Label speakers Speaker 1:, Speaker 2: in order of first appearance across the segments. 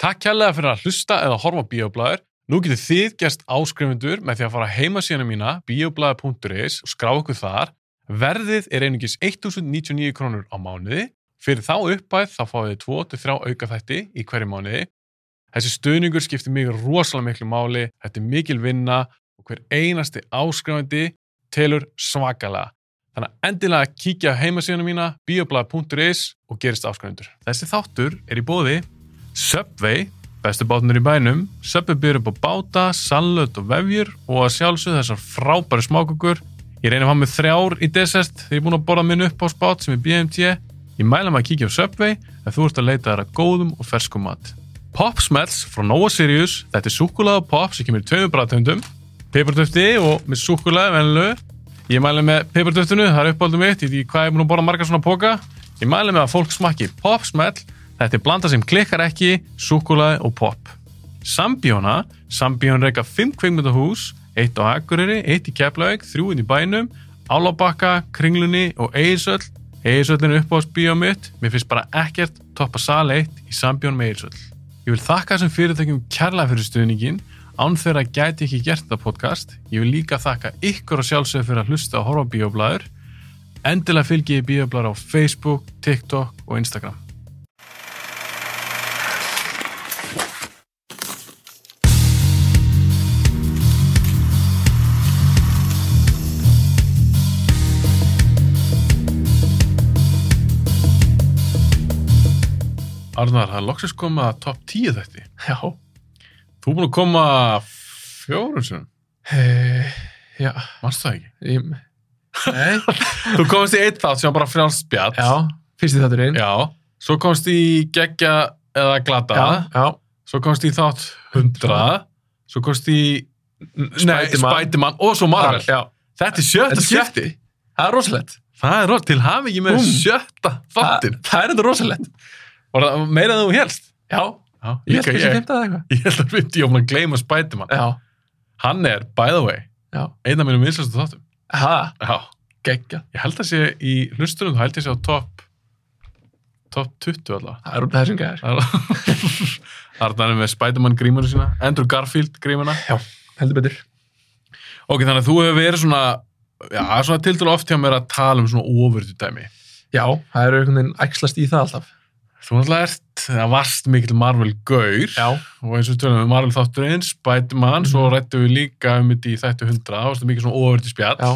Speaker 1: Takk kærlega fyrir að hlusta eða horfa á Bíoblæður. Nú getur þið gerst áskrifundur með því að fara á heimasíðuna mína bioblæður.is og skrá okkur þar. Verðið er einungis 1099 krónur á mánuði. Fyrir þá uppæð þá fáið þið 2-3 aukaþætti í hverju mánuði. Þessi stuðningur skiptir mig rosalega miklu máli, þetta er mikil vinna og hver einasti áskrifandi telur svakalega. Þannig að endilega kíkja á heimasíðuna mína bioblæður.is og gerist áskrifundur. Þessi þáttur er í bóði Subway, bestu bátnur í bænum Subway byrjur upp á báta, salöt og vefjur og að sjálfsögðu þessar frábæri smákukur Ég reyna að hafa með þrjár í desert þegar ég er búin að borða minn upp á spát sem er BMT Ég mæla maður að kíkja á Subway ef þú ert að leita þar að góðum og ferskum mat Pop Smells frá Nova Sirius Þetta er súkkulaði og pop sem kemur í tveimur bræðtöndum Peppartöfti og með súkkulaði venlu Ég mæla með peppartöftinu, það er uppáldum mitt Ég veit ekki hvað ég er búin að borða marga svona póka Ég mæla með að fólk smakki Pop Smell Þetta er blanda sem klikkar ekki, súkkulaði og pop Sambíóna Sambíón reyka 5 kveikmyndahús Eitt á Akureyri, eitt í Keflavík Þrjúinn í bænum, Álabakka Kringlunni og Eirsöll Eirsöllin er uppáhaldsbíó mitt Mér finnst bara ekkert toppa sal 1 í Sambjón með Eirsöll Ég vil þakka þessum fyrirtækjum kærlega fyrir stuðningin án þeirra gæti ég ekki gert þetta podcast. Ég vil líka þakka ykkur og sjálfsögur fyrir að hlusta og horfa á bíoblæður. Endilega fylgi ég bíoblæður á Facebook, TikTok og Instagram. Arnar, það er loksist komið að top 10 þetta.
Speaker 2: Já.
Speaker 1: Þú er búin að koma fjórun sinum.
Speaker 2: Uh, já.
Speaker 1: Manstu það ekki?
Speaker 2: Ég, nei.
Speaker 1: Þú komist í eitt þátt sem var bara frjálspjall.
Speaker 2: já. Fyrsti þátturinn.
Speaker 1: Já. Svo komist í geggja eða glata.
Speaker 2: Já. já.
Speaker 1: Svo komst í þátt 100 Svo komst í Nei,
Speaker 2: Spiderman.
Speaker 1: Spiderman og svo Marvel
Speaker 2: Já.
Speaker 1: Ah, Þetta er sjötta
Speaker 2: Þetta er
Speaker 1: skipti
Speaker 2: Það er rosalegt.
Speaker 1: Það er rótt, til hafi ekki með
Speaker 2: Búmm.
Speaker 1: sjötta þáttin
Speaker 2: Það, það er þetta rosalegt.
Speaker 1: Var það meira en þú helst?
Speaker 2: Já.
Speaker 1: Já,
Speaker 2: Ég held
Speaker 1: líka
Speaker 2: að
Speaker 1: ég
Speaker 2: það
Speaker 1: Ég,
Speaker 2: fimmta eða eitthvað.
Speaker 1: held að við ég ofna að gleyma Spiderman
Speaker 2: Já.
Speaker 1: Hann er, by the way,
Speaker 2: Já.
Speaker 1: einn af mínum vinslastu þáttum
Speaker 2: Ha.
Speaker 1: Já,
Speaker 2: Gekka.
Speaker 1: ég held að sé í hlustunum þá held ég sé á top top 20 alltaf
Speaker 2: Það er það sem gæðir.
Speaker 1: Arnar er með Spiderman grímuna sína Andrew Garfield grímuna
Speaker 2: Heldur betur.
Speaker 1: Ok, þannig að þú hefur verið svona já, svona tildur oft hjá mér að tala um svona ofurðu dæmi.
Speaker 2: Já. Það eru einhvern veginn æxlast í það alltaf.
Speaker 1: Þú náttúrulega ert, það varst mikil Marvel gaur og eins og við tölum við Marvel þátturinn, Spiderman
Speaker 2: Mhm.
Speaker 1: svo rættum við líka um þetta í þættu 100 það varst mikil svona ofurðu spjall
Speaker 2: Já.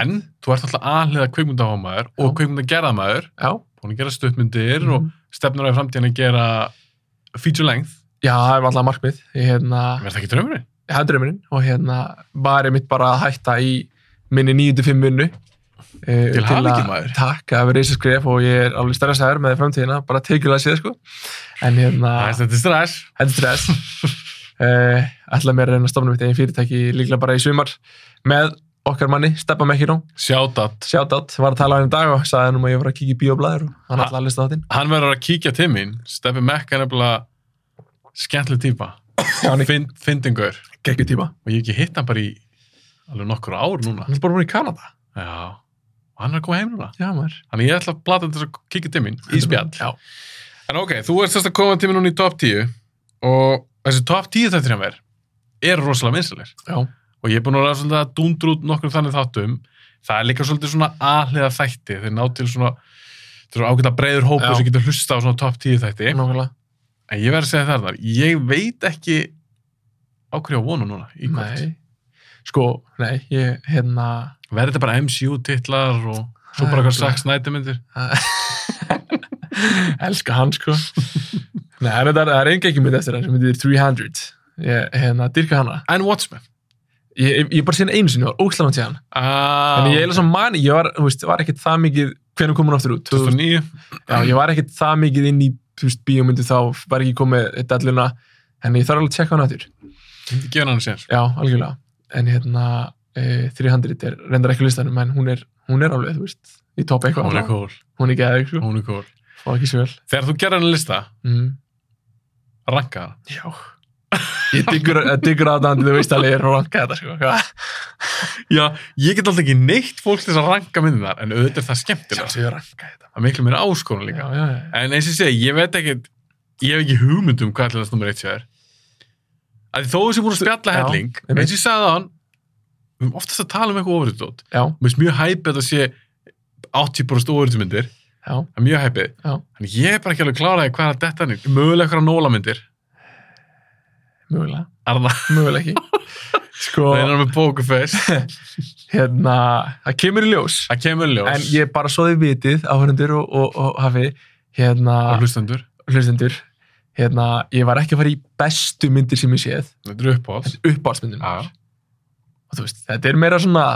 Speaker 1: en þú ert alltaf aðliða kveikmyndahámaður og kveikmyndagerðamaður
Speaker 2: Já.
Speaker 1: búin að gera stuttmyndir
Speaker 2: Mhm.
Speaker 1: og stefnur á í framtíðan að gera feature length
Speaker 2: Já, það er alltaf markmið. Ég hérna,
Speaker 1: verður það ekki draumurinn?
Speaker 2: það er draumurinn og hérna var ég mitt bara að hætta í minni 9-5 vinnu. Uh,
Speaker 1: Til hamingju, maður.
Speaker 2: Takk, það verið þessi skref og ég er alveg stærra sæður með framtíðina, bara tekilega séð sko. En hérna...
Speaker 1: Það er þetta stress
Speaker 2: Þetta er stress. uh, ætla mér að reyna að stofna mitt einn fyrirtæki líklega bara í sumar með okkar manni, Steppa Mekkinó.
Speaker 1: Shoutout
Speaker 2: Shoutout, var að tala á henni í dag og sagði hann um að ég var að kíkja í bíoblæður og hann
Speaker 1: Ha.
Speaker 2: ætla að lista þáttinn.
Speaker 1: Hann verður að kíkja til mín Steppi Mekka er nefnilega skemmtileg típa
Speaker 2: Já, hann er
Speaker 1: Finn- fyndingur
Speaker 2: geggjur tíma.
Speaker 1: og ég hef ekki hitt hann bara í alveg nokkur ár núna
Speaker 2: Hann er bara búin í Kanada.
Speaker 1: já, og hann er að koma heim núna
Speaker 2: Já, maður.
Speaker 1: þannig ég ætla að blata þess að kíkja til mín í spjall
Speaker 2: Já.
Speaker 1: en ok, þú ert sérst að koma til mín núna í top 10 og þessi top 10 þættir hann verð er rosalega vinsalir
Speaker 2: Já.
Speaker 1: og ég er búin að vera svolítið að dúndur út nokkur þannig þáttum það er líka svolítið svona aðliða þætti þeir ná til svona þeir eru ágæta breyður hópu
Speaker 2: Já.
Speaker 1: sem getur hlusta á svona top 10 þætti
Speaker 2: Nákvæmlega.
Speaker 1: en ég verð að segja það þar, ég veit ekki á hverju á vonu núna í kvöld.
Speaker 2: Nei. Sko, nei, ég, hérna...
Speaker 1: verður þetta bara MCU-titlar og svo
Speaker 2: Það
Speaker 1: bara
Speaker 2: er
Speaker 1: eitthvað
Speaker 2: bara-
Speaker 1: Zack Snyder myndir
Speaker 2: Elska hann, sko. nei, en þetta er, það er ein geggjum mynd eftir hann sem myndir 300. Ég, hérna, dyrka hana.
Speaker 1: en Watchmen
Speaker 2: Ég, ég, ég bara sé hann einu sinni, ég var ókslega hann til hann.
Speaker 1: ah,
Speaker 2: Þannig ég eiginlega svona mani, ég var, þú veist, var ekkert það mikið, hvernig kom hún aftur út? 2000.
Speaker 1: 2009
Speaker 2: Já, ég var ekkert það mikið inn í, þú veist, bíómyndu þá, var ekki komið dalluna, en ég þarf alveg að tjekka hann aftur.
Speaker 1: hindi gefa hann sér
Speaker 2: Já, algjörlega. En hérna, eh, 300 er, reyndar ekki á listanum, en hún er, hún er alveg, þú veist, í topp eitthvað.
Speaker 1: hún er cool,
Speaker 2: Hún er geðið, sko,
Speaker 1: hún er cool
Speaker 2: og ekki svo vel.
Speaker 1: þegar þú gerir hann lista,
Speaker 2: Mm.
Speaker 1: ranka hann
Speaker 2: Já. Ég diggur, diggur aðdandi, þú veist alveg, ég er að ranka þetta, sko. Já,
Speaker 1: já, ég get alltaf ekki neitt fólk til þess að ranka myndinar en auðvitað er það skemmtilega
Speaker 2: sjálfsög ég ranka þetta.
Speaker 1: það er miklu mér áskonum
Speaker 2: Já,
Speaker 1: líka
Speaker 2: já, já.
Speaker 1: en eins og ég segi, ég veit ekki ég hef ekki hugmynd um hvað ætlaðast nummer eitt sér að því þó þessi búin að spjalla
Speaker 2: Já,
Speaker 1: helling
Speaker 2: einmitt.
Speaker 1: eins og ég sagði á hann við erum oftast að tala um eitthvað ofriðdótt
Speaker 2: já,
Speaker 1: mér finnst mjög hæpið að þetta sé 80% ofriðdótmyndir
Speaker 2: já,
Speaker 1: það er mjög hæpið
Speaker 2: Já.
Speaker 1: Þannig ég er bara ekki alveg kláraði hvað er þetta nýtt mögulega eitthvað nólamyndir
Speaker 2: mögulega,
Speaker 1: er það
Speaker 2: mögulega ekki sko,
Speaker 1: það er með pokerface
Speaker 2: hérna það kemur í ljós,
Speaker 1: það kemur í ljós
Speaker 2: en ég bara svo þið vitið áhörundur og, og, og hafi hérna,
Speaker 1: og hlustendur
Speaker 2: hlustendur hérna, ég var ekki að fara í bestu myndir sem ég séð,
Speaker 1: þetta er uppáhalds
Speaker 2: uppáhaldsmyndin
Speaker 1: Já.
Speaker 2: og þú veist, þetta er meira svona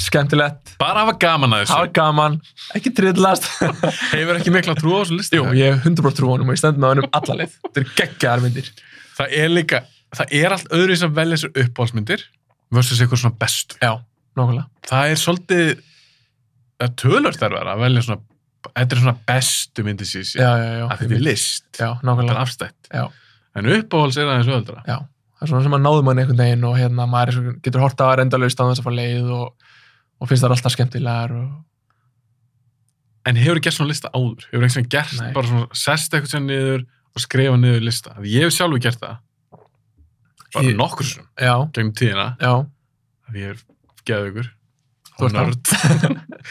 Speaker 2: skemmtilegt,
Speaker 1: bara hafa gaman að
Speaker 2: hafa
Speaker 1: þessu
Speaker 2: gaman ekki trillast
Speaker 1: hefur ekki mikla trú á þessu listi
Speaker 2: Jú, ég hef 100% trú á honum og ég stend með honum allalið þetta er geggjaðar myndir
Speaker 1: það er líka það er allt öðru sem velja þessar uppáhaldsmyndir versus eitthvað svona bestu
Speaker 2: já, nákvæmlega
Speaker 1: það er svolítið það er tölvörst þær vera að velja svona þetta er svona bestu myndi sísi
Speaker 2: já, já, já,
Speaker 1: að þetta er list
Speaker 2: já,
Speaker 1: þetta er
Speaker 2: nákvæmlega
Speaker 1: afstætt
Speaker 2: Já.
Speaker 1: en uppáhalds er aðeins öðra
Speaker 2: já, það er svona sem að náðum hann einhvern veginn og hérna maður er svo, getur horta að renda laust á þess að fá leið og, og finnst það alltaf skemmtilegar og
Speaker 1: en hefur gert svona lista áður hefur einhvern veginn gert
Speaker 2: Nei.
Speaker 1: bara svona sest eitthvað sem niður og skrifa niður lista Því ég hef sjálfur gert það bara
Speaker 2: Ég-
Speaker 1: nokkur sem
Speaker 2: já,
Speaker 1: gegnum tíðina
Speaker 2: já,
Speaker 1: að ég er geðu ykkur
Speaker 2: Þú ert það.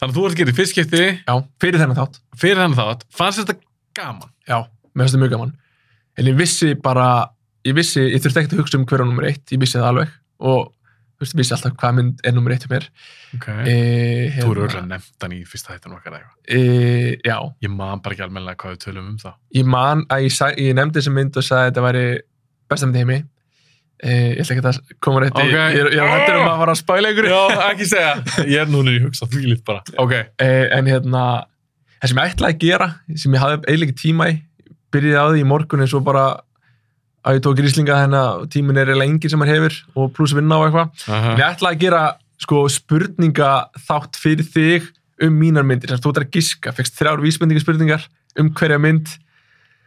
Speaker 1: þannig að þú ert getið fyrstskipti
Speaker 2: já, fyrir þennan þátt
Speaker 1: fyrir þannig þátt, fannst þetta gaman
Speaker 2: já, mér finnst það mjög gaman en ég vissi bara, ég vissi ég þurfti ekkert að hugsa um hver á nummer eitt, ég vissi það alveg og þú veist, ég vissi alltaf hvað mynd er nummer eitt hjá mér
Speaker 1: okay.
Speaker 2: e,
Speaker 1: Eh, þú eru auðvitað nefnt hann í fyrsta hættan okkar eða eitthvað.
Speaker 2: e, já,
Speaker 1: ég man bara ekki almennilega hvað við tölum um það
Speaker 2: ég man að ég, sag, ég nefndi þessa mynd og sagði að þetta væri besta mynd í heimi e, ég ætla ekki að koma rétt í
Speaker 1: Ok.
Speaker 2: ég, er- ég er hættur um að fara að spæla ykkur
Speaker 1: já, ekki segja ég er núna í hugsa því lít bara ok,
Speaker 2: Eh, en hérna, það sem ég ætlaði að gera sem ég hafði eiginlega ekki tíma í byrjaði á því í morgun en svo bara að ég tók gríslinga þennan tímin er eiginlega engin sem maður hefur og pluss vinna og eitthvað en
Speaker 1: Aha.
Speaker 2: ég ætlaði að gera sko spurninga þátt fyrir þig um mínar myndir sem þú ætlar að giska, fegst þrjár vísbendingar spurningar um hverja mynd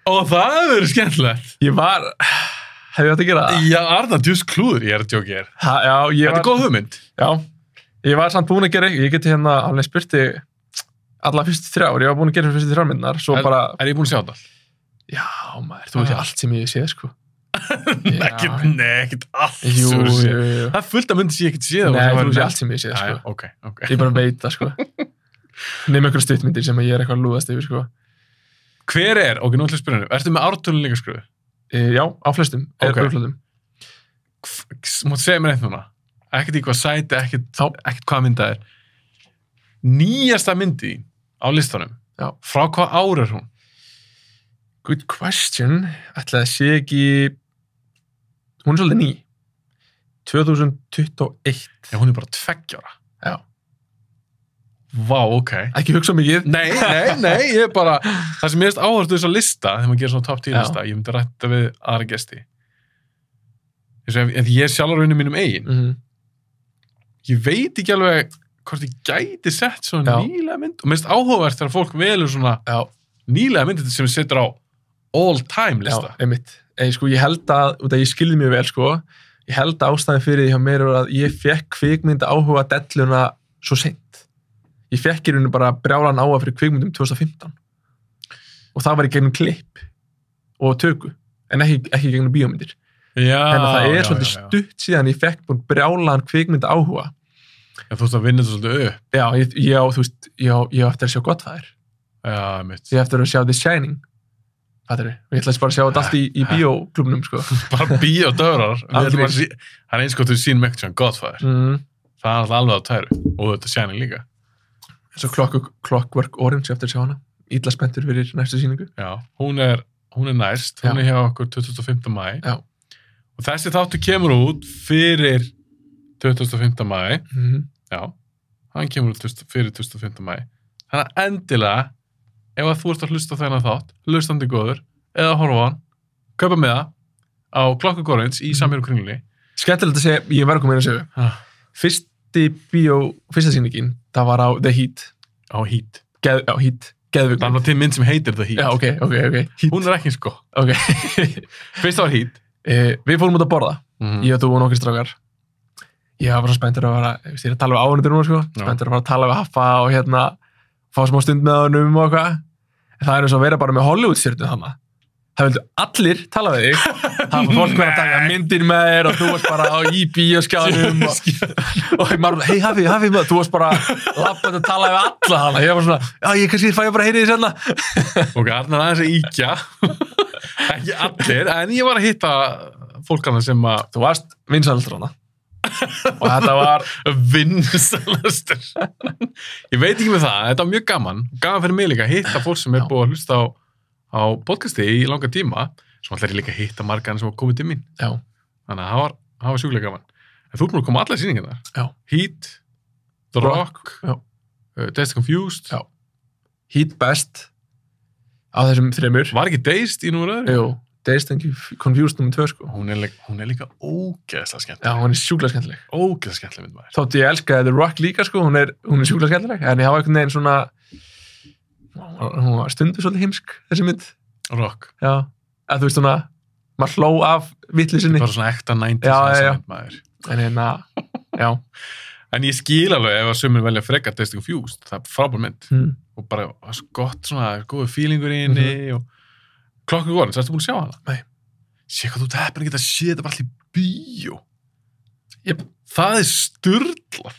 Speaker 1: og það verður skemmtilegt
Speaker 2: ég var, hef ég átt að gera það?
Speaker 1: Ah. já, Arna, djús klúður ég er að djókja þér
Speaker 2: Ha, já, ég
Speaker 1: þetta
Speaker 2: var,
Speaker 1: er góð hugmynd
Speaker 2: já, ég var samt búin að gera ég geti hérna alveg spurti alla fyrstu þrjár, ég var búin að gera fyrstu þrjár myndar svo
Speaker 1: En-
Speaker 2: bara
Speaker 1: er ég búin að sjá þetta?
Speaker 2: Já, maður, þú veist
Speaker 1: Ah.
Speaker 2: allt sem ég séð, sko. Já.
Speaker 1: ekkert, nei, ekkert allt
Speaker 2: Jú,
Speaker 1: sem
Speaker 2: jú,
Speaker 1: þú séð.
Speaker 2: jú.
Speaker 1: það er fullt að myndi sem ég ekkert séð
Speaker 2: Nei,
Speaker 1: og
Speaker 2: þú
Speaker 1: sem
Speaker 2: veist
Speaker 1: væri
Speaker 2: allt sem ég séð,
Speaker 1: næst.
Speaker 2: sko.
Speaker 1: Jæja, ok, ok.
Speaker 2: Ég bara veit það, sko. Nefnum einhverja stuttmyndir sem ég er eitthvað að lúðast yfir, sko.
Speaker 1: Hver er, ok, nú ætlum ég að spyrja henni, ertu með ártölun líka skröðu?
Speaker 2: E, já, á flestum. eh,
Speaker 1: Ok.
Speaker 2: Er okay. Úrflöldum.
Speaker 1: Máttu segja mér eitt núna, ekkert í hvað sæti, ekkert,
Speaker 2: Já.
Speaker 1: ekkert hvað mynda er. Nýjasta myndi á listanum,
Speaker 2: Já.
Speaker 1: frá hvað ára er hún?
Speaker 2: Good question. Ætlaði að sé ekki... Hún er svolítið ný. 2021.
Speaker 1: Já, hún er bara tveggjára.
Speaker 2: Já.
Speaker 1: Vá, ok.
Speaker 2: Ekki hugsa mikið.
Speaker 1: Nei, nei, nei, ég er bara, það sem ég erst áherslu þess að lista, þegar maður gerir svona top 10
Speaker 2: Já.
Speaker 1: lista, ég myndi rætta við aðra gesti. Þess að ef, ef ég er sjálfur vinnum mínum eigin,
Speaker 2: Mm
Speaker 1: ég veit ekki alveg hvort ég gæti sett svona
Speaker 2: Já.
Speaker 1: nýlega mynd og minnst áhugavert þegar fólk velur svona
Speaker 2: Já,
Speaker 1: nýlega myndið sem setur á all time
Speaker 2: já,
Speaker 1: lista.
Speaker 2: einmitt. En sko, ég held að, út að ég skilði mjög vel, sko, ég held að ástæðin fyrir því hjá mér var að ég fekk kvikmynda áhuga delluna svo seint. Ég fekk í rauninu bara brjálan áhuga fyrir kvikmyndum 2015. Og það var í gegnum klipp og töku, en ekki, ekki gegnum bíómyndir.
Speaker 1: Já,
Speaker 2: Þannig að Hérna, það
Speaker 1: Ah, já,
Speaker 2: er svolítið
Speaker 1: já, já.
Speaker 2: stutt síðan ég fekk bara brjálan kvikmynda áhuga.
Speaker 1: Já, þú veist að vinna þetta svolítið upp.
Speaker 2: Já, ég, ég, á, þú veist, ég, á, ég á eftir að sjá gott það er.
Speaker 1: Já, mitt.
Speaker 2: Ég á eftir að sjá The Shining. Fattarðu? Og ég ætlaði bara að sjá þetta allt í, í bíóklubnum, sko.
Speaker 1: Bara bíó dörar.
Speaker 2: Aldrei.
Speaker 1: Það er eins gott við sín mekt sem Godfather.
Speaker 2: Mm.
Speaker 1: Það er alltaf alveg á tæru. Og þetta sjæning líka.
Speaker 2: eins og Clock- Clockwork Orange eftir að sjá hana ítla spenntur fyrir næstu síningu
Speaker 1: Já, hún er, hún er næst, hún
Speaker 2: Já.
Speaker 1: er hjá okkur 25. mæ
Speaker 2: Já.
Speaker 1: og þessi þáttu kemur út fyrir 25. mæ
Speaker 2: mm.
Speaker 1: já, hann kemur út 20 fyrir 25. mæ þannig að endilega ef að þú ert að hlusta á þennan þátt hlustandi góður, eða horfa á hann kaupa með það á klokkugorins í
Speaker 2: Mhm.
Speaker 1: samir og kringlunni
Speaker 2: skemmtilegt að segja, ég var að koma inn að segja
Speaker 1: ah.
Speaker 2: fyrsti bíó, fyrsta síningin það var á The Heat,
Speaker 1: á Heat
Speaker 2: Geð, já, Heat
Speaker 1: það er
Speaker 2: Geðvig
Speaker 1: nú til mynd sem heitir það Heat
Speaker 2: já, ok, ok, ok, Heat
Speaker 1: hún er ekki sko,
Speaker 2: okay.
Speaker 1: fyrst það var Heat
Speaker 2: Eh, við fórum út að borða,
Speaker 1: mm.
Speaker 2: ég og þú og nokkri strákar ég var bara spenntur að vera ég veist, ég er að tala við áhundur núna, sko
Speaker 1: Já.
Speaker 2: spenntur að fara að tala við haffa og hérna fá smá stund með honum og eitthvað En það er eins og að vera bara með Hollywood-stjörnum þarna það vildu allir tala við þig það var fólk verið að taka myndir með þér og þú varst bara á í
Speaker 1: Um
Speaker 2: bíoskjáðum og, og maður, hei Hafi, Hafi maður, þú varst bara lappað að tala við alla hana ég var svona, já ég kannski fæ ég bara að heyri því senna
Speaker 1: Ok, Arnar aðeins að íkja. Ekki allir, en ég var að hitta fólkana sem að
Speaker 2: þú varst vinsælstur hana og þetta var
Speaker 1: vinnsalastur. Ég veit ekki með það, þetta var mjög gaman. Gaman fyrir mig líka að hitta fólk sem er
Speaker 2: Já.
Speaker 1: búið að hlusta á, á podcasti í langa tíma. Svo alltaf er ég líka að hitta margan sem var komið til mín.
Speaker 2: já,
Speaker 1: Þannig að það var, það var sjúklega gaman. En þú er búin að koma á allar sýningarnar.
Speaker 2: Já.
Speaker 1: Heat, The
Speaker 2: Rock,
Speaker 1: Rock,
Speaker 2: já.
Speaker 1: uh, Dazed and Confused.
Speaker 2: Já. hít best á þessum þremur
Speaker 1: Var ekki Dazed í núra öðru?
Speaker 2: Jú, Dazed and Confused nummer 2 sko
Speaker 1: Hún er, líka- hún er líka ógeðslega
Speaker 2: já,
Speaker 1: skemmtileg.
Speaker 2: hún er sjúklega skemmtileg
Speaker 1: Ógeðslega skemmtileg mynd maður.
Speaker 2: þótt ég elskaði The Rock líka sko, hún er, hún er sjúklega skemmtileg en ég hafa einhvern veginn svona hún var- hún var stundu svolítið heimsk þessi mynd,
Speaker 1: Rock.
Speaker 2: já að þú veist svona, maður hló af vittlisinni,
Speaker 1: bara svona ekta 90s
Speaker 2: Já, já, já.
Speaker 1: aðeins maður
Speaker 2: en hérna já,
Speaker 1: en ég skil alveg ef að sömur velja frekar Dazed and Confused, það er frábær mynd
Speaker 2: mm.
Speaker 1: og bara það er svo gott svona, það er góður feelingur í henni og klokkur góðan, erstu búin að sjá hana?
Speaker 2: Mhm. Nei.
Speaker 1: Sér hvað þú ert heppin að geta séð þetta bara allir bíó
Speaker 2: Jep.
Speaker 1: Það er sturdlar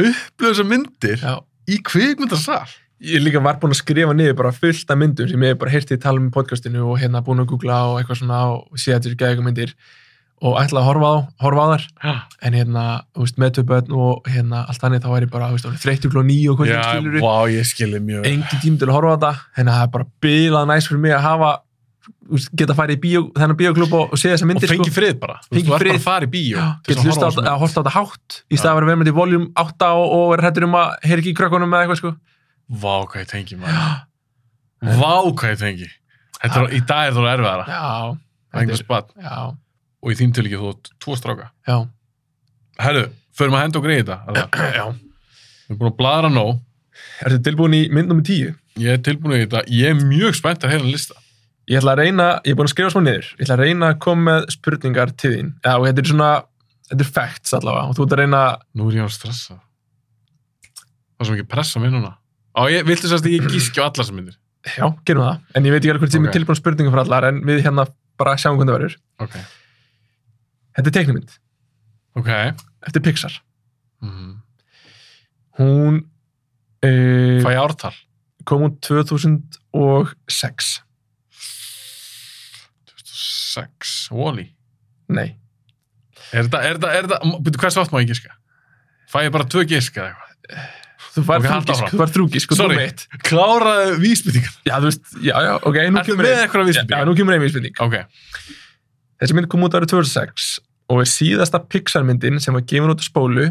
Speaker 1: upplöðu þessar myndir
Speaker 2: já
Speaker 1: í kvikmyndasal
Speaker 2: ég líka var búinn að skrifa niður bara fullt af myndum sem ég hef bara heyrti í tala um í podcastinu og hérna búinn að googla og eitthvað svona og sé að þetta eru geðveiku myndir og ætla að horfa á, horfa á þar en hérna, þú veist, meðtöpöðn og hérna allt annir þá er ég bara, þú veist, orðinn þreyttur kló nýju og hvað sem skilur
Speaker 1: vá, ég skilur mjög vel.
Speaker 2: engin tím til að horfa á þetta hérna það er bara bilað næst fyrir mig að hafa þú veist, geta að fara í bíó, þennan bíóklub og, og sé þessa
Speaker 1: og
Speaker 2: myndir sko.
Speaker 1: fengi frið bara, þú veist,
Speaker 2: Fengi
Speaker 1: þú ert bara
Speaker 2: frið.
Speaker 1: að fara í bíó
Speaker 2: Já,
Speaker 1: til
Speaker 2: get
Speaker 1: þess að
Speaker 2: hlusta á
Speaker 1: horfa á
Speaker 2: þetta-
Speaker 1: þessa mynd.
Speaker 2: eða horta á þetta hátt í stað að vera verðmyndi í voljum 8 og, og vera hættur um að heyra ekki í krökkunum eða eitthvað sko
Speaker 1: Vá, hvað ég tengi maður Vá, hvað ég tengi Þetta er, í dag er það erfiðara
Speaker 2: Já,
Speaker 1: að
Speaker 2: þetta
Speaker 1: einhvers
Speaker 2: er-
Speaker 1: bann
Speaker 2: já,
Speaker 1: og í þín tilíki þú átt tvo stráka
Speaker 2: já,
Speaker 1: Herru, förum að henda okkur í þetta eða?
Speaker 2: já.
Speaker 1: Við erum búin að bladra nóg
Speaker 2: Er þetta tilbúin í mynd nummer 10?
Speaker 1: Ég er tilbúin í þetta, ég er mjög spennt að heyra hann lista
Speaker 2: Ég ætla að reyna, ég er búin að skrifa smá niður, ég ætla að reyna að koma með spurningar til þín. Já, og þetta er svona, þetta er facts allavega og þú ert að reyna,
Speaker 1: Nú er ég að stressa Það er svo mikið pressa mér núna Á, ég, viltu sérst að ég gíski á allar sem myndir
Speaker 2: já, gerum það. En ég veit ekki alveg hvort ég er
Speaker 1: Ok.
Speaker 2: með tilbúin spurningar fyrir allar en við hérna bara sjáum hvernig það verður.
Speaker 1: Ok,
Speaker 2: Þetta er teiknumynd,
Speaker 1: ok
Speaker 2: eftir Pixar.
Speaker 1: mm.
Speaker 2: Hún
Speaker 1: Fæ
Speaker 2: uh,
Speaker 1: ég ártal?
Speaker 2: kom út 2006.
Speaker 1: 2006, Wall-E
Speaker 2: Nei,
Speaker 1: Er þetta, er þetta, er þetta, byrju, hversu oft má ég gíska? Fæ ég bara tvö gíska eða eitthvað?
Speaker 2: þú var
Speaker 1: Ok,
Speaker 2: okay,
Speaker 1: haltu áfram.
Speaker 2: þrúgis, þú var þrúgis, sko,
Speaker 1: Sorry.
Speaker 2: þú veit.
Speaker 1: Kláraðu vísbyttingar
Speaker 2: Já, þú veist, já, já, ok, nú
Speaker 1: Ertu
Speaker 2: kemur
Speaker 1: með
Speaker 2: ein.
Speaker 1: eitthvað
Speaker 2: Já,
Speaker 1: vísbyttingar?
Speaker 2: nú kemur ein vísbending.
Speaker 1: Ok,
Speaker 2: Þessi mynd kom út árið 2006 og er síðasta Pixar-myndin sem var gefin út á spólu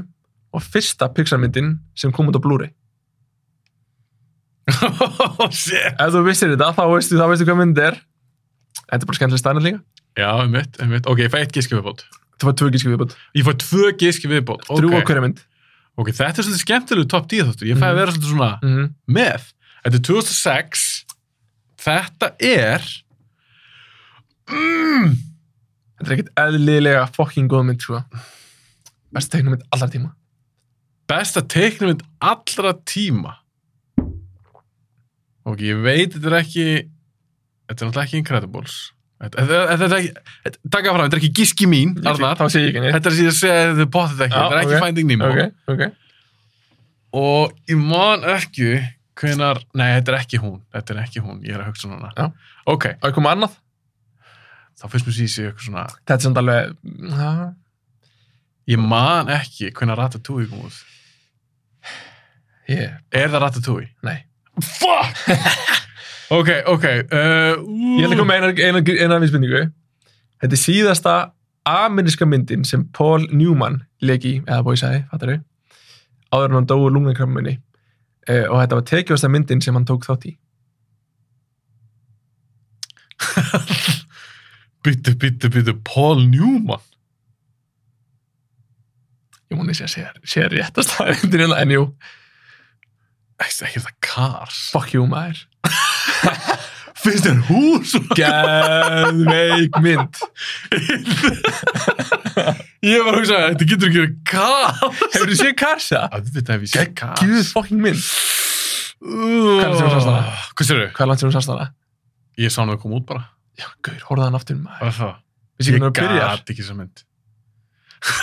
Speaker 2: og fyrsta Pixar-myndin sem kom út á Blu-ray.
Speaker 1: oh, shit
Speaker 2: Ef þú vissir þetta, þá veistu, þá veistu hvað mynd er. Þetta er bara skemmtileg stærnir líka.
Speaker 1: Já, einmitt, einmitt Ok, ég fæ eitt gíski viðbót
Speaker 2: Þú fær tvö gíski viðbútt.
Speaker 1: Ég fæ tvö gíski viðbót
Speaker 2: Okay. Þrjú á
Speaker 1: ok,
Speaker 2: hverja mynd.
Speaker 1: ok, þetta er svolítið skemmtilegu top 10 þáttur Ég fæ að
Speaker 2: Mhm.
Speaker 1: vera svolítið svona
Speaker 2: Mm
Speaker 1: með Þetta er 2006 Þetta er mm,
Speaker 2: Þetta er ekkert eðlilega fucking góð mynd, sko. Besta teiknumynd allar tíma.
Speaker 1: Besta teiknumynd allra tíma Ok, ég veit Þetta er ekki Þetta er náttúrulega ekki Incredibles Þetta, þetta, þetta er ekki, þetta- taka fram, þetta er ekki gíski mín
Speaker 2: Ég-
Speaker 1: Arnar,
Speaker 2: Þá sé ég ekki neitt.
Speaker 1: þetta er sem ég segi þetta er bóttið ekki,
Speaker 2: Já,
Speaker 1: þetta er ekki
Speaker 2: ok,
Speaker 1: Finding Nemo
Speaker 2: Ok, ok.
Speaker 1: og ég man ekki hvenar, nei þetta er ekki hún þetta er ekki hún, ég er að hugsa núna
Speaker 2: Já.
Speaker 1: ok,
Speaker 2: Og ég kom að annað.
Speaker 1: þá finnst mér síðan eitthvað svona,
Speaker 2: Þetta er samt alveg, já,
Speaker 1: ég man ekki hvenar Ratatouille kom út
Speaker 2: ég,
Speaker 1: er það Ratatouille?
Speaker 2: nei.
Speaker 1: fuck ok, ok uh, ú.
Speaker 2: Ég ætla að koma með eina, eina, eina vísbendingu. Þetta er síðasta ameríska myndin sem Paul Newman leki, eða bóisaði, fattar þau, áður en hann dói úr lungnakrafminni eh, og þetta var tekjúasta myndin sem hann tók þátt í.
Speaker 1: byttu, byttu, byttu, Paul Newman
Speaker 2: Ég múni að sé, sé réttast aðeindin hérna, en jú,
Speaker 1: ekki, ekki það Cars
Speaker 2: fuck you maður.
Speaker 1: finnst þér hús?
Speaker 2: Geðveik mynd.
Speaker 1: ég var að hugsa, þetta getur ekki verið Cars
Speaker 2: Hefur þú séð Karsa?
Speaker 1: auðvitað hef ég sé Cars
Speaker 2: Gjöð fucking mynd.
Speaker 1: Hvað
Speaker 2: er um það sem þú sást hana?
Speaker 1: Hvað sér þau?
Speaker 2: Hvað er langt sem hún sást hana?
Speaker 1: Ég sá hann að koma út bara
Speaker 2: já, gaur, horfða hann aftur maður.
Speaker 1: Var það?
Speaker 2: Vissi ekki hvernig það byrjar.
Speaker 1: gat ekki þessa mynd.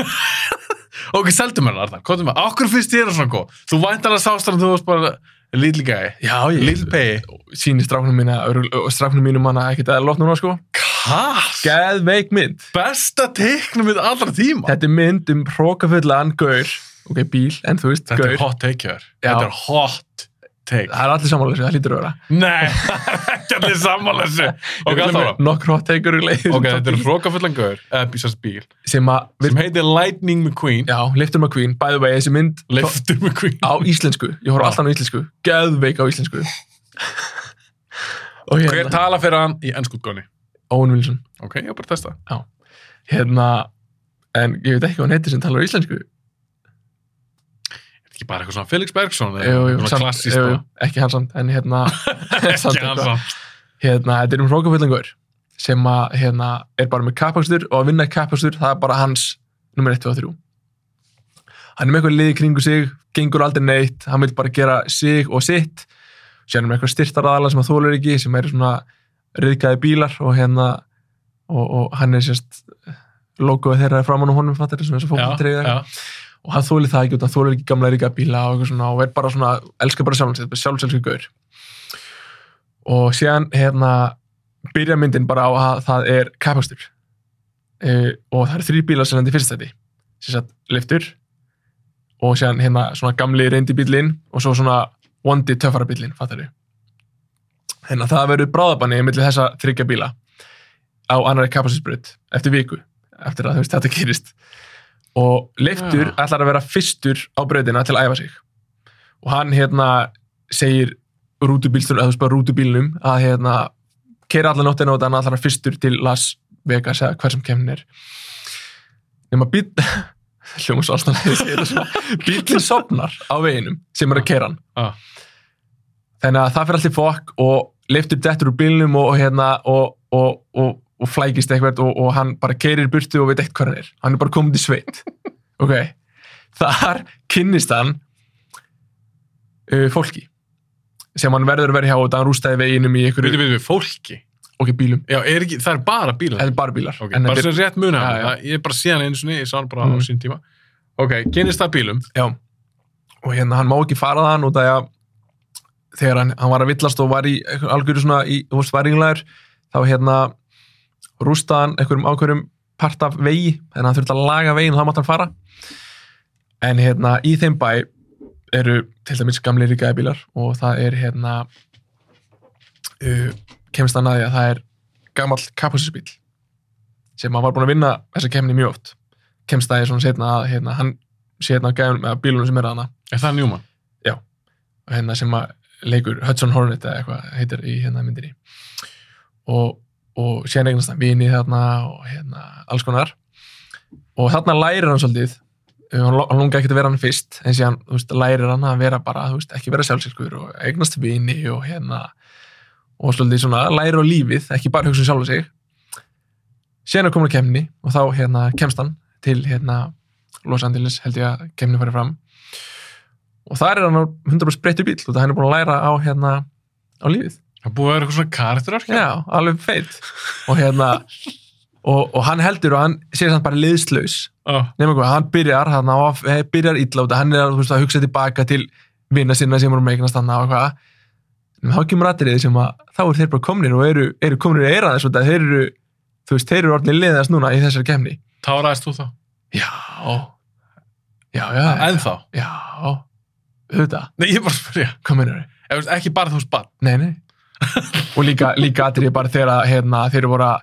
Speaker 1: ok, seldu mér hann, Arnar. Kóttu mér. Okkur finnst þér það svona góð? Þú væntar að sást hann, þú varst bara little guy.
Speaker 2: Já,
Speaker 1: Little
Speaker 2: ég
Speaker 1: pay.
Speaker 2: síni stráknum mína, örugl- og stráknum mínum manna ekkert að lotna núna, sko.
Speaker 1: Kast!
Speaker 2: Geðveik mynd.
Speaker 1: Besta teiknum við allra tíma.
Speaker 2: Þetta er mynd um hrókafullan gaur. Ok, bíl, en þú veist,
Speaker 1: Þetta
Speaker 2: gaur.
Speaker 1: er hot take hér.
Speaker 2: Já.
Speaker 1: Þetta er hot take.
Speaker 2: Það er allir sammála þessu, það lítur að vera.
Speaker 1: Nei, það er ekki allir sammála þessu. Ok, þá
Speaker 2: það. Nokkur hot takeur í leið.
Speaker 1: Ok, þetta er hrókafullan gaur, eða bísast bíl,
Speaker 2: Sem að,
Speaker 1: sem heitir Lightning McQueen.
Speaker 2: já, Lifter McQueen, by the way, þessi mynd
Speaker 1: Lifter McQueen.
Speaker 2: á íslensku. Ég horf
Speaker 1: Já.
Speaker 2: alltaf á íslensku. Geðveik á íslensku. og
Speaker 1: Hver
Speaker 2: hérna,
Speaker 1: tala fyrir hann í ennskútgóni?
Speaker 2: Owen Wilson.
Speaker 1: Ok, ég var bara að testa.
Speaker 2: Hérna, en ég veit ekki hvað hann heitir sem talar á íslensku.
Speaker 1: Er þetta ekki bara eitthvað svona Felix Bergson? eða
Speaker 2: Jú, jú,
Speaker 1: eitthvað
Speaker 2: samt-
Speaker 1: klassískt
Speaker 2: jú, jú,
Speaker 1: bara?
Speaker 2: ekki hann samt, en hérna, samt
Speaker 1: Ekki hann
Speaker 2: eitthvað.
Speaker 1: samt.
Speaker 2: hérna, þetta er um hrókafullengur sem að, hérna, er bara með kappakstur og að vinna kappakstur, það er bara hans nummer 1, 2 og 3 hann er með eitthvað liði kringu sig, gengur aldrei neitt hann vil bara gera sig og sitt sér hann með eitthvað styrtaraðala sem að þólur ekki sem er svona riðgæði bílar og hérna og, og hann er sérst logoið þeirra er framan á honum, fattir sem þessu fókbaltreyði
Speaker 1: Já,
Speaker 2: og hann þóli það ekki út, hann þóli ekki gamla ríka bíla og eitthvað svona og er bara svona, elskar bara sjálfsins, þetta er sjálfselsku gaur og síðan hérna byrja myndin bara á að það er kapastur uh, og það eru þrý bílar sem hendur fyrst þetta sem sagt liftur og síðan hérna svona gamli reyndi bílinn og svo svona vondi töffara bílinn, fattar þau þannig að það verður bráðabanni millir þessa þryggja bíla á annari kapastisbrut eftir viku eftir að þú veist þetta gerist og leiftur
Speaker 1: Já.
Speaker 2: ætlar að vera fyrstur á brautina til að æfa sig og hann hérna segir rútubílstur, eða þú veist bara rútubílnum að hérna keira allar nóttina og þannig að hann ætlar að vera fyrstur til Las Vegas eða hver sem kemur er nema bíl hljóma svo alltaf bílinn sopnar á veginum sem er að keira hann
Speaker 1: já.
Speaker 2: þannig að það fyrir allir fokk og leiftur dettur úr bílnum og, og hérna og, og, og, og flækist eitthvað og, og hann bara keirir burtu og veit ekkert hvað hann er hann er bara komið í sveit ok, þar kynnist hann uh, fólki sem hann verður að vera hjá og það hann rústaði veginum í
Speaker 1: Við
Speaker 2: einhverju
Speaker 1: veitum við fólki.
Speaker 2: ok, bílum,
Speaker 1: Já, er ekki, það er bara bílar.
Speaker 2: þetta er bara bílar
Speaker 1: Ok,
Speaker 2: en
Speaker 1: bara
Speaker 2: þetta
Speaker 1: sem rétt muna.
Speaker 2: Já, já.
Speaker 1: það- Ég er bara síðan einu sinni, ég sá hann bara á
Speaker 2: Mm.
Speaker 1: sín tíma. Ok, kynist það bílum.
Speaker 2: Já, og hérna hann má ekki fara þann út af því að þegar hann, hann var að villast og var í einhver- algjöru svona í, þú veist, varinglegar þá hérna rústaði hann einhverjum ákverjum part af vegi þannig að hann þurfti að laga veginn og þá mátt hann fara en hérna í þeim bæ eru til dæmis gamli ríkaðabílar og það er hérna uh, kemst hann að því að það er gamall kapasinsbíl sem hann var búin að vinna þessa kemni mjög oft kemst að því svona setna að hérna, hann sé hérna á gæðunum eða bílunum sem er að hana
Speaker 1: Er það Newman?
Speaker 2: og hérna sem að leikur Hudson Hornet eða eitthvað heitir í hérna myndinni og, og síðan eignast hann vini þarna og hérna alls konar og þarna lærir hann svolítið uh, hann lo- hann lunga ekkert að vera hann fyrst en síðan þú veist, lærir hann að vera bara þú veist, ekki vera sjálfselskur og eignast vini og hérna og svolítið svona lærir á lífið, ekki bara hugsa um sjálfa sig síðan er komin að kemni og þá hérna kemst hann til hérna Los Angeles held ég að kemni farið fram og þar er hann á 100% breyttu bíl og það hann er búin að læra á hérna á lífið,
Speaker 1: Það er búið að vera eitthvað svona karakterarkja?
Speaker 2: já, alveg feit og hérna og, og hann heldur og hann sé samt bara liðslaus
Speaker 1: Já.
Speaker 2: nema hvað, hann byrjar hann á, að- eh, byrjar illa út, af- hann er að, þú veist, að hugsa tilbaka til vinna sinna sem eru meikinast hann og eitthvað en þá kemur atriðið sem að þá eru þeir bara komnir og eru, eru komnir í eiraðis og þeir eru, þú veist, þeir eru orðinni liðast núna í þessari kemni
Speaker 1: Táraðist þú þá?
Speaker 2: já, já, já
Speaker 1: En þá?
Speaker 2: já, auðvitað
Speaker 1: Nei, ég er bara að spyrja.
Speaker 2: hvað meinar
Speaker 1: Ef þú veist, Ekki bara þú spann.
Speaker 2: Nei, nei. og líka, líka atrið bara þegar að, hérna, þeir voru að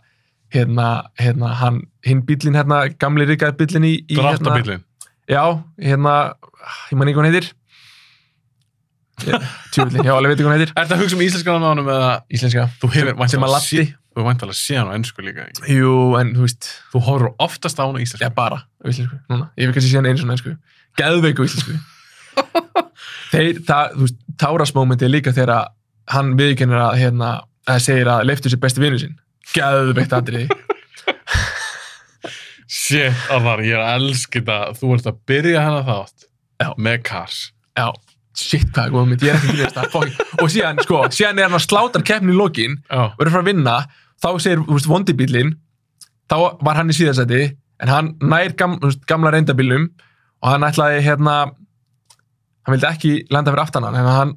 Speaker 2: hérna, hérna, hann, hinn bílinn hérna, gamli ríkaði bílinn í, í hérna,
Speaker 1: Dráttabílinn.
Speaker 2: já, hérna ég man ekki hvað hann heitir tjúvillin, já, alveg veit ekki hvað hann heitir
Speaker 1: Er þetta að hugsa um íslenskan á honum eða
Speaker 2: íslenska,
Speaker 1: þú hefur
Speaker 2: sem, sem að
Speaker 1: væntanlega
Speaker 2: latti
Speaker 1: sé- þú hefur væntanlega síðan á ennsku líka? ekki?
Speaker 2: jú, en þú veist,
Speaker 1: Þú horfur oftast á hana íslensku.
Speaker 2: já, bara á íslensku, núna, ég hef kannski síðan einu svona einsku geðveiku íslensku þeir, það, þú veist, tárasmómenti líka þegar að hann viðkennir að hérna, að segir að leiftur sér besti vinnu sinn geðveikt atrið
Speaker 1: Shit, Arnar, ég er að elska þetta. Þú ert að byrja hennar þátt
Speaker 2: Já.
Speaker 1: með Cars.
Speaker 2: Já, shit hvað er góð mynd, ég er ekki að gríðast það fuck. Og síðan, sko, síðan er hann að sláta keppni í lokin
Speaker 1: Já.
Speaker 2: verður frá að vinna þá segir þú veist, vondi bílinn þá var hann í síðarsæti en hann nær gam, þú veist, gamla reyndabílum og hann ætlaði hérna hann vildi ekki landa fyrir aftan hann en hann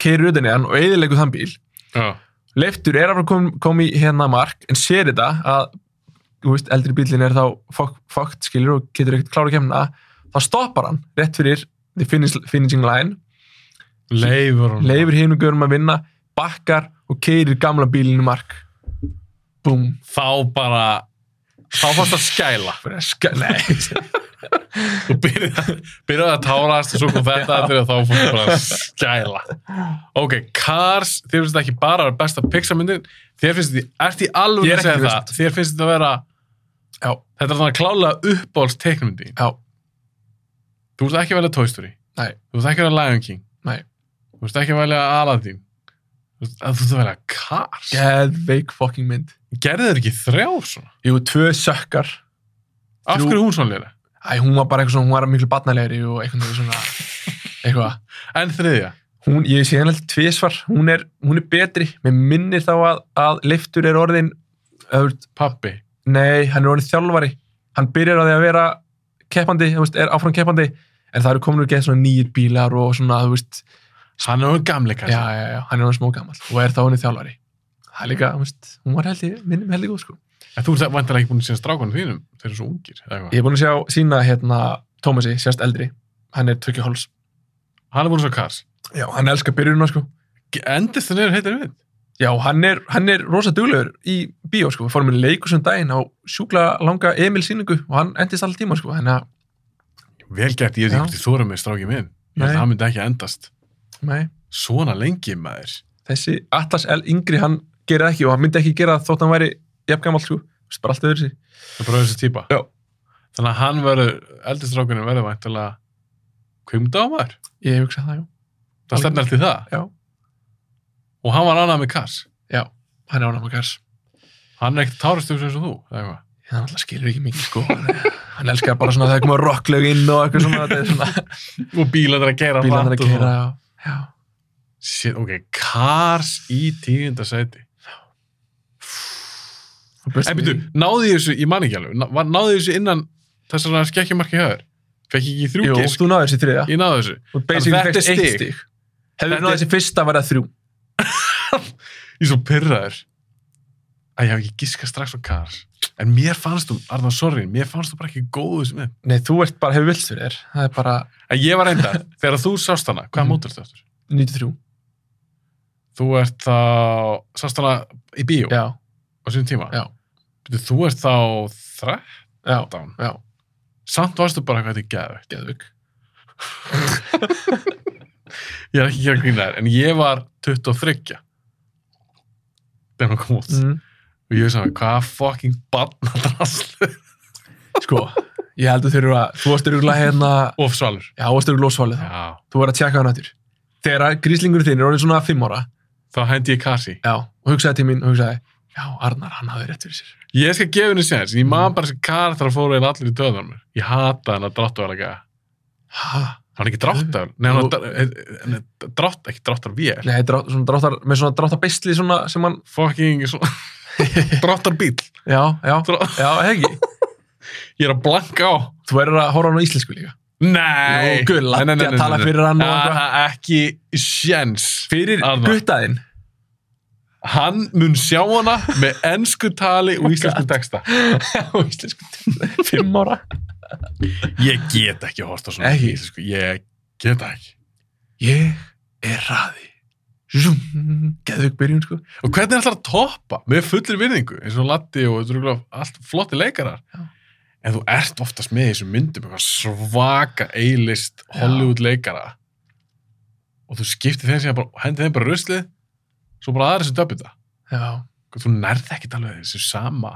Speaker 2: keiri utan í hann og eðilegu þann bíl
Speaker 1: já,
Speaker 2: Leiftur er að fara kom, kom í hérna mark en sér þetta að þú veist, eldri bílinn er þá fokkt fok, skilur og getur ekkert klára að kemna þá stoppar hann rétt fyrir the finish, finishing line
Speaker 1: leifur hann
Speaker 2: leifir hinn og görum að vinna bakkar og keirir gamla bílinn í mark búm
Speaker 1: þá bara þá fannst að skæla
Speaker 2: Bara ska- Nei,
Speaker 1: þú byrjaði byrjaði að tárast og svo kom þetta að þegar þá fannst bara að skæla ok, Cars, þér finnst þetta ekki bara að vera besta pixarmyndin, þér finnst þetta ert í
Speaker 2: Ég
Speaker 1: alveg að
Speaker 2: er
Speaker 1: segja
Speaker 2: ekki
Speaker 1: það þér finnst þetta að vera
Speaker 2: Já.
Speaker 1: þetta er þannig að klálega uppbólst teiknumyndi
Speaker 2: já,
Speaker 1: þú ert ekki að velja Toy Story
Speaker 2: Nei.
Speaker 1: þú ert ekki að velja Lion King
Speaker 2: Nei.
Speaker 1: þú ert ekki að velja Aladdin þú ert að þú ert að velja Cars
Speaker 2: geðveik fucking mynd
Speaker 1: gerði þér ekki þrjár svona
Speaker 2: Jú, tvö sökkar
Speaker 1: af
Speaker 2: Þrjú.
Speaker 1: hverju er hún svona lera
Speaker 2: Æ, hún var bara eitthvað svona, hún var miklu batnalegri og eitthvað svona eitthvað.
Speaker 1: en þriðja
Speaker 2: Hún, ég sé hann alltaf tvísvar, hún er, hún er betri mér minnir þá að, að Leiftur er orðin öður,
Speaker 1: pappi
Speaker 2: nei, hann er orðin þjálfari hann byrjar á því að vera keppandi, þú veist, er áfram keppandi en það eru komin úr geð svona nýjir bílar og svona, þú veist,
Speaker 1: hann er hún gamli
Speaker 2: já,
Speaker 1: kannski
Speaker 2: já, já, hann er orðin smá gammal og er þá orðin þjálfari það er líka, þú veist, hún var heldig, minnum heldig góð sko.
Speaker 1: en þú ert vantilega ekki búin að sína strákanu þínum þeir eru svo ungir eða eitthvað
Speaker 2: Ég er búin að sjá sína hérna Tómasi, sérst eldri, hann er tvekki hóls.
Speaker 1: hann er búin að sjá Cars
Speaker 2: Já, hann elskar byrjunum sko.
Speaker 1: endist það niður heitir við
Speaker 2: Já, hann er, hann er rosa duglegur í bíó sko, við fórum í leikusum daginn á sjúkla langa Emil síningu og hann endist alltaf tíma sko, þannig að,
Speaker 1: vel gert ég er
Speaker 2: Já.
Speaker 1: ekki þú eru með strákið minn ég held
Speaker 2: Nei.
Speaker 1: að hann myndi ekki endast
Speaker 2: nei,
Speaker 1: svona lengi maður
Speaker 2: þessi Atlas L yngri hann gerir það ekki og hann myndi ekki gera það þótt hann væri jafngamall sko, Þú veist, bara allt öðru sér.
Speaker 1: það er bara þessi típa
Speaker 2: Já.
Speaker 1: þannig að hann verður eldri strákunum verður vantilega kvimda á maður
Speaker 2: Ég hugsa það, já.
Speaker 1: það stefnir allt í það
Speaker 2: Já,
Speaker 1: og hann var annað með Cars
Speaker 2: já, hann er ánægum að gers.
Speaker 1: hann er ekkert tárastum eins og þú eða eitthvað.
Speaker 2: Hann alltaf skilur ekki mikið sko, hann, hann elskar bara svona þegar koma rocklög inn og eitthvað svona, þetta er svona
Speaker 1: og bílarnir að gera
Speaker 2: bílan
Speaker 1: hratt
Speaker 2: að
Speaker 1: og
Speaker 2: gera,
Speaker 1: svona.
Speaker 2: já, já.
Speaker 1: Shit, ok, Cars í tíundasæti
Speaker 2: Best
Speaker 1: en byrju,
Speaker 2: movie.
Speaker 1: náði ég þessu, ég man ekki alveg ná- var- náði ég þessu innan þessar skekkjumarki höður fekk ég ekki þrjú
Speaker 2: Jú,
Speaker 1: gisk
Speaker 2: þú náður þessi þriða
Speaker 1: ég náði þessu
Speaker 2: og basically
Speaker 1: Þetta er
Speaker 2: fegst
Speaker 1: stig.
Speaker 2: eitt stig hefur
Speaker 1: Þetta
Speaker 2: náður
Speaker 1: er-
Speaker 2: þessi fyrsta að vera þrjú
Speaker 1: ég er svo pyrraður að ég hef ekki giskað strax á Cars en mér fannst þú, Arna, sorry mér fannst þú bara ekki góðu sem þið
Speaker 2: nei, þú ert bara, hefur vilt fyrir þér það er bara
Speaker 1: en ég var reynda, þegar þú sást hana hvaða
Speaker 2: Mhm.
Speaker 1: mótor ertu eftir?
Speaker 2: 93
Speaker 1: þú ert þá, sást hana í bíó
Speaker 2: já,
Speaker 1: á sínum tíma
Speaker 2: Já.
Speaker 1: Bíddu, þú ert þá 13
Speaker 2: já, já,
Speaker 1: samt varstu bara hvað þetta er geðvegt
Speaker 2: geðvig
Speaker 1: ég er ekki að gera grín að þér, en ég var 23 þegar maður kom út
Speaker 2: mm.
Speaker 1: og ég veist að hvað fucking barnadraslu
Speaker 2: sko, ég heldur þurfa þú varst öruglega hérna
Speaker 1: of svalur
Speaker 2: já, þú varst öruglega ósvalið þá
Speaker 1: já,
Speaker 2: þú var að tjekka hann aftur þegar að gríslingurinn þinn er orðin svona 5 ára
Speaker 1: þá hendi ég kasi
Speaker 2: já, og hugsaði til mín og hugsaði já, Arnar, hann hafði rétt fyrir sér
Speaker 1: ég skal gefa henni séns, ég
Speaker 2: Mm.
Speaker 1: man bara þessi kar þar að fóru einn allir í döðan mér ég hata henni að dráttu alveg hann
Speaker 2: ha,
Speaker 1: er ekki dráttar nei, hann er eh, drátt, ekki dráttar vél
Speaker 2: nei, drá, svona dráttar með svona dráttar beisli svona sem hann
Speaker 1: fucking dráttar bíl
Speaker 2: já, já,
Speaker 1: Drá-
Speaker 2: já, hegi
Speaker 1: ég er að blanka á
Speaker 2: þú verður að horfa hann á íslensku líka
Speaker 1: nei,
Speaker 2: Jú, gull,
Speaker 1: Nei, nei, nei,
Speaker 2: að
Speaker 1: nei,
Speaker 2: tala
Speaker 1: nei.
Speaker 2: fyrir hann og
Speaker 1: Ah,
Speaker 2: eitthvað.
Speaker 1: ekki séns
Speaker 2: fyrir
Speaker 1: Arnar.
Speaker 2: guttaðinn
Speaker 1: hann mun sjá hana með ennsku tali og íslensku
Speaker 2: Oh God.
Speaker 1: texta
Speaker 2: á íslensku fimm ára
Speaker 1: ég get ekki að horta svona
Speaker 2: Ekki?
Speaker 1: íslensku ég get það ekki
Speaker 2: ég er raði Zoom, geðvig byrjun sko
Speaker 1: og hvernig er alltaf að toppa með fullir virðingu eins og Latti og þetta eru örugglega allt flotti leikarar
Speaker 2: Já.
Speaker 1: en þú ert oftast með í þessum myndum eitthvað svaka eilist Hollywood leikara og þú skiptir þeim síðan bara hendi þeim bara ruslið svo bara aðra sem döpum það
Speaker 2: já,
Speaker 1: þú nærð ekki alveg þessu sama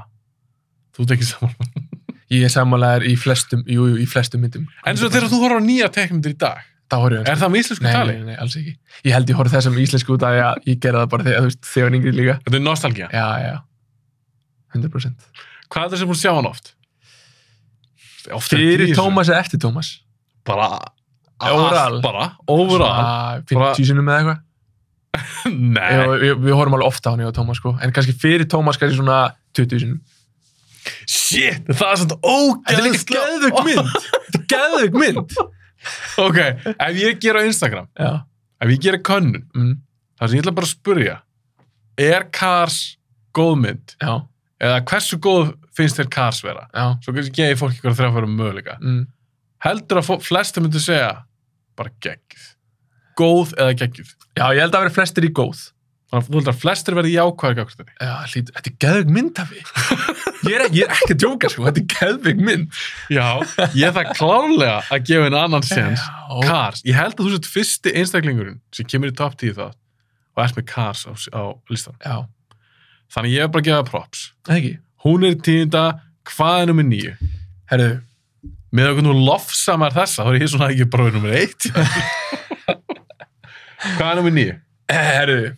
Speaker 1: þú ert ekki saman
Speaker 2: ég er sammálaðar í flestum jú, jú, í flestum myndum
Speaker 1: en svo þegar þú horfður á nýja tekmyndir í dag
Speaker 2: þá horfum
Speaker 1: er það með íslensku
Speaker 2: nei,
Speaker 1: tali?
Speaker 2: nei, nei, alls ekki ég held ég horfði þessum íslensku út af því að ég gerði það bara þegar, þú veist, þegar ég var yngri líka
Speaker 1: Þetta er nostalgía.
Speaker 2: já, já, 100%
Speaker 1: Hvað er það sem búin að sjá hann oft? Oft er
Speaker 2: fyrir
Speaker 1: dýr,
Speaker 2: Tómas eða eftir Tómas
Speaker 1: Bara,
Speaker 2: Overall.
Speaker 1: allt bara, overall.
Speaker 2: Svona
Speaker 1: Bara-
Speaker 2: 50 sinum eða eitthvað
Speaker 1: Nei,
Speaker 2: Ég, ég, við horfum alveg ofta á hann, ég og Tómas, sko. En kannski fyrir Tómas, kannski svona 20 sinum.
Speaker 1: shit, það er svona
Speaker 2: Þetta er líka
Speaker 1: ógæðislega
Speaker 2: geðvögg mynd. Þetta er geðvögg mynd.
Speaker 1: Ok, ef ég gera á Instagram,
Speaker 2: Já.
Speaker 1: ef ég gera könnun,
Speaker 2: Mm,
Speaker 1: þar sem ég ætla bara að spurja, er Cars góð mynd?
Speaker 2: já,
Speaker 1: Eða hversu góð finnst þér Cars vera?
Speaker 2: já.
Speaker 1: Svo kannski geði fólk ykkur að þrjá fyrir möguleika.
Speaker 2: Mm.
Speaker 1: Heldur að fó- flestir myndu segja, bara geggjuð. Góð eða geggjuð.
Speaker 2: Já, ég held að vera flestir í góð.
Speaker 1: Þannig að þú heldur að flestir verði jákvæðir gagnast henni.
Speaker 2: Já, hlýt, þetta er geðvögg mynd af því. Ég er, ég er ekki að djóka, sko. Þetta er geðvögg mynd.
Speaker 1: Já, ég er það klárlega að gefa henni annan sens.
Speaker 2: Já.
Speaker 1: Cars, ég held að þú sett fyrsti einstaklingurinn sem kemur í top 10 það og ert með Cars á, á listan.
Speaker 2: Já,
Speaker 1: Þannig ég er bara að gefa props.
Speaker 2: það ekki.
Speaker 1: Hún er í tíunda, hvað er nummer níu?
Speaker 2: Herðu,
Speaker 1: Með okkur nú lofsamar þessa, þá er ég svona ekki bara við nummer eitt. hvað er nummer níu?
Speaker 2: eh, herðu.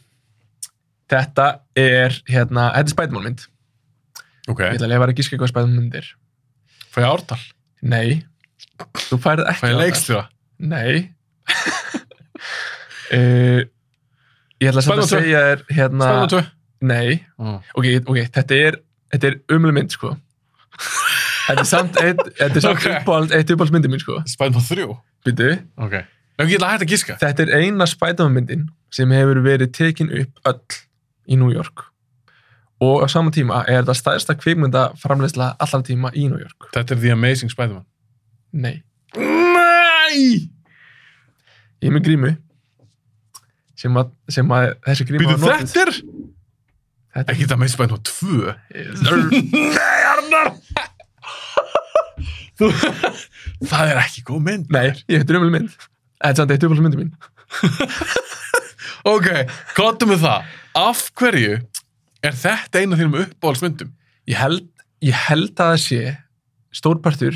Speaker 2: Þetta er, hérna, þetta er Spiderman mynd.
Speaker 1: Ok,
Speaker 2: Ég ætla að lefa að gíska hvað Spiderman mynd er.
Speaker 1: fæ ég ártal?
Speaker 2: Nei. Þú færið ekki
Speaker 1: Fæ ég
Speaker 2: það.
Speaker 1: leikstjóra?
Speaker 2: Nei uh, Ég ætla
Speaker 1: Spennandi.
Speaker 2: samt að segja þér hérna
Speaker 1: Spennum tvö.
Speaker 2: Nei, ok, ok, þetta er þetta er umlega mynd sko Þetta er samt, eitt, þetta er samt
Speaker 1: Ok.
Speaker 2: okay. uppáhald, eitt uppáhald myndi mín sko
Speaker 1: Spennum þrjú?
Speaker 2: Býtu,
Speaker 1: Ok. Ef ég ætla að hætta að gíska?
Speaker 2: Þetta er eina Spiderman myndin sem hefur verið tekin upp öll í New York og á sama tíma er þetta stærsta kvikmynda framleiðsla allan tíma í New York
Speaker 1: Þetta er The Amazing Spider-Man.
Speaker 2: Nei,
Speaker 1: Nei!
Speaker 2: ég er með grímu sem að, sem að þessi grímu
Speaker 1: Býtu
Speaker 2: var notuð.
Speaker 1: þetta er?
Speaker 2: Þetta
Speaker 1: Ekki The Amazing Spider-Man 2? Nei, Arnar! Þú... Það er ekki góð mynd.
Speaker 2: Nei, ég heitir umhverfið mynd. Þetta er samt eitt uppáhalds myndi mín.
Speaker 1: Ok, kottum við það. Af hverju er þetta eina af þínum uppáhaldsmyndum?
Speaker 2: Ég held, ég held að það sé stórpartur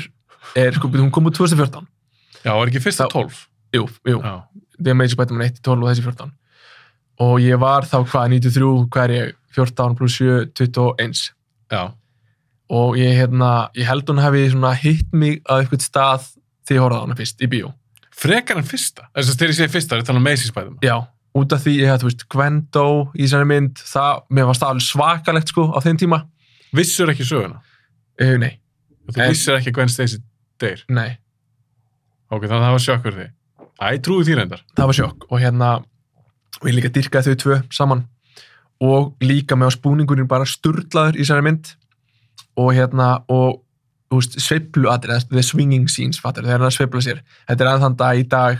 Speaker 2: er, sko, hún kom úr 2014.
Speaker 1: Já, er ekki fyrsta
Speaker 2: Þá-
Speaker 1: 12?
Speaker 2: Jú, jú,
Speaker 1: Já.
Speaker 2: The Amazing Spider-Man 1, 12 og þessi 14. Og ég var þá hvað, 93, hvað er ég, 14 pluss 7, 21.
Speaker 1: Já.
Speaker 2: Og ég, hérna, ég held hún hafi svona hitt mig að eitthvað stað þegar ég horfði á hana fyrst í bíó.
Speaker 1: Frekar en fyrsta. Þess að þegar ég segi fyrsta, er þetta hann Amazing Spider-Man.
Speaker 2: Já, út af því ég hef, þú veist, Gwendó í þessari mynd, það, mér varst það alveg svakalegt, sko, á þeim tíma.
Speaker 1: Vissur ekki söguna.
Speaker 2: Uh, nei,
Speaker 1: Og Þú
Speaker 2: En-
Speaker 1: vissir ekki að Gwen Stacy deyr.
Speaker 2: nei.
Speaker 1: Ok, þannig að það var sjokkur því. Æ, ég trúi því reyndar.
Speaker 2: það var sjokk og hérna og ég líka dyrkaði þau tvö saman og líka með á spúningurinn bara sturlaður í særi mynd og hérna og þú veist, sveiflu aðrið, the swinging scenes fattar, þegar hann sveifla sér, þetta er aðeins þann dag í dag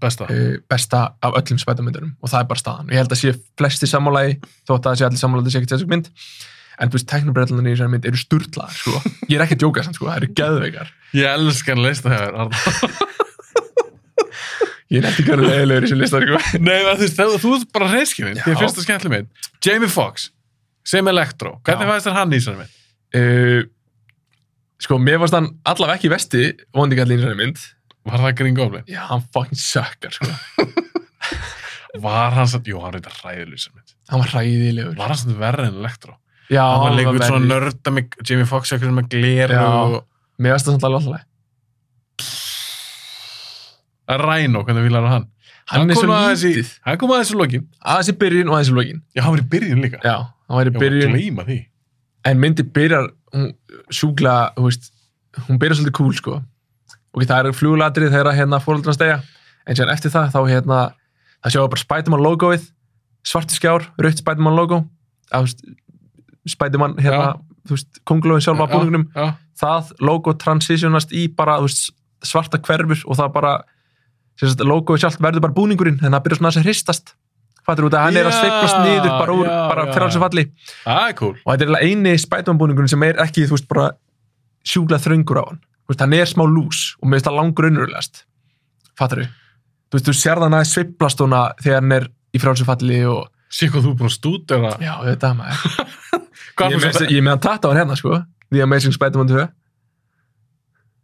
Speaker 1: Besta.
Speaker 2: uh, besta af öllum spætamyndunum og það er bara staðan og ég held að sé flesti sammálaði þótt að það sé allir sammálaði þetta sé ekkert þessu mynd en þú veist, teknobrellanir í særi mynd eru sturlaðar sko. ég er ekki að djóka samt, sko, það eru geðveikar
Speaker 1: Ég elskan leista þegar, Arnar.
Speaker 2: ég er ekki að vera leiðilegur í þessu listar sko.
Speaker 1: Nei, en þú veist, þegar þú ert bara reyskinin, því
Speaker 2: Já.
Speaker 1: að fyrsta skemmtileg mynd. Jamie Foxx, sem Electro. Hvernig
Speaker 2: Já.
Speaker 1: fæðist þér hann í þessari mynd?
Speaker 2: uh, sko, mér varst hann allavega ekki í vesti vondingall í þessari mynd
Speaker 1: Var það Green Goblin?
Speaker 2: já, hann fucking sökkar, sko
Speaker 1: Var hann samt, jú, hann reyndar ræðileg í þessari mynd.
Speaker 2: hann var ræðilegur já,
Speaker 1: Var hann samt verri en Electro?
Speaker 2: hann
Speaker 1: hann var leikur
Speaker 2: verri.
Speaker 1: svona nörda með Jamie Foxx eitthvað með gleru
Speaker 2: Já.
Speaker 1: og
Speaker 2: mér varst það samt alveg allavega
Speaker 1: Rhino, hvernig vilar hann?
Speaker 2: hann, er svo
Speaker 1: aðeins í,
Speaker 2: lítið,
Speaker 1: hann kom aðeins í lokin
Speaker 2: aðeins í byrjun og aðeins í lokin
Speaker 1: já, hann var í byrjun líka
Speaker 2: já, hann var í
Speaker 1: ég var að
Speaker 2: byrjun
Speaker 1: gleyma því
Speaker 2: en myndi byrjar hún sjúkla, þú veist hún byrjar svolítið cool, sko ok, það eru flugulatrið þegar hérna fóröldran stegja en sér eftir það, þá hérna það sjáum við bara Spiderman logoið svartu skjár, rautt Spiderman logo að, þú veist, Spiderman hérna, þú veist, kongulóin sjálfa
Speaker 1: Já,
Speaker 2: búningnum
Speaker 1: já,
Speaker 2: það logo transitionast í bara þú veist, svarta hverfur og það bara sem sagt, logoið sjálft verður bara búningurinn þannig að það byrjar svona aðeins að hristast fattur út að hann er að
Speaker 1: Já,
Speaker 2: sveiflast niður bara úr,
Speaker 1: já,
Speaker 2: bara
Speaker 1: já.
Speaker 2: fyrir alls að falli
Speaker 1: það er cool
Speaker 2: og þetta er eiginlega eini spætumannbúningurinn sem er ekki, þú veist, bara sjúklað þröngur á hann þú veist, hann er smá lús og mér finnst það langur unnurlegast fattar við þú veist, þú sér þannig að sveiflast hana þegar hann er í frálsufalli og
Speaker 1: sé hvað þú er búin að stúdera
Speaker 2: já, þetta maður
Speaker 1: hvað
Speaker 2: ég
Speaker 1: er
Speaker 2: er
Speaker 1: það?
Speaker 2: með- ég er með hann tatt á hann hérna, sko The Amazing Spider-Man 2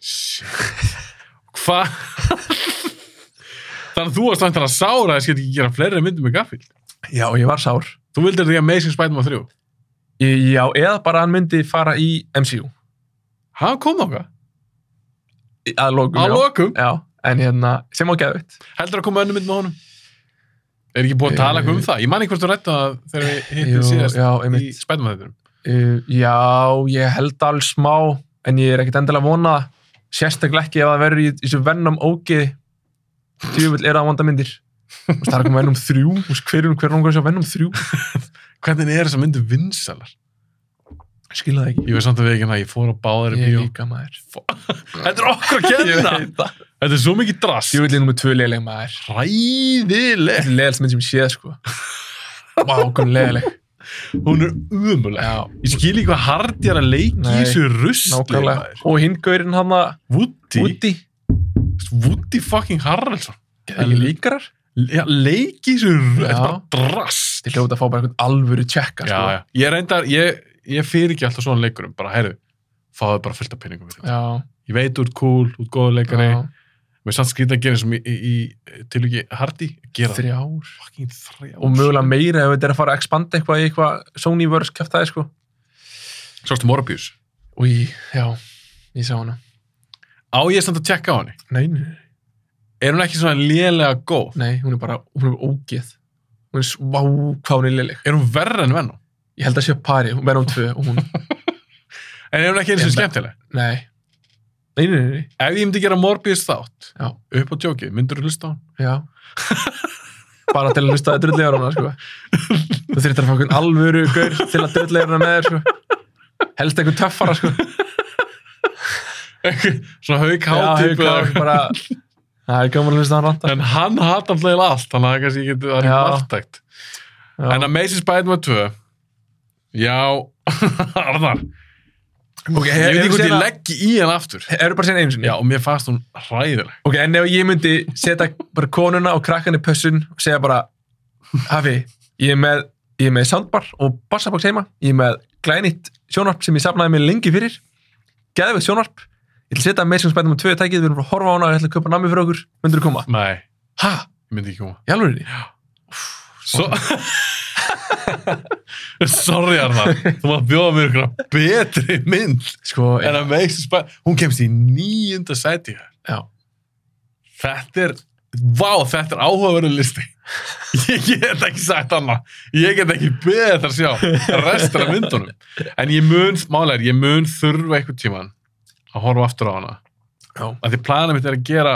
Speaker 1: Shit. hvað? þannig að þú varst vantar að sára að ég skil ekki gera fleiri myndum með Garfield
Speaker 2: já, ég var sár
Speaker 1: þú vildir því Amazing Spider-Man 3
Speaker 2: ég, já, eða bara hann myndi fara í MCU
Speaker 1: hann kom þáka
Speaker 2: Í- að lokum,
Speaker 1: á
Speaker 2: já.
Speaker 1: lokum
Speaker 2: já en hérna, sem á geðvitt
Speaker 1: heldur að koma önnum mynd með honum Er ekki búið að tala eitthvað um
Speaker 2: Eh,
Speaker 1: það? Ég man ekki hvort þú rætti það þegar við
Speaker 2: Jú,
Speaker 1: hittum síðast
Speaker 2: já,
Speaker 1: í
Speaker 2: einmitt.
Speaker 1: spædumæðurum.
Speaker 2: Uh, já, ég held alveg smá en ég er ekkert endilega að vona það. sérstaklega ekki ef það verður í í þessu vennum ógi tjúvill er það vandamyndir það er ekki vennum þrjú þú veist, hver er hver langar að sjá vennum þrjú
Speaker 1: Hvernig er þess að myndu vinsælar?
Speaker 2: skilja það ekki
Speaker 1: Ég veist samt að við ekki hann að ég fór á báðar í
Speaker 2: ég er
Speaker 1: bíó.
Speaker 2: líka maður
Speaker 1: Þetta er okkur að kenna!
Speaker 2: það
Speaker 1: Þetta er svo mikið drast.
Speaker 2: tjúvill er nummið tvö leiðileg maður
Speaker 1: Hræðileg.
Speaker 2: þetta er leiðilegst mynd sem ég séð sko vákum leiðileg
Speaker 1: Hún er umuleg.
Speaker 2: já,
Speaker 1: Ég skil ekki hvað hard er að leiki í
Speaker 2: Nei,
Speaker 1: þessu rusli.
Speaker 2: nákvæmlega
Speaker 1: maður.
Speaker 2: og hingaurin hann að
Speaker 1: Woody.
Speaker 2: úti
Speaker 1: Woody fucking Harrelson.
Speaker 2: líkarar
Speaker 1: Já, leiki í þessu rusli.
Speaker 2: Já.
Speaker 1: Þetta er bara drast.
Speaker 2: til hljóta að fá bara einhvern alvöru tjekka
Speaker 1: já,
Speaker 2: sko.
Speaker 1: já. Ég reyndar, ég, ég fyrir ekki alltaf svona leikurum, bara, heyrðu, fáðu bara fullt af peningum við þetta.
Speaker 2: já,
Speaker 1: Ég veit, þú ert cool, þú ert góður leikari,
Speaker 2: já.
Speaker 1: mér samt skrýta að gera sem í, í, í tilviki Hardy, gera það.
Speaker 2: þrjár
Speaker 1: Fucking þrjá.
Speaker 2: og mögulega meira ef þetta er að fara að expanda eitthvað í eitthvað Sonyverse kæftæði sko
Speaker 1: Sástu Morbius.
Speaker 2: og já, ég sá hana
Speaker 1: Á ég samt að tjekka á henni.
Speaker 2: nei, nei, nei.
Speaker 1: Er hún ekki svona lélega góð?
Speaker 2: nei, hún er bara, hún er ógeð hún er, s- vá, hvað hún er liðleg
Speaker 1: Er hún verra en Venom?
Speaker 2: ég held að sé að pari, hún verður á tvö og hún,
Speaker 1: En er hún ekki eins
Speaker 2: Ég
Speaker 1: og
Speaker 2: held að-
Speaker 1: skemmtileg?
Speaker 2: nei nei, nei, nei, nei.
Speaker 1: Ef ég myndi gera Morbius þátt,
Speaker 2: Já.
Speaker 1: upp á tjókið, myndur þú hlusta á hann?
Speaker 2: já bara til að hlusta að drullegar hana sko þú þurftir að fá einhvern alvöru gaur til að drullegar hana með þér sko helst einhvern töffara sko
Speaker 1: Svona hauk
Speaker 2: Já,
Speaker 1: hátýpu.
Speaker 2: Hauk Hár, bara það er gaman að hlusta að hann ranta
Speaker 1: En hann hata alltaf eiginlega allt, þannig að kannski ég geti það er
Speaker 2: Já.
Speaker 1: margtækt. En Amazing Spider-Man 2 Já Arnar
Speaker 2: ok,
Speaker 1: Ég veit ekki hvort ég
Speaker 2: hana-
Speaker 1: leggi í hann aftur
Speaker 2: Eru bara síðan einu sinni?
Speaker 1: Já og mér fannst hún hræðileg
Speaker 2: Ok, en ef ég myndi setja bara konuna og krakkan í pössun og segja bara Hafi, ég er með, ég er með soundbar og bassabox heima, ég er með glænýtt sjónvarp sem ég safnaði mig lengi fyrir Geðveikt sjónvarp Ég ætla að setja Amazing Spider-Man 2 tækið, við erum bara að horfa á hana og ég ætla að köpa nammi fyrir okkur, myndur þú koma?
Speaker 1: Nei,
Speaker 2: Ha?
Speaker 1: ég myndi ekki koma
Speaker 2: Í alveg
Speaker 1: Svo Sorry Arnar Þú maður bjóða mér ykkur betri mynd
Speaker 2: Sko,
Speaker 1: En Amazing Spider-Man Hún kemst í nýjunda sæti hér.
Speaker 2: já,
Speaker 1: Þetta er Vá, þetta er áhugaverðu listi Ég get ekki sagt annað Ég get ekki beðið þetta að sjá restur af myndunum En ég mun, málega er, ég mun þurfa einhvern tíman að horfa aftur á hana
Speaker 2: já,
Speaker 1: að því planið mitt er að gera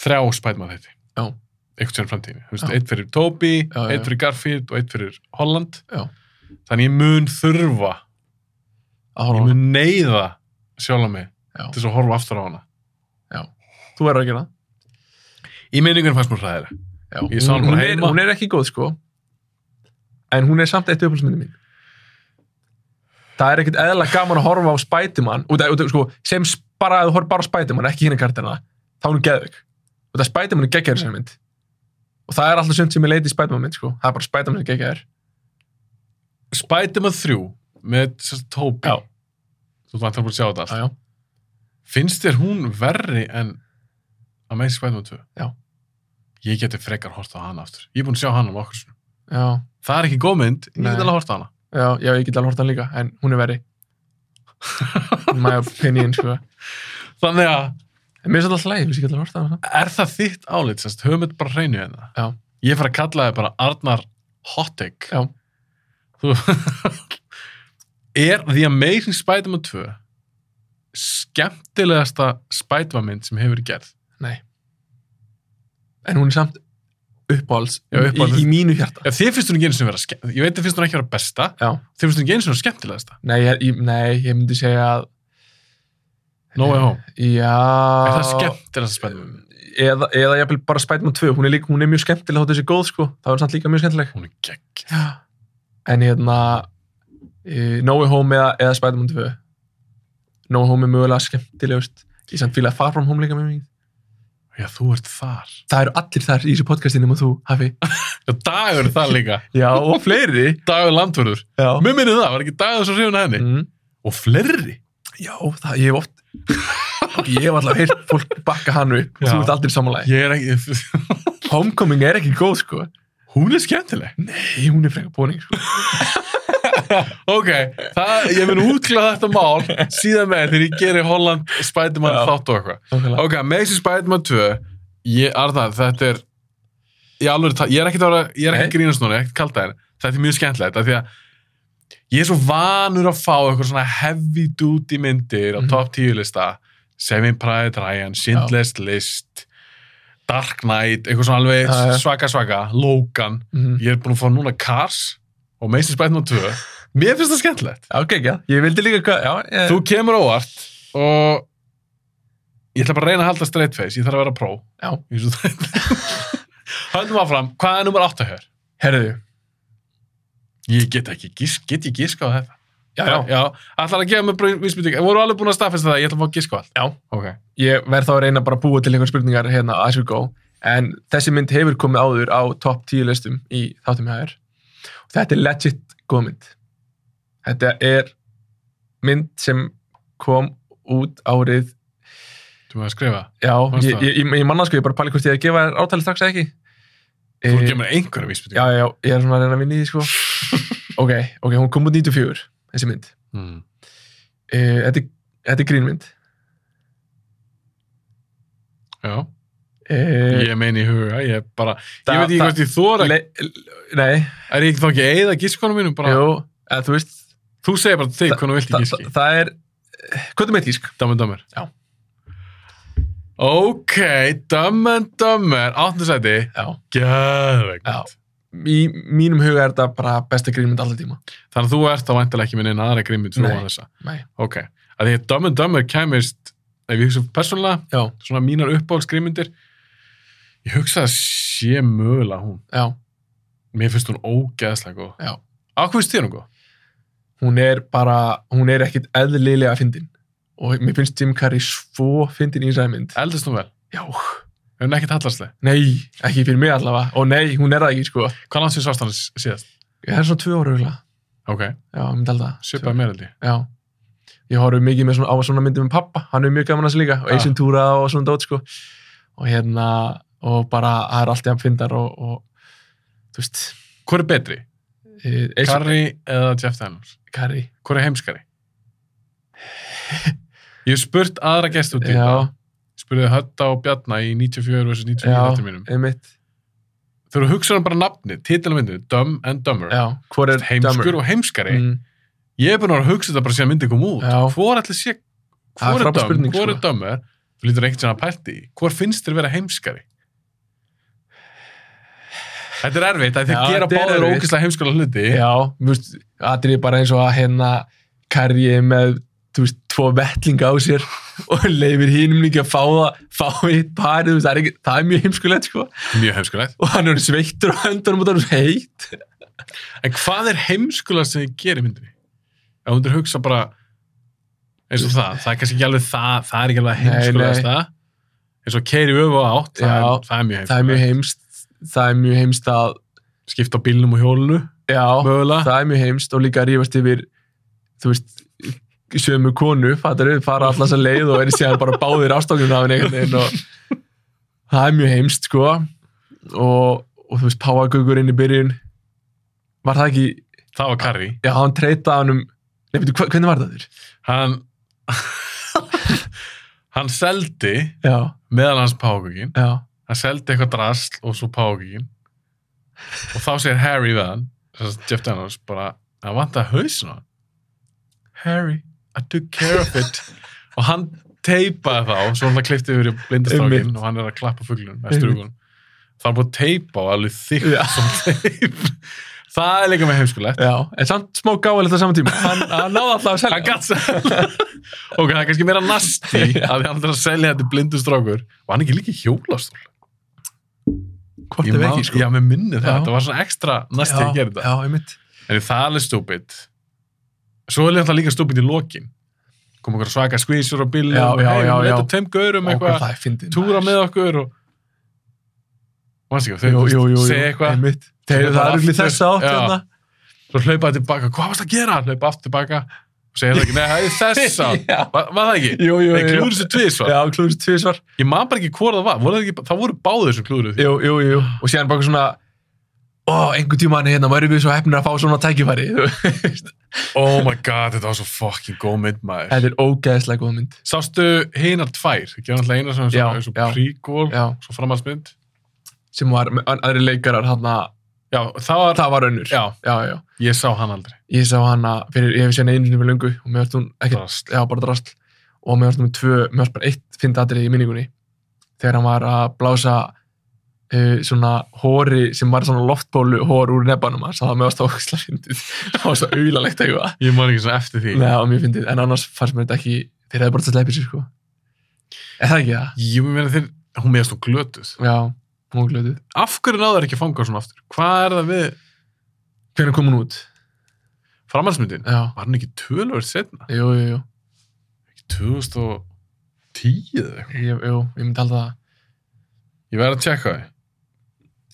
Speaker 1: þrjá spætmann þetta
Speaker 2: Já.
Speaker 1: einhvern tíðan framtíðinni, þú veist,
Speaker 2: Já.
Speaker 1: eitt fyrir Toby
Speaker 2: Já, já,
Speaker 1: eitt fyrir Garfield og eitt fyrir Holland
Speaker 2: Já.
Speaker 1: þannig ég mun þurfa
Speaker 2: að
Speaker 1: ég
Speaker 2: horfa á hana
Speaker 1: mun neyða sjálf mig
Speaker 2: Já.
Speaker 1: til þess að horfa aftur á hana
Speaker 2: Þú verður að gera það
Speaker 1: í minningunum fannst mér hræðileg
Speaker 2: Já,
Speaker 1: Ég sá hana
Speaker 2: hún,
Speaker 1: bara
Speaker 2: hún, er,
Speaker 1: heima.
Speaker 2: hún er ekki góð sko en hún er samt eitt upplýsmyndi mín það er ekkert eðla gaman að horfa á Spiderman út af, út af, sko, sem s- bara að þú horf bara á Spiderman ekki hérna kartina, þá er hún geðvik og það Spiderman er geggjaður sem mynd og það er alltaf sumt sem ég leiti í Spiderman mynd sko. það er bara Spiderman sem geggjaður
Speaker 1: Spiderman 3 með sérst, Toby
Speaker 2: Já.
Speaker 1: þú vant að búin að sjá þetta allt.
Speaker 2: já, já.
Speaker 1: finnst þér hún verri en Amazing Spiderman 2
Speaker 2: Já.
Speaker 1: ég geti frekar horta á hana aftur ég er búin að sjá hana um okkur sinnum.
Speaker 2: Já,
Speaker 1: það er ekki góð mynd, ég
Speaker 2: Nei.
Speaker 1: get alveg að horta á hana
Speaker 2: já, já, ég get alveg hort hann líka en hún er verri In my opinion sko.
Speaker 1: Þannig að,
Speaker 2: en mér er svolítið hlæg, ég get alveg hort hann
Speaker 1: er það þitt álit, sérst, höfum þetta bara hreinu hérna?
Speaker 2: Já.
Speaker 1: Ég fara að kalla það bara Arnar Hottig.
Speaker 2: Já.
Speaker 1: Þú, er The Amazing Spider-Man 2 skemmtilegasta Spider-Man mynd sem hefur verið gerð?
Speaker 2: en hún er samt uppáhalds,
Speaker 1: Já, uppáhalds.
Speaker 2: Í, í mínu hjarta
Speaker 1: Ef þið finnst hún ekki eins og vera skemmtilegasta, ég veit þið finnst hún ekki vera besta,
Speaker 2: Já.
Speaker 1: þið finnst hún ekki eins og vera skemmtilegasta.
Speaker 2: Nei, ég, ég- nei, ég myndi segja að
Speaker 1: No way home.
Speaker 2: Já
Speaker 1: Er það skemmtilegasta Spider-Man mynd?
Speaker 2: Eða, eða ég vil bara Spiderman 2 hún er, líka, hún er mjög skemmtileg þótt þessi góð sko Það var samt líka mjög skemmtileg
Speaker 1: Hún er gegg.
Speaker 2: Já. En hérna e, No Way Home eða, eða Spiderman 2 No Way Home er mögulega skemmtilegust Ég samt fíla Far From Home líka mjög mikið
Speaker 1: Já, þú ert þar.
Speaker 2: Það eru allir þar í þessu podcastinu og þú, hafi
Speaker 1: Já, dagur er það líka.
Speaker 2: Já, og fleiri
Speaker 1: Dagur landvörður.
Speaker 2: Já,
Speaker 1: Mér minnir það, var ekki dagur svo hrifun að henni.
Speaker 2: mm.
Speaker 1: Og flerri.
Speaker 2: Já það, ég hef oft Ok, Ég hef alltaf heyrt fólk bakka hann upp
Speaker 1: Já.
Speaker 2: Þú ert aldrei samanlega
Speaker 1: Ég er ekki,
Speaker 2: Homecoming er ekki góð sko
Speaker 1: Hún er skemmtileg.
Speaker 2: Nei, hún er frekar bóning sko.
Speaker 1: Ok, það, ég mun útklæða þetta mál síðan með þegar ég geri Holland Spiderman
Speaker 2: Já.
Speaker 1: þátt og eitthvað.
Speaker 2: Nákvæmlega.
Speaker 1: Ok, Amazing Spiderman 2, ég, Arnar, þetta er, í alveg, ég er ekkert að, vera- ég er ekkert
Speaker 2: Nei.
Speaker 1: að grínast núna, ég er ekkert kalda þér. Þetta er mjög skemmtilegt, af því að ég er svo vanur að fá eitthvað svona heavy duty myndir á
Speaker 2: Mhm.
Speaker 1: top 10 lista, Seven Pride Ryan, Schindler's List, Dark Knight, eitthvað svona alveg
Speaker 2: Já, já.
Speaker 1: svaka svaka, Logan.
Speaker 2: Mhm.
Speaker 1: Ég er búin að fá núna Cars og Mason's Bætnum 2. Mér finnst það skemmtilegt.
Speaker 2: Já, ok, já. Ég vildi líka hvað, já, ég,
Speaker 1: Þú kemur á óvart og ég ætla bara að reyna að halda straight face, ég þarf að vera pró.
Speaker 2: já.
Speaker 1: í þessu þætti. Höldum áfram, hvað er nummer 8 hér?
Speaker 2: Herðu,
Speaker 1: Ég get ekki, gís, get ég gíska á þetta?
Speaker 2: já, já.
Speaker 1: já. Ætlar að gefa mér bara vísbytting, voru alveg búin að staðfesta það, ég ætla að fá að gíska á allt.
Speaker 2: Já.
Speaker 1: Ok.
Speaker 2: Ég verð þá að reyna bara að búa til einhver spurningar hérna as we go. En þessi mynd hefur komið áður á top 10 listum í þáttum hæður. Og þetta er legit góð mynd. Þetta er mynd sem kom út árið
Speaker 1: Þú maður að skrifa.
Speaker 2: Já,
Speaker 1: Fannst
Speaker 2: ég,
Speaker 1: það?
Speaker 2: ég, ég, ég manna sko, ég er bara pæli hvort ég er að gefa þér átali strax eða ekki.
Speaker 1: Þú
Speaker 2: Eh,
Speaker 1: e... gefur mér einhverja vísbytting.
Speaker 2: Já, já, ég er svona að reyna að vinna í því sko. ok, ok, hún kom út 94, þessi mynd.
Speaker 1: Mm.
Speaker 2: Uh, þetta, er- þetta er grínmynd.
Speaker 1: já.
Speaker 2: Uh,
Speaker 1: Ég meina í huga, ég bara,
Speaker 2: Það-
Speaker 1: ég veit ekki
Speaker 2: það-
Speaker 1: hvort ég þóra,
Speaker 2: le, nei,
Speaker 1: er ég þá ekki að eyða gískonum mínum bara?
Speaker 2: jú, eða þú veist,
Speaker 1: Þú segir bara þig hvernig þú vilt
Speaker 2: þa,
Speaker 1: ég
Speaker 2: þa,
Speaker 1: gíski.
Speaker 2: það er, eh, hvað er með tísk?
Speaker 1: Dumb and Dumber.
Speaker 2: Já.
Speaker 1: Ok, Dumb and Dumber, áttunsæti,
Speaker 2: Já. Já.
Speaker 1: geðveikt.
Speaker 2: Í mínum huga er þetta bara besta grínmynd alltaf tíma.
Speaker 1: Þannig að þú ert þá væntalega ekki minn einn aðra grimmið fyrir
Speaker 2: Nei.
Speaker 1: ofan þessa.
Speaker 2: Nei.
Speaker 1: Ok. Að því að Dumb and Dumber kæmist, ef ég hugsa persónulega,
Speaker 2: Já,
Speaker 1: svona mínar uppáhaldsgrimmindir, ég hugsa að sé mögulega hún.
Speaker 2: já,
Speaker 1: Mér finnst hún ógeðslega góð.
Speaker 2: já.
Speaker 1: Á hvað finnst þér hún góð?
Speaker 2: Hún er bara, hún er ekkit eðlilega fyndin. Og mér finnst Jim Carrey svo fyndin í þessari mynd.
Speaker 1: Eldast hún vel?
Speaker 2: Já,
Speaker 1: Hefur hún ekkert hallarslega?
Speaker 2: nei, ekki fyrir mig allavega. Og nei, hún er það ekki, sko.
Speaker 1: Hvað langt sér sást hann síðast?
Speaker 2: Það er svona tvö ára hugla.
Speaker 1: Ok,
Speaker 2: Já, ég myndi alltaf.
Speaker 1: svipaði mér held ég.
Speaker 2: Já. Ég horfði mikið með svona, á svona myndið með pappa, hann er mjög gaman að þessu líka, og
Speaker 1: Ah.
Speaker 2: Eisin Túra og svona dót, sko. Og hérna, og bara, það er alltaf fyndar og, og, þú veist,
Speaker 1: Hvor er betri?
Speaker 2: Eisin
Speaker 1: Carrie eða Jeff Daniels?
Speaker 2: Kari.
Speaker 1: Hvor er heimskari? Ég hef spurt aðra gest út í þetta.
Speaker 2: Já,
Speaker 1: Spurðið Hötta og Bjarna í 94 vs. 99
Speaker 2: Já.
Speaker 1: þetta mínum.
Speaker 2: einmitt.
Speaker 1: Þegar þú hugsaður bara nafnið, titilmyndið, Dumb and Dumber,
Speaker 2: Já, hvor er
Speaker 1: heimskur og heimskari,
Speaker 2: Mm,
Speaker 1: ég er búin að vera að hugsa þetta bara síðan myndið kom út.
Speaker 2: Já.
Speaker 1: Hvor ætli sé,
Speaker 2: Það er
Speaker 1: hvor er
Speaker 2: frábær
Speaker 1: Dumb,
Speaker 2: spurning,
Speaker 1: hvor er
Speaker 2: sko.
Speaker 1: Dumber, þú lítur ekkert sem að pælti í, hvor finnst þér vera heimskari? Þetta er erfitt, það
Speaker 2: Já,
Speaker 1: þið gera
Speaker 2: þetta er
Speaker 1: báður
Speaker 2: erfitt.
Speaker 1: ógeðslega heimskara hluti.
Speaker 2: já, þú veist, aðrið bara eins og að hérna Kari er með, þú veist, tvo vettlinga á sér og leifir hinnum líka að fá það, fá eitt parið, þú veist, það er, ekki, það er mjög heimskulegt, sko.
Speaker 1: Mjög heimskulegt.
Speaker 2: Og hann er sveittur á höndunum og það er heitt.
Speaker 1: En hvað er heimskulegt sem þið gerir myndinni? Ef þú myndir hugsa bara eins og það, það er kannski ekki alveg það, það er ekki alveg
Speaker 2: Nei,
Speaker 1: heimskulegast það. Eins og keiri öfu á átt, það,
Speaker 2: Já.
Speaker 1: er, það er mjög
Speaker 2: það er mjög
Speaker 1: heimskulegt.
Speaker 2: heimst það er mjög heimst að
Speaker 1: Skipta á bílnum og hjólunu,
Speaker 2: já,
Speaker 1: mögulega.
Speaker 2: það er mjög heimst og líka að rífast yfir þú veist sömu konu, fattar við, fara alltaf að leið og er síðan bara báðir ástofnum af henni einhvern veginn og það er mjög heimst sko og, og þú veist, páagögurinn í byrjun var það ekki
Speaker 1: Það var Karri.
Speaker 2: já, hann treytaði hann um Nei, veitu, hva- hvernig var það þurr?
Speaker 1: Hann, hann seldi
Speaker 2: Já,
Speaker 1: meðal hans pákugin.
Speaker 2: já,
Speaker 1: Hann seldi eitthvað drasl og svo pákugin. Og þá segir Harry við hann, sem sagt Jeff Daniels, bara, hann vantaði hausin á hann. Harry, I took care of it. og hann teipaði þá, svo hann klippti yfir í blindastrákin
Speaker 2: Einmitt.
Speaker 1: og hann er að klappa fuglunum, eða
Speaker 2: Einmitt.
Speaker 1: strugunum. Það er búin að teipa á alveg þykkt
Speaker 2: Já.
Speaker 1: sem teip. Það er líka með heimskulegt.
Speaker 2: já, en samt smá gáðilegt á saman tíma. Hann, hann náði alltaf að selja.
Speaker 1: hann gatt sér ok, það er kannski meira nasti að því hann er að selja þetta blindu strákur og hann er ekki líka í hjólastól
Speaker 2: Hvort ef ekki, sko.
Speaker 1: já, með minni það,
Speaker 2: Já.
Speaker 1: þetta var svona ekstra nasti að gera þetta
Speaker 2: Já, einmitt.
Speaker 1: en það er alveg stúpid svo er þetta líka stúpid í lokin kom einhver svaka skvísur á bílum
Speaker 2: Já,
Speaker 1: og
Speaker 2: já,
Speaker 1: hey,
Speaker 2: já,
Speaker 1: við
Speaker 2: já.
Speaker 1: leitum tveim gaurum
Speaker 2: Ó, hvað
Speaker 1: eitthvað,
Speaker 2: það er fyndið.
Speaker 1: túra með okkur og Manstu ekki, þau segja eitthvað,
Speaker 2: einmitt. Þeir,
Speaker 1: Þetta
Speaker 2: það
Speaker 1: var
Speaker 2: eru allir
Speaker 1: aftur.
Speaker 2: þess átt
Speaker 1: Já.
Speaker 2: hérna.
Speaker 1: svo hlaupa það tilbaka, hvað varst að gera? Hlaupa aftur tilbaka og segja það ekki, nei, það er þess að,
Speaker 2: Já.
Speaker 1: var var það ekki?
Speaker 2: Jú, jú,
Speaker 1: Nei, klúður þessu tvisvar.
Speaker 2: Já, klúrist tvísvar.
Speaker 1: Ég man bara ekki hvort það var, voru það, ekki, það voru báðir sem klúðruðu því.
Speaker 2: Jú, jú, jú. Og síðan bara eitthvað svona, ó, einhver tíma hann hérna, væri við svo hefnir að fá svona tækifæri. þú veist.
Speaker 1: Oh my god, þetta var svo fucking góð mynd maður.
Speaker 2: þetta er ógeðslega góð mynd.
Speaker 1: Sástu hinar tvær, það gerði alltaf eina sem
Speaker 2: Já,
Speaker 1: er svo
Speaker 2: já.
Speaker 1: prequel,
Speaker 2: Já,
Speaker 1: svo framhaldsmynd.
Speaker 2: sem var með an- aðri leikarar hann
Speaker 1: Já, það var...
Speaker 2: það var önnur
Speaker 1: Já,
Speaker 2: já, já.
Speaker 1: ég sá hann aldrei.
Speaker 2: ég sá hana fyrir, ég hef séð hana einu sinni fyrir lungu og mér varst hún ekkert,
Speaker 1: Drast.
Speaker 2: já bara drasl og mér varst hún tvö, mér varst bara eitt fynda atrið í minningunni þegar hann var að blása uh, svona hóri sem var svona loftbólu hór úr nebbanum hans, það var mér varst ógislega fyndið það var svo auðalegt eitthvað
Speaker 1: Ég man ekki svona eftir því.
Speaker 2: Nei, það var mjög fyndið, en annars fannst mér þetta ekki þeir hefði bara þetta sleipið sér sko er það ekki það?
Speaker 1: Ég meina þeir, hún meðast hún glötuð.
Speaker 2: Já, hún glötuð
Speaker 1: Af hverju náður ekki að fanga svona aftur? Hvað er það við
Speaker 2: Hvernig kom hún út?
Speaker 1: framhaldsmyndin?
Speaker 2: Já,
Speaker 1: Var hann ekki tölvörð setna?
Speaker 2: jú, jú, jú,
Speaker 1: Ekki 2010 eða eitthvað?
Speaker 2: ég, jú, ég myndi halda það
Speaker 1: Ég verði að tjekka því.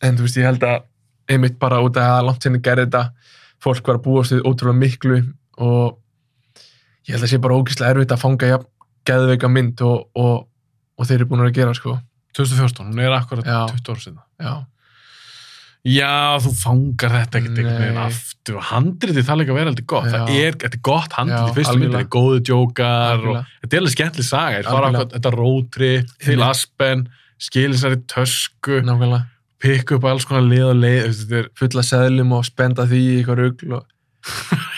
Speaker 2: en þú veist, ég held að einmitt bara út af að langt sinni gerði þetta fólk var að búast við ótrúlega miklu og ég held að sé bara ógeðslega erfitt að fanga jafn geðveika mynd og, og, og þeir eru búin að gera sko,
Speaker 1: 2014, hún er akkurat
Speaker 2: Já.
Speaker 1: 20 ára setna.
Speaker 2: já,
Speaker 1: Já, þú fangar þetta ekkert einhvern veginn
Speaker 2: Nei.
Speaker 1: aftur og handritið það er líka að vera heldur gott. Það
Speaker 2: Já.
Speaker 1: er, þetta er gott handritið
Speaker 2: Já,
Speaker 1: í fyrstu myndinni,
Speaker 2: algjörlega.
Speaker 1: góðu djókar og
Speaker 2: algjörlega.
Speaker 1: þetta er alveg skemmtileg saga. Þeir fara á
Speaker 2: Algjörlega.
Speaker 1: eitthvað- þetta roadtrip til
Speaker 2: Einmitt.
Speaker 1: Aspen, skilisari tösku,
Speaker 2: nákvæmlega
Speaker 1: pikk upp alls konar lið og leið. þú veist, Þetta er
Speaker 2: fulla seðlum og spenda því í eitthvað rugl og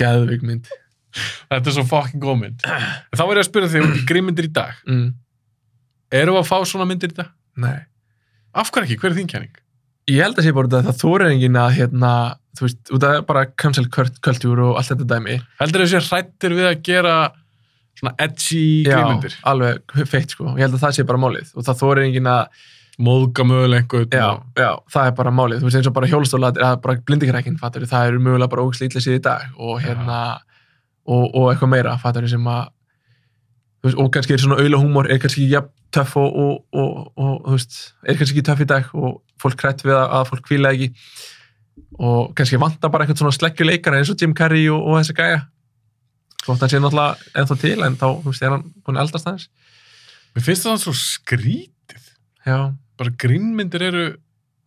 Speaker 2: geðveik mynd
Speaker 1: Þetta er svo fucking góð mynd. En þá var ég að spyrja þig, um grímyndir í dag,
Speaker 2: mm,
Speaker 1: erum við að fá svona myndir í dag?
Speaker 2: nei
Speaker 1: Af hverju ekki? Hver er þín kenning?
Speaker 2: ég held að sé bara út af því að það þóra enginn að hérna, þú veist, út af bara cancel culture og allt þetta dæmi
Speaker 1: Heldur þessi hrættir við að gera svona edgy grímyndir?
Speaker 2: Já, alveg feitt sko, ég held að það sé bara málið og það þóra enginn að,
Speaker 1: Móðga möguleg einhvern
Speaker 2: já,
Speaker 1: og...
Speaker 2: já, það er bara málið, þú veist eins og bara hjólastóla eða bara blindikrækin, fattur, það eru mögulega bara ógislega illa síð í dag og hérna og, og eitthvað meira, fattur, sem að þú veist, og kannski er svona auðla húmor er kannski ekki jafn töff og, og, og, og þú veist, er kannski ekki töff í dag og fólk krætt við að, að fólk kvíla ekki og kannski vanta bara eitthvað svona sleggjuleikara eins og Jim Carrey og, og þessi gæja þótt hann sé náttúrulega ennþá til en þá, þú veist, er hann búin að eldast aðeins
Speaker 1: Mér finnst það svo skrítið.
Speaker 2: Já,
Speaker 1: Bara grínmyndir eru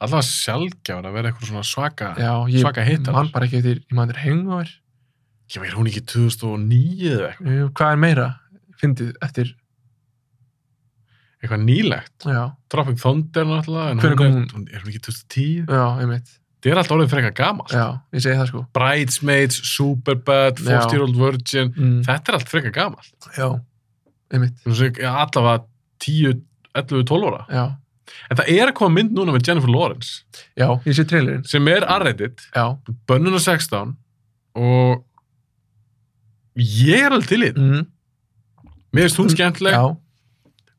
Speaker 1: allavega sjálfgjafan að vera eitthvað svona svaka...
Speaker 2: já, ég
Speaker 1: Ah, Svaka hitar.
Speaker 2: man bara ekki eftir, ég man þér hengur
Speaker 1: Ég veit, hún ekki 2009 eða eitthvað,
Speaker 2: hvað er meira, fyndið eftir
Speaker 1: eitthvað nýlegt.
Speaker 2: já,
Speaker 1: Tropic Thunder náttúrulega, en hún er,
Speaker 2: Hvenær kom hún?
Speaker 1: hún, er hún ekki 2010?
Speaker 2: já, einmitt
Speaker 1: Það er alltaf orðið frekar gamalt.
Speaker 2: já, ég segi það sko
Speaker 1: Bridesmaids, Superbad,
Speaker 2: Já.
Speaker 1: 40 Year Old Virgin,
Speaker 2: mm,
Speaker 1: þetta er allt frekar gamalt.
Speaker 2: já, einmitt
Speaker 1: Þú veist, ja, allavega 10, 11, 12 ára.
Speaker 2: já,
Speaker 1: En það er að koma mynd núna með Jennifer Lawrence
Speaker 2: já, ég sé trailerinn
Speaker 1: sem er arreddit,
Speaker 2: já,
Speaker 1: bönnun á 16 og ég er alveg til í þetta.
Speaker 2: mm,
Speaker 1: Mér finnst hún skemmtileg,
Speaker 2: já,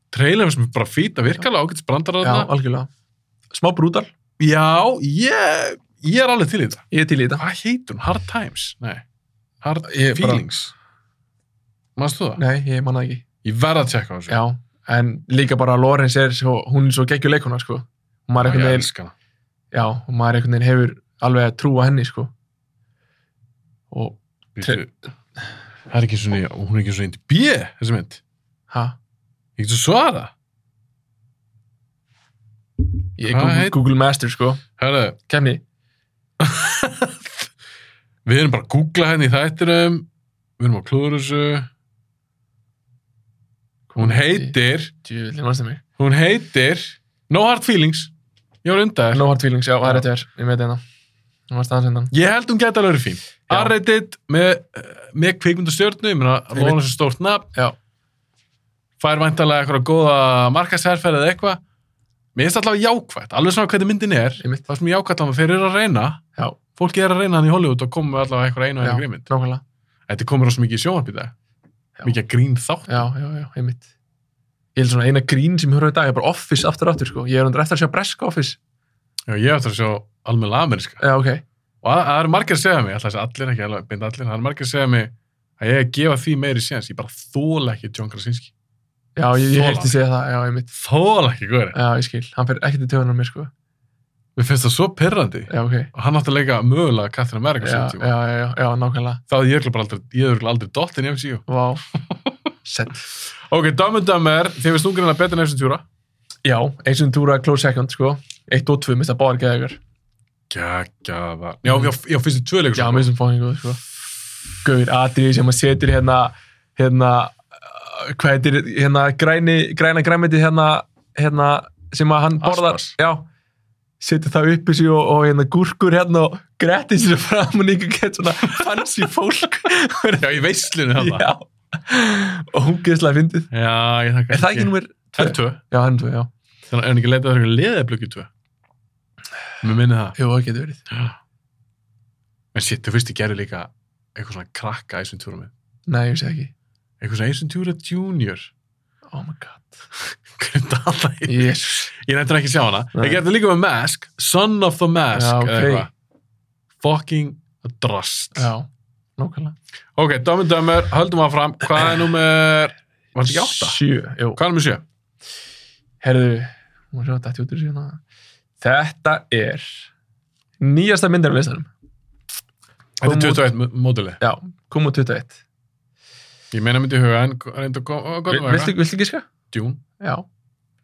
Speaker 1: trailer sem er bara fýt að virkalega ágætt
Speaker 2: já,
Speaker 1: brandaráðna.
Speaker 2: algjörlega smá brútal,
Speaker 1: Já, ég, ég er alveg til í þetta.
Speaker 2: ég er til í þetta
Speaker 1: Hvað heitir hún? Hard Times? Nei. Hard
Speaker 2: Ég bara-
Speaker 1: Feelings. Manstu það?
Speaker 2: nei, ég man það ekki,
Speaker 1: Ég verð að tjekka á þessu.
Speaker 2: já en líka bara Lorenz er svo, hún er svo geggjuleikuna sko, og
Speaker 1: ég
Speaker 2: maður einhvern veginn
Speaker 1: elska hana.
Speaker 2: já, og maður einhvern veginn hefur alveg að trúa henni sko og,
Speaker 1: Bíddu. Það er ekki svona, hún er ekki svona índi B, þessi mynd.
Speaker 2: hæ
Speaker 1: Ég getur svara.
Speaker 2: Ég
Speaker 1: Hvað
Speaker 2: Google,
Speaker 1: heit-
Speaker 2: Google Master sko
Speaker 1: Herðu,
Speaker 2: Kemni
Speaker 1: við erum bara að googla henni í þættinum. Við erum að klúður þessu. Hún heitir,
Speaker 2: Djúvillig mannstu mig
Speaker 1: hún heitir No Hard Feelings. Ég var undar.
Speaker 2: Eh, No hard feelings, já, það er rétt hér Ég veit hérna Nú varst aðeins hérna. hennan
Speaker 1: Ég held hún gæti alveg verið fín.
Speaker 2: Já.
Speaker 1: Arreitit með, með kvikmyndastjörnu, ég meina,
Speaker 2: Ég veit.
Speaker 1: Rónas er stórt nafn,
Speaker 2: Já,
Speaker 1: fær væntalega eitthvað góða markasherferð eða eitthvað. Mér finnst allavega jákvætt, alveg svona hvernig myndin er,
Speaker 2: ég mitt
Speaker 1: það sem ég jákvætt alveg, þeir eru að reyna,
Speaker 2: Já,
Speaker 1: fólki er að reyna hann í Hollywood og koma með allavega eitthvað einu og
Speaker 2: já,
Speaker 1: einu grímynd.
Speaker 2: nákvæmlega
Speaker 1: Þetta komur rosa mikið í sjónvarp í dag,
Speaker 2: Já.
Speaker 1: mikið að grín þátt.
Speaker 2: Já, já, já, ég mitt Ég held svona eina grín sem ég horfði í dag er bara Office aftur og aftur sko Ég er undir eftir að sjá Bresk Office
Speaker 1: Já, ég ætti að sjá almenna ameríska.
Speaker 2: Já, ok
Speaker 1: Og það- það eru margir að segja mig, alltaf þessi allir ekki, alveg beint allir, það eru margir að segja mig að ég er að gefa því meiri séns, ég bara þóla ekki John Krasinski.
Speaker 2: Já, ég, ég
Speaker 1: Þola.
Speaker 2: heyrti segja það, já, ég mitt
Speaker 1: Þóla ekki, guður.
Speaker 2: Já, ég skil, hann fer ekkert í töðunar mér sko
Speaker 1: Mér finnst það svo pyrrandi.
Speaker 2: Já, ok
Speaker 1: og hann átti að leika mögulega Catherine America
Speaker 2: Já,
Speaker 1: sem
Speaker 2: já,
Speaker 1: tíma.
Speaker 2: já, já, já nákvæmlega
Speaker 1: Það er ég örugglega bara aldrei, ég er örugglega aldrei dottin í MCU.
Speaker 2: Vá Sett
Speaker 1: Ok, Dumb and Dumber, þið finnst ungrinna betur en Efsson Tjúra.
Speaker 2: Já, eins og túra close second sko Eitt og tvö, mista báðar geðegar
Speaker 1: Gægjaða. Já, já, já, finnst þið tvö leikur.
Speaker 2: Já, mér finnst hún fóðin góð, sko. Gauður, atriði sem maður setur hérna, hérna, uh, hvað heitir, hérna, græni, græna græmiti hérna, hérna, sem að hann borðar
Speaker 1: Aspas.
Speaker 2: já, setur það upp í sig og, og hérna gúrkur hérna og grettir sér fram og líka gett svona fancy fólk
Speaker 1: Já, í veislinu þarna.
Speaker 2: já, og hún geðslega fyndið
Speaker 1: Já, ég þakka.
Speaker 2: er það ekki nummer
Speaker 1: Það er tvö.
Speaker 2: já, hann tvö, já,
Speaker 1: Þannig að er hann ekki leitað að það er liðið blökið tvö. Mér minni það.
Speaker 2: jú, það getur verið
Speaker 1: En shit, þú finnst ég gerði líka eitthvað svona krakka Ice Ventura með.
Speaker 2: nei, ég sé ekki,
Speaker 1: Eitthvað svona Ice Ventura Junior.
Speaker 2: oh my god
Speaker 1: Hvernig dala ég?
Speaker 2: jésus
Speaker 1: Ég nættur ekki að sjá hana.
Speaker 2: Nei.
Speaker 1: Ég gerði líka með Mask, Son of the Mask.
Speaker 2: Já, ok.
Speaker 1: eða eitthvað. Fucking drast.
Speaker 2: já, nákvæmlega
Speaker 1: Ok, Dömur Dömur, höldum að fram. Hvað er nummer... Var þetta ekki átta?
Speaker 2: sjö, jú,
Speaker 1: Hvað er nummer sjö?
Speaker 2: herðu hún sjá þetta út úr síðan hérna. þetta er nýjasta myndin af listanum,
Speaker 1: Þetta
Speaker 2: Kom
Speaker 1: er
Speaker 2: út-
Speaker 1: 21 móduli.
Speaker 2: já, kom úr 21
Speaker 1: Ég meina myndi í huga en reynda að koma að
Speaker 2: Vil-
Speaker 1: góða
Speaker 2: viltu, viltu giska?
Speaker 1: Djún.
Speaker 2: Já,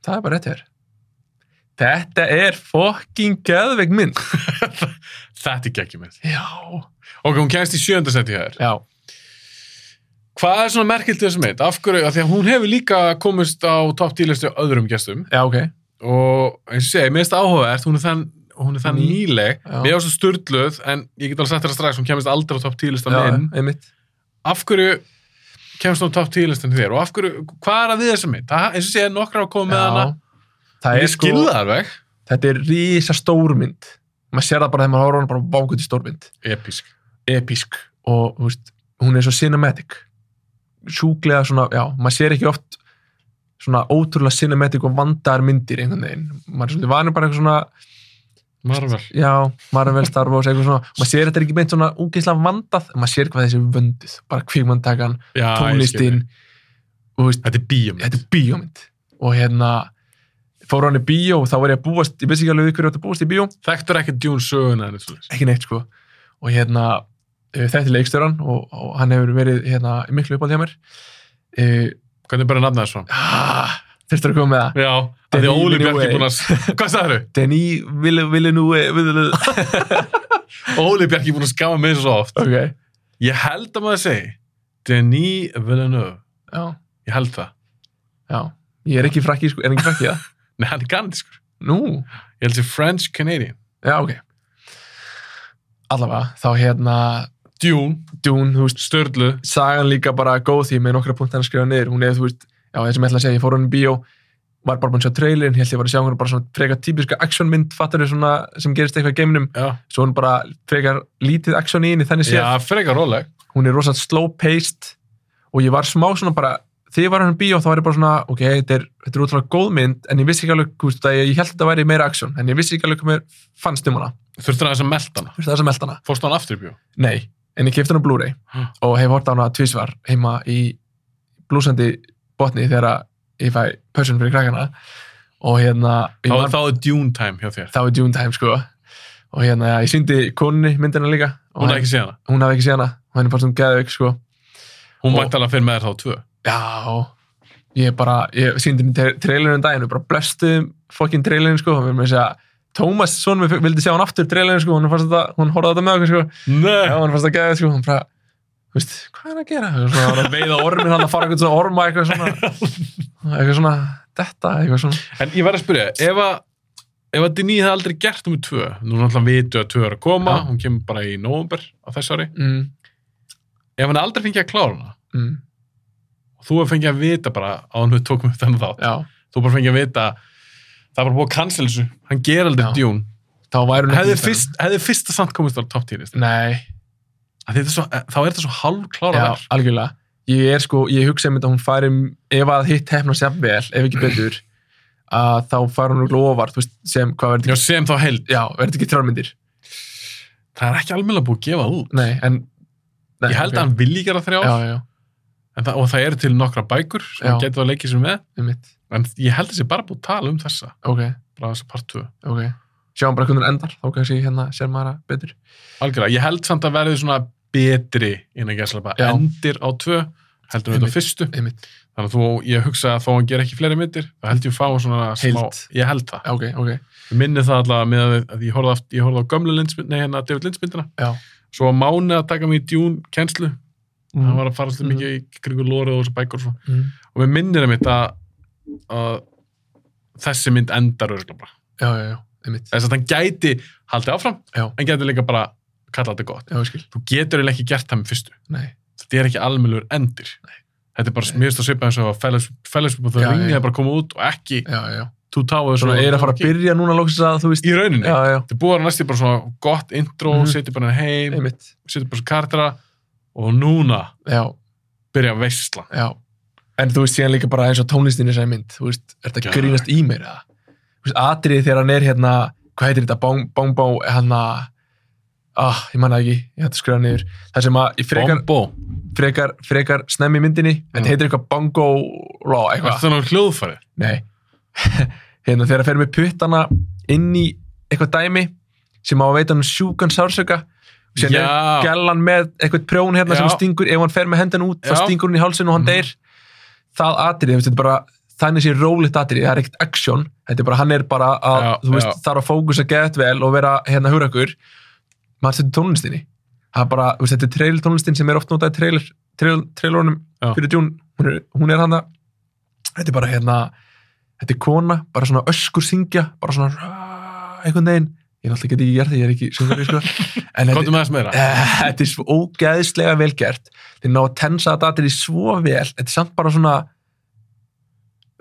Speaker 2: það er bara rétt hér. Þetta er fucking geðveik mynd.
Speaker 1: Þetta er geggjum með.
Speaker 2: Já.
Speaker 1: Ok, hún kemst í sjöndasetti hér.
Speaker 2: Já.
Speaker 1: Hvað er svona merkilt í þessu mynd? Af hverju? Af því að hún hefur líka komist á topp tílistu öðrum gestum
Speaker 2: Já, ok.
Speaker 1: og eins og ég segi, mér finnst það áhugavert, hún er þann, hún er þann
Speaker 2: Ný.
Speaker 1: nýleg.
Speaker 2: Mm. Já.
Speaker 1: Mér finnst það sturgluð, en ég get alveg sagt þér að strax, hún kemist aldrei á topp tílistan
Speaker 2: Já,
Speaker 1: minn.
Speaker 2: einmitt.
Speaker 1: Af hverju kemst hún á topp tílistan þér? Og af hverju, hvað er að við þessu mynd? Það, eins og ég segi, nokkra að koma með hana.
Speaker 2: Já. Það
Speaker 1: Ég
Speaker 2: er sko,
Speaker 1: skilða það alveg.
Speaker 2: þetta er rísa stór mynd. Maður sér það bara þegar maður horfður hana bara vákvöldi stór mynd.
Speaker 1: Episk.
Speaker 2: Episk. Og, þú veist, hún er svo cinematic. Sjúklega svona, já, maður sér ekki oft svona ótrúlega cinematic og vandaðar myndir einhvern veginn. Maður er svolítið vanur bara eitthvað svona
Speaker 1: Marvel.
Speaker 2: já, Marvel, Star Wars, eitthvað svona maður sér þetta er ekki meint svona úgeðslega vandað en maður sér hvað þessi er vönduð, bara kvíkmanntakan
Speaker 1: Já, ég skil
Speaker 2: tónlistin
Speaker 1: þig.
Speaker 2: og veist,
Speaker 1: Þetta er bíum.
Speaker 2: þetta er bíómynd og hérna, fór hann í bíó og þá var ég að búast, ég vissi ekki alveg við hverju átti að búast í bíó
Speaker 1: Þekktur ekki Dune söguna en þessu.
Speaker 2: ekki neitt sko og hérna, eh, þetta er leikstjóran og, og hann hefur verið hérna í miklu uppáld hjá mér uh,
Speaker 1: Hvernig bara nafna þessu?
Speaker 2: ah, þurftur að koma með það
Speaker 1: Já, af því
Speaker 2: Denis
Speaker 1: að Óli Bjarki
Speaker 2: Villeneuve.
Speaker 1: búin að... Hvað sagður þau?
Speaker 2: Denis Villeneuve Villeneuve-
Speaker 1: Óli Bjarki búin að skama mig svo oft.
Speaker 2: ok,
Speaker 1: Ég held að maður segi Denis Villeneuve.
Speaker 2: já,
Speaker 1: Ég held það.
Speaker 2: já ég er ekki frakki, sko, er ekki frakki það
Speaker 1: Nei, hann er kanadískur.
Speaker 2: nú,
Speaker 1: Ég held sér French Canadian.
Speaker 2: Já, ok. Allavega, þá hérna
Speaker 1: Dune,
Speaker 2: Dune, þú veist,
Speaker 1: Störlu.
Speaker 2: sagan líka bara góð því með nokkra punkt hann skrifa niður. Hún er, þú veist, já, það sem ég ætla að segja, ég fór hann í bíó, var bara búin að sjá trailerin, held ég var að sjá hann bara svona frekar típiska actionmynd, fattar þau svona sem gerist eitthvað í geiminum,
Speaker 1: Já.
Speaker 2: svo hún bara frekar lítið action í henni, þannig séð.
Speaker 1: Já, frekar róleg.
Speaker 2: Hún er rosalega slow-paced og ég var smá svona bara, þegar ég var hann í bíó þá var ég bara svona, ok, þetta er, þetta er útrúlega góð mynd, en ég vissi ekki alveg, þú veist, að ég, ég held að þetta væri meira action, en ég vissi ekki alveg hvað mér fannst um hana,
Speaker 1: Þurftur aðeins að melda hana.
Speaker 2: þú veist, það sem held hana.
Speaker 1: Fórstu hann aftur í bjó?
Speaker 2: Nei, en ég kefti hann á Blu-ray
Speaker 1: Huh.
Speaker 2: og hef hort á hana tvísvar heima í blúsandi botni þegar að ég fæ pössun fyrir krakkana og hérna ég
Speaker 1: Þá,
Speaker 2: man-
Speaker 1: þá er Dune time hjá þér.
Speaker 2: þá er Dune Time sko og hérna já, ég syndi konunni myndina líka og hérna-
Speaker 1: Hún er ekki séð hana.
Speaker 2: hún hafði ekki séð hana og henni fannst hún geðveik sko
Speaker 1: Hún
Speaker 2: Og-
Speaker 1: mætti alveg fyrir með þér þá tvö.
Speaker 2: já ég bara, ég syndi henni trailerinn um daginn við bara blöstum fokkin trailerinn sko og við erum að segja Tómas son við vildi sjá hann aftur trailerinn sko hún, þetta, hún horfði á þetta með okkur sko Já,
Speaker 1: Nei!
Speaker 2: hann fannst að geða sko, hann bara, þú veist, hvað er hann að gera? Og Svona, hann var að veiða ormin, hann að fara eitthvað svona orma, eitthvað svona, eitthvað svona, detta, eitthvað svona.
Speaker 1: En ég verð að spyrja, ef að ef að Denis hefði aldrei gert nummer tvö nú náttúrulega vitu að tvö er að koma,
Speaker 2: Já.
Speaker 1: hún kemur bara í november á þess ári
Speaker 2: Mm,
Speaker 1: ef hann aldrei fengið að klára hana
Speaker 2: mm,
Speaker 1: og þú hefur fengið að vita bara á hann við tókum upp þennan þátt
Speaker 2: já,
Speaker 1: þú bara fengið að vita það er bara búið að cancel þessu, hann ger aldrei
Speaker 2: Já.
Speaker 1: djún
Speaker 2: þá væri hún
Speaker 1: hefði
Speaker 2: í listanum.
Speaker 1: fyrst, hefði fyrst að samt komist á top
Speaker 2: Mm.
Speaker 1: 10
Speaker 2: Nei,
Speaker 1: svo, eh, þá er þetta svo hálf klára
Speaker 2: já,
Speaker 1: verð
Speaker 2: algjörlega. Ég er sko, ég hugsa einmitt að hún færi, ef að hitt hefna sér vel, ef ekki betur, að þá færi hún lofar, þú veist, sem, hvað verður
Speaker 1: Já,
Speaker 2: þetta
Speaker 1: sem þá held,
Speaker 2: ekki, já, verður þetta ekki þrjármyndir?
Speaker 1: það er ekki alveg búið að gefa það út
Speaker 2: Nei, en, nei,
Speaker 1: ég held að hann vilji gera þrjá
Speaker 2: Já, já,
Speaker 1: en það, og það eru til nokkra bækur sem
Speaker 2: Já.
Speaker 1: hann getur að leikja sér með
Speaker 2: einmitt,
Speaker 1: en ég held að þessi bara búið að tala um þessa
Speaker 2: ok,
Speaker 1: bara þessa part 2
Speaker 2: ok. Sjáum bara hvernig hún endar, þá kannski hérna sér maður að betur.
Speaker 1: Algjörlega, ég held samt að verði svona betri innan gæslega bara
Speaker 2: Já.
Speaker 1: endir á tvö heldur við þetta á
Speaker 2: Einmitt.
Speaker 1: fyrstu
Speaker 2: Einmitt,
Speaker 1: þannig að þú, ég hugsa að þó hann ger ekki fleiri myndir þá held ég að fá svona smá
Speaker 2: Heild.
Speaker 1: ég held það,
Speaker 2: já, ok, ok.
Speaker 1: ég minni það allavega með að, að ég horfði, aft, ég horfði á gömlu linsmynd, nei hérna David Linsmyndina
Speaker 2: Já.
Speaker 1: svo að mánu að taka mig í djún kennslu,
Speaker 2: Mm.
Speaker 1: hann var að fara svolítið
Speaker 2: Mhm.
Speaker 1: mikið í kringu lórið og þessu bækur og, svo.
Speaker 2: Mm.
Speaker 1: og mér minnir það mitt að, að þessi mynd endar örgulega bara.
Speaker 2: já, já, já, einmitt.
Speaker 1: Þess að hann gæti haldið áfram,
Speaker 2: Já.
Speaker 1: en gæti líka bara kallað þetta gott.
Speaker 2: Já, ég skil.
Speaker 1: Þú getur eiginlega ekki gert það með fyrstu.
Speaker 2: Nei.
Speaker 1: Þetta er ekki almennur endir.
Speaker 2: Nei.
Speaker 1: Þetta er bara mjög svipa eins og að Fellowship fellowship og það
Speaker 2: Já,
Speaker 1: ringið
Speaker 2: já.
Speaker 1: er bara að koma út og ekki
Speaker 2: Já, já, já.
Speaker 1: Two Towers
Speaker 2: Svona
Speaker 1: og-
Speaker 2: er að fara að byrja núna lóksins að þú veist.
Speaker 1: í rauninni.
Speaker 2: Já, já,
Speaker 1: Þetta er búið að næstu bara svona gott intro, mm
Speaker 2: Mhm.
Speaker 1: -hmm. setja bara henni heim,
Speaker 2: einmitt.
Speaker 1: setja bara svona kartera og núna
Speaker 2: Já,
Speaker 1: byrja veistlan.
Speaker 2: já. En þú veist, síðan líka bara eins og tónlistin í þessari mynd, þú veist, er þetta
Speaker 1: Já.
Speaker 2: grínast í mér eða? Þú veist, atriði þegar hann er hérna, hvað heitir þetta, bóng, bóng, bóng, hann að, ah, ég manna ekki, ég hætti að skrifa niður, það sem að í frekar,
Speaker 1: Bombo.
Speaker 2: frekar, frekar snemmi í myndinni, en
Speaker 1: Mm.
Speaker 2: heitir eitthvað bongo
Speaker 1: Þetta
Speaker 2: law,
Speaker 1: er
Speaker 2: eitthvað,
Speaker 1: þannig hljóðfærið.
Speaker 2: nei, hérna þegar að fer með puttana inn í eitthvað dæmi sem á að veita hann sjúkan sársöka, og síðan er
Speaker 1: Já,
Speaker 2: gælan með eitthvað prjón hérna sem
Speaker 1: Já.
Speaker 2: hann stingur, ef hann fer með hendan út þá
Speaker 1: Já.
Speaker 2: stingur hann í hálsinn og hann
Speaker 1: Mhm.
Speaker 2: deyr það atrið, þetta er bara þannig sé rólegt atrið, það er ekkert action þetta er bara, hann er bara að,
Speaker 1: Já,
Speaker 2: þú veist,
Speaker 1: já.
Speaker 2: þarf að fókusa gett vel og vera hérna hurakur, maður setur tónlistinni það er bara, þú veist, þetta er trail tónlistin sem er oft notaði trailer, trail, trailorunum
Speaker 1: Já.
Speaker 2: fyrir Dune, hún er, hún er hann þetta er bara hérna þetta er kona, bara svona öskur syngja bara svona rá, einhvern veginn ég er alltaf ekki gert það, ég er ekki syngari sko. en þetta,
Speaker 1: komdu með þess meira.
Speaker 2: Eh, þetta er svo ógeðslega vel gert þeir ná að tensa þetta atrið svo vel þetta er samt bara svona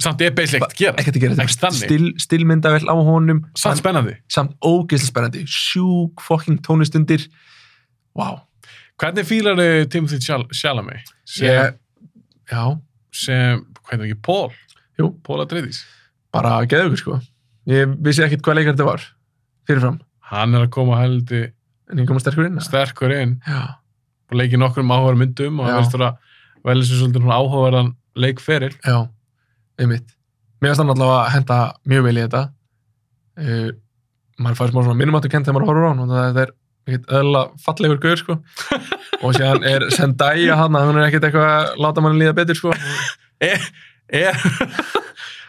Speaker 1: Samt ég er basically ekkert að gera.
Speaker 2: ekkert að gera
Speaker 1: Ekki
Speaker 2: þetta er
Speaker 1: þannig.
Speaker 2: stil, stilmynda vel á honum
Speaker 1: Samt
Speaker 2: en
Speaker 1: spennandi.
Speaker 2: samt ógeðslega spennandi sjúk fucking tónlistundir wow
Speaker 1: Hvernig fílar þau Timothy Chal- Chalamet? Sem,
Speaker 2: ég, já,
Speaker 1: sem, hvernig ekki, Paul?
Speaker 2: Jú.
Speaker 1: Paul Atreides.
Speaker 2: bara geðugur sko ég vissi ekkit hvað leikar þetta var fyrirfram,
Speaker 1: Hann er að koma heldur
Speaker 2: en ég kom að sterkur inn eða?
Speaker 1: sterkur inn
Speaker 2: já,
Speaker 1: og leikið nokkrum áhugaður myndum og hann
Speaker 2: Já.
Speaker 1: verðist vera velið sem svolítið svona áhugaverðan leikferil.
Speaker 2: já, einmitt mér finnst hann allavega að henda mjög vel í þetta uh, maður fær smá svona mínumáttu kent þegar maður horfur á hann og það er ekkert öðla fallegur gaur sko og síðan er Zendaya hann að hún er ekkert eitthvað að láta manni líða betur sko
Speaker 1: Er, er,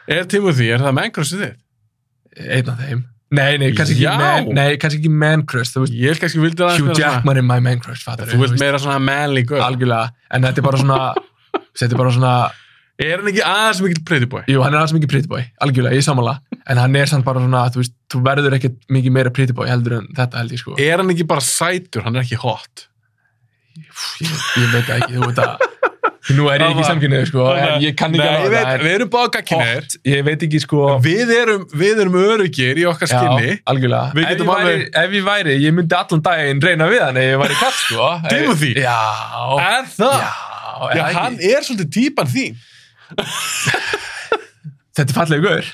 Speaker 1: er Timothy, er það menngrössið þitt?
Speaker 2: einn af þeim nei, nei, kannski ekki,
Speaker 1: Já.
Speaker 2: man, nei, kannski ekki man crush þú veist,
Speaker 1: Ég held kannski vildi það
Speaker 2: Hugh
Speaker 1: aðeins meira
Speaker 2: Jackman er my man crush fattar
Speaker 1: Þú vilt meira svona manly girl.
Speaker 2: algjörlega, en þetta er bara svona þetta er bara svona,
Speaker 1: Er hann ekki aðeins mikill pretty boy?
Speaker 2: jú, hann er alls mikið pretty boy algjörlega, ég samanla, en hann er samt bara svona þú veist, þú verður ekkert mikið meira pretty boy heldur en þetta held ég sko
Speaker 1: Er hann ekki bara sætur, hann er ekki hot?
Speaker 2: Úff, ég, ég veit það ekki, þú veit að nú er ég
Speaker 1: Það
Speaker 2: ekki
Speaker 1: var-
Speaker 2: samkynnið sko,
Speaker 1: Þannig að-
Speaker 2: en ég kann ekki
Speaker 1: Nei, ég
Speaker 2: alveg
Speaker 1: veit,
Speaker 2: það er
Speaker 1: Við erum báða gagkinnir.
Speaker 2: hot, ég veit ekki sko
Speaker 1: Við erum, við erum öryggir í okkar
Speaker 2: já,
Speaker 1: skinni.
Speaker 2: algjörlega,
Speaker 1: Við
Speaker 2: ef ég,
Speaker 1: getum
Speaker 2: væri, ef ég væri ég myndi allan daginn reyna við hann ef ég væri kall sko
Speaker 1: Timothy?
Speaker 2: já,
Speaker 1: Er það?
Speaker 2: já, er
Speaker 1: Já,
Speaker 2: það
Speaker 1: hann
Speaker 2: ekki?
Speaker 1: er svolítið típan þín.
Speaker 2: þetta er fallega gaur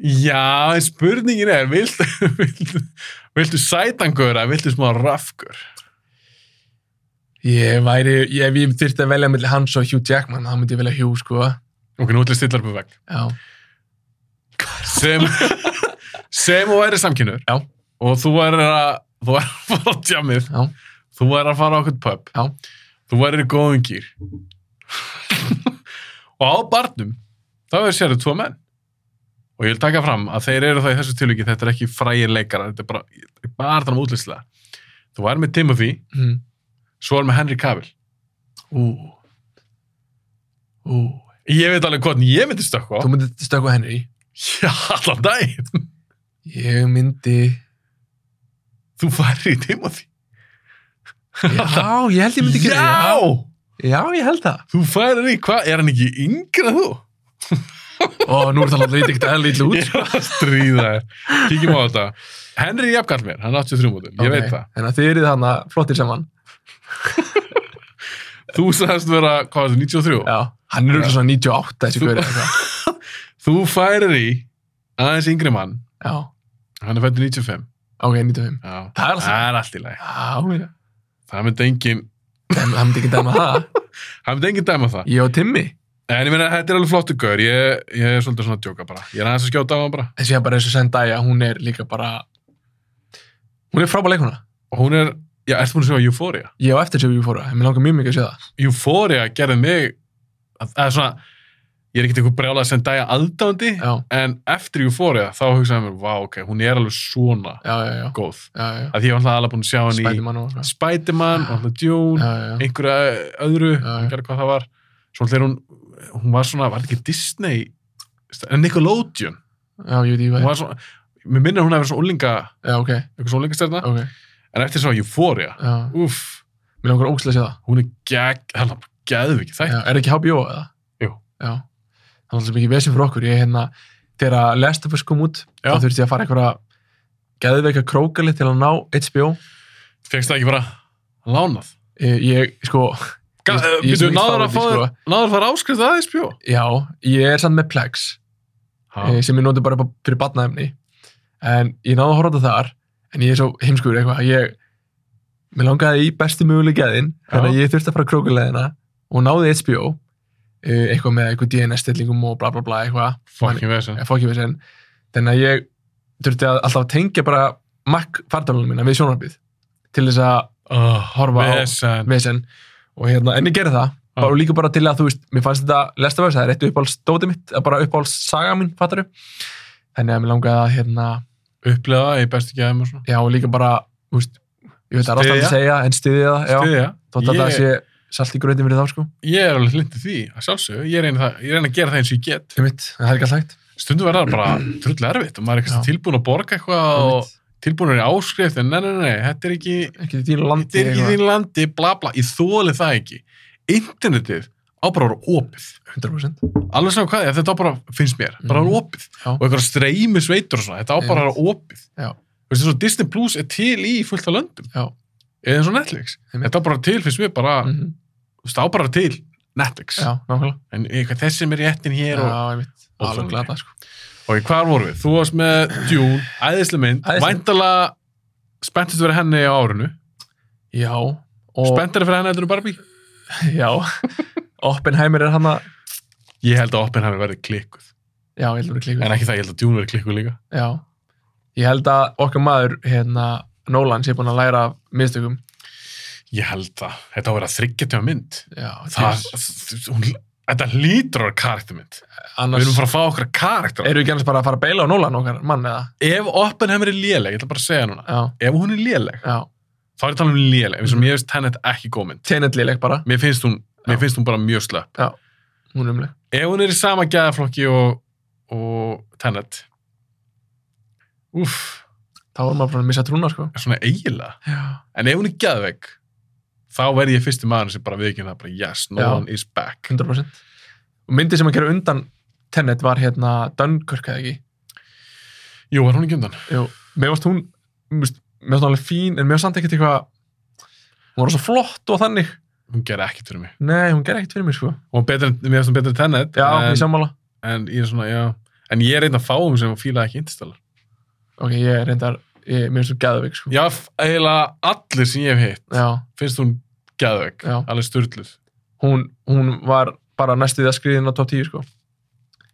Speaker 1: Já, en spurningin er, viltu, viltu, viltu sætangur eða viltu smá rafgur?
Speaker 2: ég væri, ég, ef ég þyrfti að velja millir hans og Hugh Jackman, þá myndi ég velja Hugh sko já,
Speaker 1: Ok, nú ætlum við stillar upp við vegg. Sem, sem og væri samkynur.
Speaker 2: Já.
Speaker 1: Og þú væri að, þú væri að fara á tjamið.
Speaker 2: Já.
Speaker 1: Þú væri að fara á okkur pub.
Speaker 2: Já.
Speaker 1: Þú væri í góðum gýr. og á barnum, þá er sérðu tvo menn. Og ég vil taka fram að þeir eru það í þessu tilviki, þetta er ekki frægir leikarar, þetta er bara, bara þannig útlýslega. Þú væri með Timothy,
Speaker 2: mm.
Speaker 1: svo er með Henry Cavill.
Speaker 2: ú ú,
Speaker 1: Ég veit alveg hvort ég myndi stökkva.
Speaker 2: þú myndi stökkva Henry
Speaker 1: Já, allan daginn.
Speaker 2: ég myndi
Speaker 1: Þú færi í Timothy.
Speaker 2: Já, ég held ég myndi gera það.
Speaker 1: Já!
Speaker 2: Já, Já, ég held það.
Speaker 1: Þú færi í, hvað, er hann ekki yngri en þú?
Speaker 2: Ó, nú er það alltaf lítið ekkert eða lítið út.
Speaker 1: Ég er að stríða þér. Kíkjum á þetta. Henry Jafnkall mér, hann er 83 mótum, ég veit það.
Speaker 2: En þið eruð þarna flottir saman.
Speaker 1: Þú sagðist vera, hvað var þetta, 93?
Speaker 2: Já. Hann er
Speaker 1: Já.
Speaker 2: auðvitað svona 98, þessi
Speaker 1: Þú-
Speaker 2: gaurið eitthvað.
Speaker 1: Þú færir í aðeins yngri mann,
Speaker 2: Já,
Speaker 1: hann er fættur 95.
Speaker 2: ok, 95.
Speaker 1: Já.
Speaker 2: Það er alltaf-
Speaker 1: Það er allt í lagi.
Speaker 2: Já, já.
Speaker 1: Það myndi engin,
Speaker 2: Dem- Hann myndi ekki dæma það.
Speaker 1: það myndi engin dæma það.
Speaker 2: Ég og Timmy.
Speaker 1: En ég meina, þetta er alveg flottu gaur, ég, ég er svolítið svona að djóka bara. Ég er aðeins að skjóta á hann bara.
Speaker 2: En síðan bara eins og Zendaya, hún er líka bara... Hún er frábæð leikuna.
Speaker 1: Og hún er, já, ertu búin að sjá Euphoria?
Speaker 2: Ég á eftir séu Júfóra, en mér langar mjög mikið að sé það.
Speaker 1: Euphoria gerði mig að, að svona, ég er ekkert eitthvað brjálað sem dæja aðdándi,
Speaker 2: Já,
Speaker 1: en eftir Euphoria þá hugsaði ég mér, vá, ok, hún er alveg svona
Speaker 2: já, já, já.
Speaker 1: góð.
Speaker 2: já, já.
Speaker 1: Að því ég var alltaf alveg búin að sjá hann í
Speaker 2: Spiderman og... Já,
Speaker 1: Spiderman, og alltaf Dune,
Speaker 2: já, já.
Speaker 1: einhverja öðru,
Speaker 2: Já, já.
Speaker 1: hann gerði hvað það var. Svo alltaf er hún, hún var svona, var þetta ekki Disney Nickelodeon
Speaker 2: já, ég veit ég
Speaker 1: hún
Speaker 2: hvað
Speaker 1: var svona, mér minnir að hún að vera svona úlinga
Speaker 2: já, ok,
Speaker 1: eitthvað svona úlingastjarna,
Speaker 2: ok,
Speaker 1: en eftir svo Euphoria
Speaker 2: já
Speaker 1: uff,
Speaker 2: mér langar ógstilega að sé það
Speaker 1: hún er gegg, hann er geðviki
Speaker 2: já,
Speaker 1: þætt
Speaker 2: er það ekki HBO eða?
Speaker 1: Jú.
Speaker 2: já, það var alltaf mikið vesinn fyrir okkur ég hérna, þegar að Last of Us kom út
Speaker 1: Já.
Speaker 2: þá þurfti ég að fara einhverja geðveika krókali til að ná HBO
Speaker 1: fegst það ekki bara lánað
Speaker 2: ég, ég sko,
Speaker 1: Ga-
Speaker 2: Ég-
Speaker 1: eh,
Speaker 2: ég er
Speaker 1: býttu,
Speaker 2: svo mikill
Speaker 1: náður að fá
Speaker 2: fáviti,
Speaker 1: þér náður að fara áskrift að SPO
Speaker 2: sko. já ég er samt með Plex eh, sem ég noti bara upp á- fyrir batnaefni en ég náði að horfa á þetta þar en ég er svo heimskur eitthvað að ég, mér langaði í bestu möguleg geðin þannig að ég þurfti að fara krókulegðina og náði HBO eh, eitthvað með eitthvað DNS-stillingum og bla bla bla eitthvað
Speaker 1: fucking vesen
Speaker 2: ég fór ekki við sen þannig að ég þurfti að alltaf að tengja bara Mac fartalunum mína við sjónarbið til þess að
Speaker 1: oh,
Speaker 2: horfa á-
Speaker 1: vesen
Speaker 2: við sen og hérna, en ég gerði það
Speaker 1: Já.
Speaker 2: bara líka bara til að þú veist, mér fannst þetta lest af þess, það er eitt uppáhalds dótið mitt eða bara uppáhalds saga mín, fattaru þannig að mér langaði að hérna,
Speaker 1: upplega í bestu gæðum og svona
Speaker 2: já og líka bara þú veist, ég veit að rátt að
Speaker 1: Styðja.
Speaker 2: segja en stiðja það, já,
Speaker 1: Styðja.
Speaker 2: þótt að það
Speaker 1: Ég-
Speaker 2: sé salt í gröðin fyrir þá sko,
Speaker 1: ég er alveg hlindið því að sjálfsögðu, ég reyna, það, ég reyna að gera það eins og ég get
Speaker 2: um mitt, það er ekki alltaf hægt
Speaker 1: stundum verða það bara trull erfitt og maður er kannski
Speaker 2: Já.
Speaker 1: tilbúin að borga eitthvað og
Speaker 2: einmitt.
Speaker 1: tilbúin í áskrift en nei, nei, nei, þetta er ekki
Speaker 2: ekki í þínu
Speaker 1: þetta
Speaker 2: landi
Speaker 1: er ekki í
Speaker 2: eitthvað.
Speaker 1: þín landi, bla bla, ég þóli það ekki internetið á bara að vera opið
Speaker 2: 100%
Speaker 1: alveg saman hvað, ef þetta á bara, finnst mér bara að vera opið,
Speaker 2: Mhm. Já.
Speaker 1: og eitthvað streymi sveitur og svona, þetta á bara að vera opið
Speaker 2: Já.
Speaker 1: Þú veist, eins og Disney Plus er til í fullt af löndum
Speaker 2: Já.
Speaker 1: eða eins og Netflix
Speaker 2: Einmitt.
Speaker 1: þetta á bara til, finnst mér, bara,
Speaker 2: mm -hmm.
Speaker 1: þú veist, á bara til Netflix,
Speaker 2: já, nákvæmlega
Speaker 1: en eitthvað þessi er réttin hér og
Speaker 2: Já, ég veit,
Speaker 1: og
Speaker 2: alveg
Speaker 1: svona.
Speaker 2: glata sko.
Speaker 1: Ok, hvar vorum við? Þú varst með Dune, æðislega mynd,
Speaker 2: Æðisleg.
Speaker 1: væntalega spenntist fyrir henni á árinu.
Speaker 2: Já, og
Speaker 1: Spenntari fyrir henni heldur en Barbie?
Speaker 2: já, Oppenheimer er hann að
Speaker 1: Ég held að Oppenheimer verði klikkuð.
Speaker 2: Já, ég held að vera klíkur
Speaker 1: En ekki það, ég held að Dune verði klikkuð líka.
Speaker 2: Já, ég held að okkar maður hérna, Nolan sé búin að læra af mistökum
Speaker 1: Ég held það. Þetta á að vera þryggjartjóða mynd.
Speaker 2: Já,
Speaker 1: Það,
Speaker 2: djöfus.
Speaker 1: hún, þetta lítur að vera karaktermynd. Við
Speaker 2: annars
Speaker 1: erum að fara að fá okkar karakter.
Speaker 2: erum við ekki annars bara að fara að beila á Nolan okkar mann eða
Speaker 1: Ef Oppenheimer er léleg, ég ætla bara að segja núna,
Speaker 2: Já,
Speaker 1: ef hún er léleg,
Speaker 2: já,
Speaker 1: þá er ég að tala um léleg, eins og
Speaker 2: Mhm.
Speaker 1: mér finnst Tenet ekki góð mynd.
Speaker 2: tenetlileg bara
Speaker 1: Mér finnst hún,
Speaker 2: Já.
Speaker 1: mér finnst hún bara mjög slöpp.
Speaker 2: Hún er umleg
Speaker 1: ef hún er í sama gæðaflokki og, og Tenet Úff,
Speaker 2: Þá er maður bara að missa trúna sko
Speaker 1: er svona eiginlega
Speaker 2: Já,
Speaker 1: en ef hún er gæðvegg þá verð ég fyrsti maður sem bara viðkynna bara yes, no
Speaker 2: Já.
Speaker 1: one is back
Speaker 2: 100% Og myndið sem að gera undan Tenet var hérna Dunkirk eða ekki
Speaker 1: Jú, er hún ekki undan?
Speaker 2: Jú, mér varst hún mér varst mér varst hún alveg fín, en mér varst samt ekkert eitthvað hún var svo flott og þannig
Speaker 1: Hún gerði ekkert fyrir mig
Speaker 2: nei, hún gerði ekkert fyrir mér sko já,
Speaker 1: Hún var betri, en- mér finnst hún betri en Tenet
Speaker 2: ég
Speaker 1: en,
Speaker 2: sammála
Speaker 1: en ég er svona, já En ég er einn af fáum sem fíla ekki Interstellar
Speaker 2: ok, ég reyndar, ég, mér finnst hún gæðveik sko
Speaker 1: Já, f- eiginlega allir sem ég hef hitt
Speaker 2: já,
Speaker 1: finnst hún gæðvegg,
Speaker 2: Já.
Speaker 1: alveg sturluð
Speaker 2: hún, hún var bara næstu því að skriðin á top 10 sko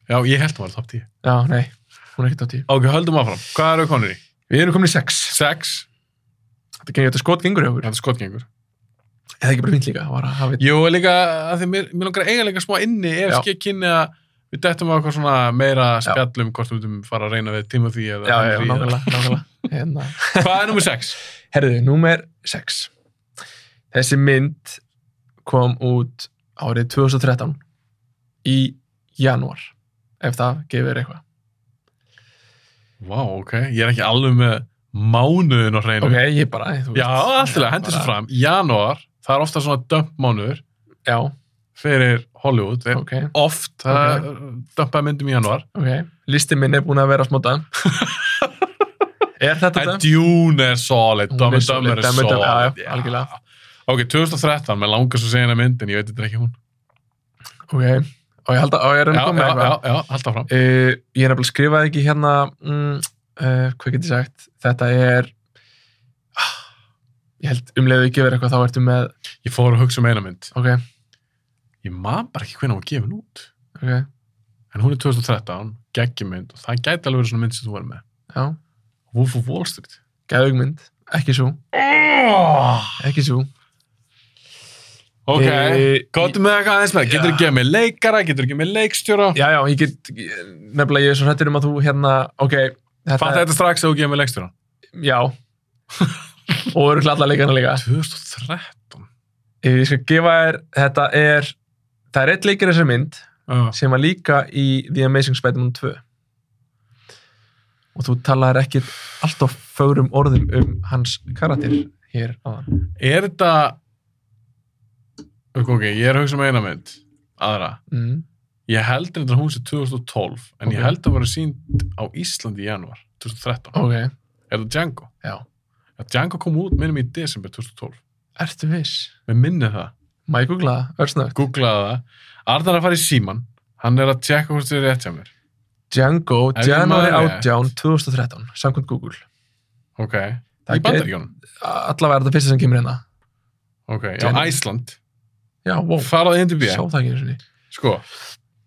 Speaker 1: Já, ég held hún var top 10
Speaker 2: já, nei, hún er ekki top 10
Speaker 1: Ok, höldum áfram, hvað eru konur í?
Speaker 2: við erum komin í 6
Speaker 1: Sex,
Speaker 2: þetta, gengur- þetta skot gengur hjá okkur
Speaker 1: þetta er skotgengur
Speaker 2: eða ekki bara fínt líka var að hafa
Speaker 1: Jú, líka að því mér, mér langar eiginlega smá inni ef
Speaker 2: Já.
Speaker 1: skið kynni að við dettum á eitthvað svona meira
Speaker 2: Já.
Speaker 1: spjallum hvort við myndum fara að reyna við Timothy eða
Speaker 2: já, já,
Speaker 1: Henry eða-
Speaker 2: nákvæmlega, nákvæmlega hérna.
Speaker 1: Hvað er nummer 6?
Speaker 2: herðu, númer 6 þessi mynd kom út árið 2013 í janúar ef það gefur eitthvað
Speaker 1: Vá, ok, ég er ekki alveg með mánuðin á hreinu.
Speaker 2: ok, ég bara, þú veist
Speaker 1: Já, alltaf, hendi
Speaker 2: bara-
Speaker 1: svo fram. Janúar, það er ofta svona dömpmánuður
Speaker 2: já,
Speaker 1: fyrir Hollywood. Þeir,
Speaker 2: ok,
Speaker 1: Oft, það okay. dömpaði myndum í janúar.
Speaker 2: ok listi minn er búin að vera smóta er þetta
Speaker 1: En
Speaker 2: þetta?
Speaker 1: Dune er solid,
Speaker 2: Hún er
Speaker 1: Dumb and
Speaker 2: solid,
Speaker 1: Dumber er
Speaker 2: Dumb and
Speaker 1: solid.
Speaker 2: Dumber, já, já,
Speaker 1: já.
Speaker 2: algjörlega.
Speaker 1: Ok, 2013, mér langar svo að segja hennar myndin, ég veit þetta er ekki hún.
Speaker 2: ok, og ég held að, og ég er
Speaker 1: Já,
Speaker 2: að koma
Speaker 1: já,
Speaker 2: með
Speaker 1: já,
Speaker 2: eitthvað
Speaker 1: já, halda fram.
Speaker 2: uh, ég er nefnilega skrifaði ekki hérna mm, uh, hvað get ég sagt þetta er ah, ég held umleiðu ekki verið eitthvað þá ertu með,
Speaker 1: Ég fór að hugsa um eina mynd.
Speaker 2: ok,
Speaker 1: Ég man bara ekki hvernig hún var gefin út.
Speaker 2: ok
Speaker 1: En hún er 2013, geggjumynd og það gæti alveg verið svona mynd sem þú verið með.
Speaker 2: já,
Speaker 1: Wolf of Wall Street.
Speaker 2: gæðugmynd, ekki svo
Speaker 1: Oh!
Speaker 2: ekki svo,
Speaker 1: Ok,
Speaker 2: Eh,
Speaker 1: gottum með eitthvað aðeins með. Getur
Speaker 2: Já.
Speaker 1: ekki gefið mig leikara, getur ekki gefið mig leikstjóra.
Speaker 2: já já, ég get nefnilega ég er svo hrættur um að þú hérna ok,
Speaker 1: Fatt þetta strax að þú gefið mig leikstjóra.
Speaker 2: já og eru allar leikana líka
Speaker 1: 2013.
Speaker 2: Ég skal gefa þér, þetta er, það er eitt leikir þessar mynd
Speaker 1: Já.
Speaker 2: sem var líka í The Amazing Spider-Man 2 og þú talar ekki alltaf fögrum orðum um hans karakter hér áðan
Speaker 1: Er þetta... Ok, ok, ég er að hugsa með eina mynd. Aðra.
Speaker 2: mm.
Speaker 1: Ég held þetta hún sé 2012, en
Speaker 2: Ok.
Speaker 1: ég held að vera sínd á Íslandi í januar 2013.
Speaker 2: ok,
Speaker 1: Er það Django?
Speaker 2: já,
Speaker 1: Já, Django kom út minnum í desember 2012.
Speaker 2: ertu viss
Speaker 1: Mér minni það.
Speaker 2: má ég googla það, örsnögt
Speaker 1: Googlaði það. Arnar er að fara í síman. Hann er að tjekka hvort þið er rétt hjá mér.
Speaker 2: Django,
Speaker 1: Ef ég
Speaker 2: January
Speaker 1: man
Speaker 2: 18, 2013 samkvæmt Google
Speaker 1: Ok.
Speaker 2: Það
Speaker 1: í
Speaker 2: gæti-
Speaker 1: bandaríkjónum.
Speaker 2: allavega er þetta fyrsta sem kemur hérna
Speaker 1: Ok, já,
Speaker 2: January.
Speaker 1: Æsland.
Speaker 2: já, wow,
Speaker 1: Farað í NDB.
Speaker 2: sá það ekki einu sinni
Speaker 1: Sko,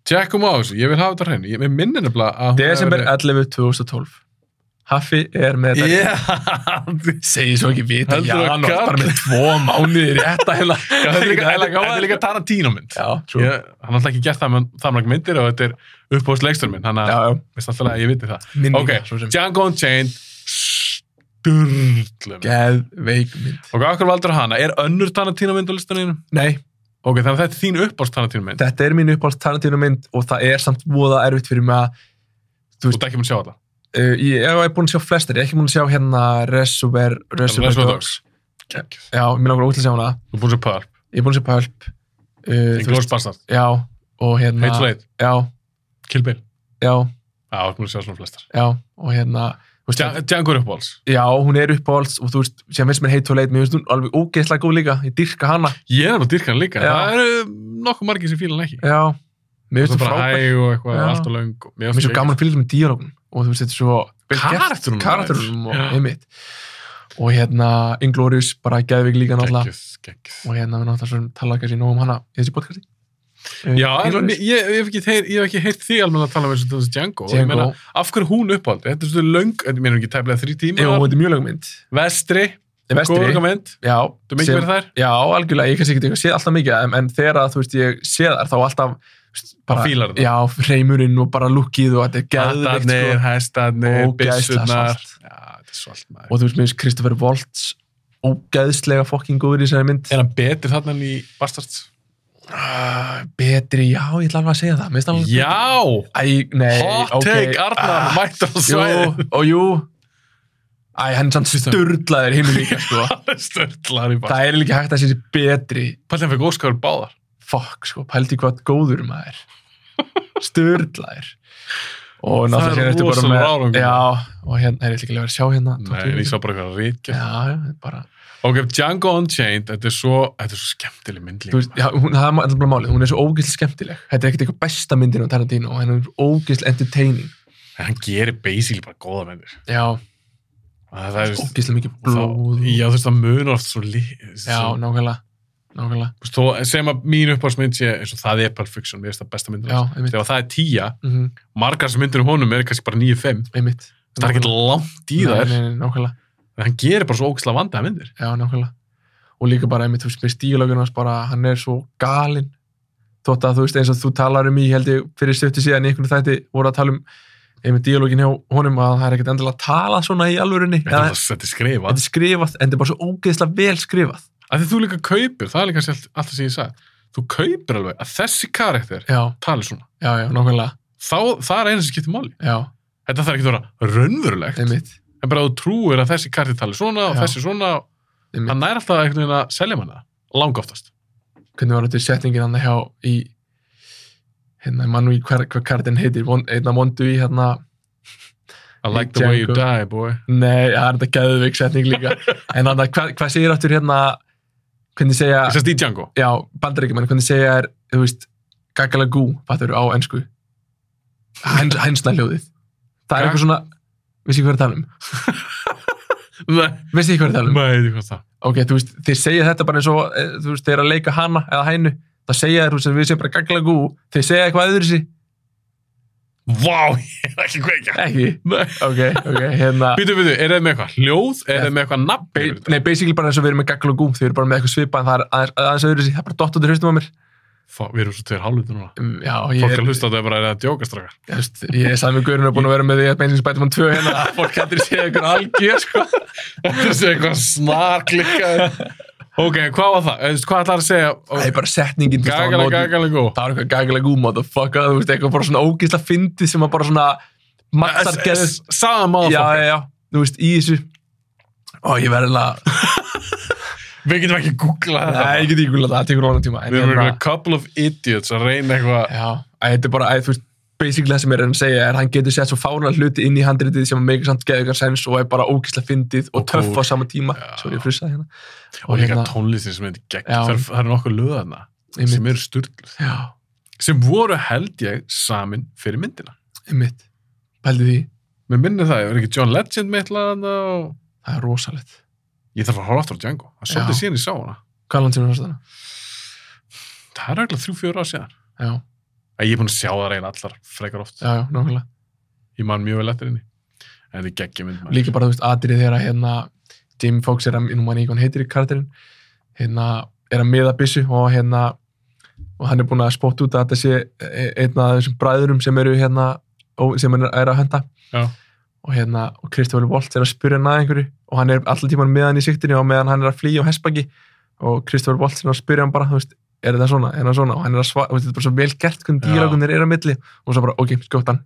Speaker 1: tjekkum á þessu, ég vil hafa þetta á hreinu. Ég mér minnir nefnilega að hún
Speaker 2: Desember 11, 2012 Haffi er með þetta
Speaker 1: Yeah.
Speaker 2: segi svo ekki vita,
Speaker 1: Heldur
Speaker 2: já,
Speaker 1: þú að
Speaker 2: hann
Speaker 1: kall-
Speaker 2: var bara með tvo mánuði rétt að heila
Speaker 1: þetta er líka, þetta er- þetta er líka Tarantino mynd.
Speaker 2: já, trú, já,
Speaker 1: Ég, hann hafði ekki gert það með það mjög myndir og þetta er uppbóðsleikstur minn, þannig að
Speaker 2: já,
Speaker 1: mér stætti alveg að ég viti það.
Speaker 2: minninga
Speaker 1: Ok,
Speaker 2: svo sem
Speaker 1: Django Unchained, styrlum.
Speaker 2: geðveik mynd
Speaker 1: Ok, okkur valdur hana, er önnur Tarantino mynd á listaninu?
Speaker 2: nei,
Speaker 1: Ok, þannig að þetta er þín uppbóðs Tarantino mynd.
Speaker 2: þetta er mín uppáhalds Tarantino mynd og það er samt voða erfitt fyrir mig að
Speaker 1: Þú ert ekki mun að sjá alla.
Speaker 2: uh, ég, ég er búin að sjá flestir, ég er ekki búin að sjá hérna Reservoir, Reservoir
Speaker 1: Reservoir
Speaker 2: Dogs
Speaker 1: Dogs. Þú
Speaker 2: já, mér langar út að sjá hana
Speaker 1: er búin að sjá Pearl,
Speaker 2: ég er búin að sjá Pulp uh, þú
Speaker 1: Inglourious
Speaker 2: veist,
Speaker 1: Bastard,
Speaker 2: já, og hérna
Speaker 1: Hateful Eight,
Speaker 2: já,
Speaker 1: Kill Bill.
Speaker 2: já,
Speaker 1: Já, þú ert búin að sjá svona flestar.
Speaker 2: já, og hérna þú veist,
Speaker 1: Dja- Django er uppbóðs.
Speaker 2: Já, hún er uppáhalds og þú veist, sem finnst mér heit og leit, mér finnst hún alveg ógeðslega góð líka, ég dyrka hana.
Speaker 1: Ég er alveg dyrkan líka,
Speaker 2: Já.
Speaker 1: það eru nokkuð margir sem fíla hann ekki.
Speaker 2: Já,
Speaker 1: Það
Speaker 2: mér finnst
Speaker 1: er
Speaker 2: hún
Speaker 1: bara
Speaker 2: frábær.
Speaker 1: hæg og eitthvað,
Speaker 2: Já.
Speaker 1: allt og löng. og- Mér
Speaker 2: Mér finnst svo gaman að fylgja með díalógun og þú veist, þetta er svo...
Speaker 1: Karakterunum.
Speaker 2: Karakterunum og
Speaker 1: Já.
Speaker 2: einmitt. Og hérna, Inglourious, bara geðvig líka náttúrulega.
Speaker 1: Gekkið, gekkið.
Speaker 2: Og hérna, við náttúrulega svona tala kannski nóg um hana í þessi podcasti. Eh,
Speaker 1: Já, en
Speaker 2: Inglourious.
Speaker 1: ég, ég, hef ekki, heyr, ég hef ekki heyrt því alveg að tala um eins og þessi Django. Django.
Speaker 2: Django.
Speaker 1: Meina, af hverju er hún uppáld? Þetta er svolítið löng, þetta meina ekki tæmlega þrý tíma.
Speaker 2: Jú, þetta er mjög lögum mynd.
Speaker 1: Vestri,
Speaker 2: Ég vestri.
Speaker 1: góða mynd.
Speaker 2: Já,
Speaker 1: Þú mikið
Speaker 2: sem-
Speaker 1: verið þær?
Speaker 2: Já, algjörlega, ég kannski ekki séð alltaf mikið en, en þegar að, þú veist, ég séð þar þá alltaf þú veist, bara,
Speaker 1: fílar það.
Speaker 2: já, hreimurinn og bara lukkið og þetta er geðvikt
Speaker 1: Hattarnir,
Speaker 2: sko.
Speaker 1: hæstarnir,
Speaker 2: Ógeðslega
Speaker 1: byssurnar.
Speaker 2: svalt.
Speaker 1: Já, þetta er svalt maður.
Speaker 2: og þú veist, mér finnst Kristoffer Waltz ógeðslega fokking góður í þessari mynd
Speaker 1: Er hann betur þarna en í Bastards?
Speaker 2: Ah, betri, já, ég ætla alveg að segja það mér finnst hann alveg
Speaker 1: Já!
Speaker 2: Æ, nei,
Speaker 1: Hot
Speaker 2: ok. Ah,
Speaker 1: take, Arnar, mættur á
Speaker 2: Jú,
Speaker 1: svæðið.
Speaker 2: og jú Æ, hann er sann sturlaður hinn líka, sko
Speaker 1: Störtlar í Bastards.
Speaker 2: Það er líka hægt að sé sér betri
Speaker 1: Pallið hann fekk óskar báðar.
Speaker 2: fokk, sko, pældi hvað góður maður sturlaður og
Speaker 1: Það
Speaker 2: náttúrulega
Speaker 1: er
Speaker 2: hérna ertu bara
Speaker 1: rosalegur
Speaker 2: með
Speaker 1: árangur.
Speaker 2: já, og hérna, nei, ég ætla ekki að vera að sjá hérna
Speaker 1: Nei, ég sá bara eitthvað ríkja.
Speaker 2: já, já, bara,
Speaker 1: Ok, Django Unchained, þetta er svo, þetta er svo skemmtileg mynd
Speaker 2: þú
Speaker 1: líka.
Speaker 2: veist, já, hún, það er ma- alltaf bara málið, hún er svo ógeðslega skemmtileg þetta er ekkert eitthvað besta myndin á Tarantino en hún er svo ógeðslega entertaining
Speaker 1: En hann gerir basically bara góða myndir.
Speaker 2: já,
Speaker 1: Það það er,
Speaker 2: ógeðslega mikið blóð
Speaker 1: það, já þú veist, það munur oft svo lí...
Speaker 2: já,
Speaker 1: svo-
Speaker 2: nákvæmlega nákvæmlega,
Speaker 1: þú veist, þó- Sem að mín uppáhaldsmynd sé, eins og það er Pulp Fiction, mér finnst það besta myndir.
Speaker 2: já, einmitt
Speaker 1: Þegar það er tíja,
Speaker 2: mm -hmm,
Speaker 1: margar sem myndir um honum er kannski bara 9-5.
Speaker 2: einmitt
Speaker 1: Það er ekkert langt í þær,
Speaker 2: nei, nei, nei, nákvæmlega,
Speaker 1: en hann gerir bara svo ógislega vandaða myndir.
Speaker 2: já, nákvæmlega og líka bara, einmitt, þú veist, með stílögun hans bara, hann er svo galinn þótt að þú veist, eins og þú talar um í, held ég fyrir stöfti síðan í einhvern þætti voru að tala um einmitt díalógin hjá honum að það er ekkert endilega að tala svona í alvörunni
Speaker 1: Þetta
Speaker 2: eða
Speaker 1: er þetta er skrifað.
Speaker 2: þetta er skrifað, en þetta er bara svo ógeðslega vel skrifað
Speaker 1: Af því þú líka kaupir, það er líka allt allt það sem ég sagði. Þú kaupir alveg að þessi karakter
Speaker 2: já,
Speaker 1: tali svona.
Speaker 2: já, já, nákvæmlega
Speaker 1: Þá, það er eina sem skiptir máli.
Speaker 2: já,
Speaker 1: Þetta þarf ekki að vera raunverulegt.
Speaker 2: einmitt,
Speaker 1: en bara að þú trúir að þessi karti tali svona og
Speaker 2: Já.
Speaker 1: þessi svona,
Speaker 2: einmitt.
Speaker 1: hann nær alltaf einhvern veginn að selja manna það, langa oftast
Speaker 2: hvernig var þetta í settingin hann hjá í hérna, ég man nú í hver, hver kartin heitir von, einna mondu í hérna
Speaker 1: I
Speaker 2: Í
Speaker 1: like the way you
Speaker 2: Django.
Speaker 1: die boy
Speaker 2: nei, það er þetta geðveik setning líka en hann, hvað hva segir áttur hérna hvernig segja,
Speaker 1: þess að í Django
Speaker 2: já, bandaríkjumenn hvernig segja er, þú veist, gagalagú fattur á ennsku hænsna hljóðið það er
Speaker 1: Gag-
Speaker 2: eitthvað svona, veist ég hvað er að tala um
Speaker 1: nei,
Speaker 2: veist ég hvað er að tala um
Speaker 1: nei, ég veit hvað það
Speaker 2: ok, þú veist, þeir segja þetta bara eins og eh, þú veist, þeir eru að leika hana eða hænu það segja þeir, þú veist, við segjum bara gagla gú þeir segja eitthvað öðru sér,
Speaker 1: vá, ég er ekki kveikja
Speaker 2: ekki
Speaker 1: Nei.
Speaker 2: ok, ok, hérna
Speaker 1: býtu, býtu, er það með eitthvað hljóð er það með eitthvað
Speaker 2: Ba-
Speaker 1: nafn
Speaker 2: Nei, basically bara eins og við erum með gagla gú þeir eru bara með eitthvað svipa en það er aðeins, aðeins öðru sér það er bara dott út í haustum á mér
Speaker 1: Fá, við erum svo tveir hálfluti núna
Speaker 2: Um, já,
Speaker 1: fólk
Speaker 2: ég
Speaker 1: er
Speaker 2: er,
Speaker 1: að hlusta á þetta bara er að djóka strakkar
Speaker 2: þú veist, ég er sami gaurin og búin að vera með því að beinsins bætum hann tvö hérna að fólk hættir séð eitthvað algjör sko
Speaker 1: þetta sé eitthvað snarklikka Ok, hvað var það? Þú veist, hvað ætlar að segja?
Speaker 2: það er bara setningin þú veist, það var
Speaker 1: Gagalega, gagalega
Speaker 2: notuð-
Speaker 1: góð.
Speaker 2: það var eitthvað gagalega um motherfucker þú veist, eitthvað bara svona ógisla fyndið sem að bara svona mattar gerð
Speaker 1: Saðan
Speaker 2: já,
Speaker 1: maður.
Speaker 2: já, já, þú veist, í þessu og ég verði alveg
Speaker 1: Við getum ekki googlað þetta.
Speaker 2: nei, ég get ekki gulað það, það tekur langan tíma en
Speaker 1: Við erum
Speaker 2: hérna-
Speaker 1: bara a couple of idiots að reyna eitthvað.
Speaker 2: já, æ, þetta er bara, æ, þú veist basically það sem ég er að reyna að segja er að hann getur sett svo fána hluti inn í handritið sem að make samt geðugar sens og er bara ógisla fyndið og,
Speaker 1: Og
Speaker 2: töff
Speaker 1: cool.
Speaker 2: á sama tíma
Speaker 1: Já.
Speaker 2: svo ég frissaði hérna
Speaker 1: Og líka
Speaker 2: hérna,
Speaker 1: tónlistin sem heitir gegn.
Speaker 2: Já.
Speaker 1: Það er- það eru nokkuð löðarna
Speaker 2: einmitt,
Speaker 1: sem eru sturgluð.
Speaker 2: já,
Speaker 1: Sem voru held ég samin fyrir myndina.
Speaker 2: einmitt pældi því,
Speaker 1: Mér minnir það, ég verið ekki John Legend með eitthvað þarna og...
Speaker 2: það er rosalegt
Speaker 1: Ég þarf að horfa aftur á Django. Það er svolítið
Speaker 2: Já.
Speaker 1: síðan ég sá hana.
Speaker 2: hvað er langt sem er þarna?
Speaker 1: Það er eiginlega þrjú, fjóra ár síðan.
Speaker 2: já,
Speaker 1: Æ, Ég er búin að sjá það reyna allar frekar oft.
Speaker 2: já, já, nákvæmlega
Speaker 1: Ég man mjög vel eftir henni. En þetta er geggjum mynd. maður.
Speaker 2: líka bara, þú veist, atrið þegar að hérna, Jim Fox er að, nú manni ekki hvað hann heitir í karakterinn, hérna, er að miða byssu og hérna, og hann er búinn að spótt út að þetta sé e- einn af þessum bræðurum sem eru hérna, ó- sem hann er að henda.
Speaker 1: Já.
Speaker 2: Og hérna, og Kristoffer Waltz er að spyrja hann að einhverju og hann er alltaf tíman með hann í siktinu og meðan hann er að flýja á hessbaki og Kristoffer Waltz er að spyrja hann bara, þú veist, er þetta svona, er það svona og hann er að svara, þú veist, þetta er bara svo vel gert hvernig
Speaker 1: Já.
Speaker 2: dílagunir eru á milli og svo bara, ok, skjótt hann,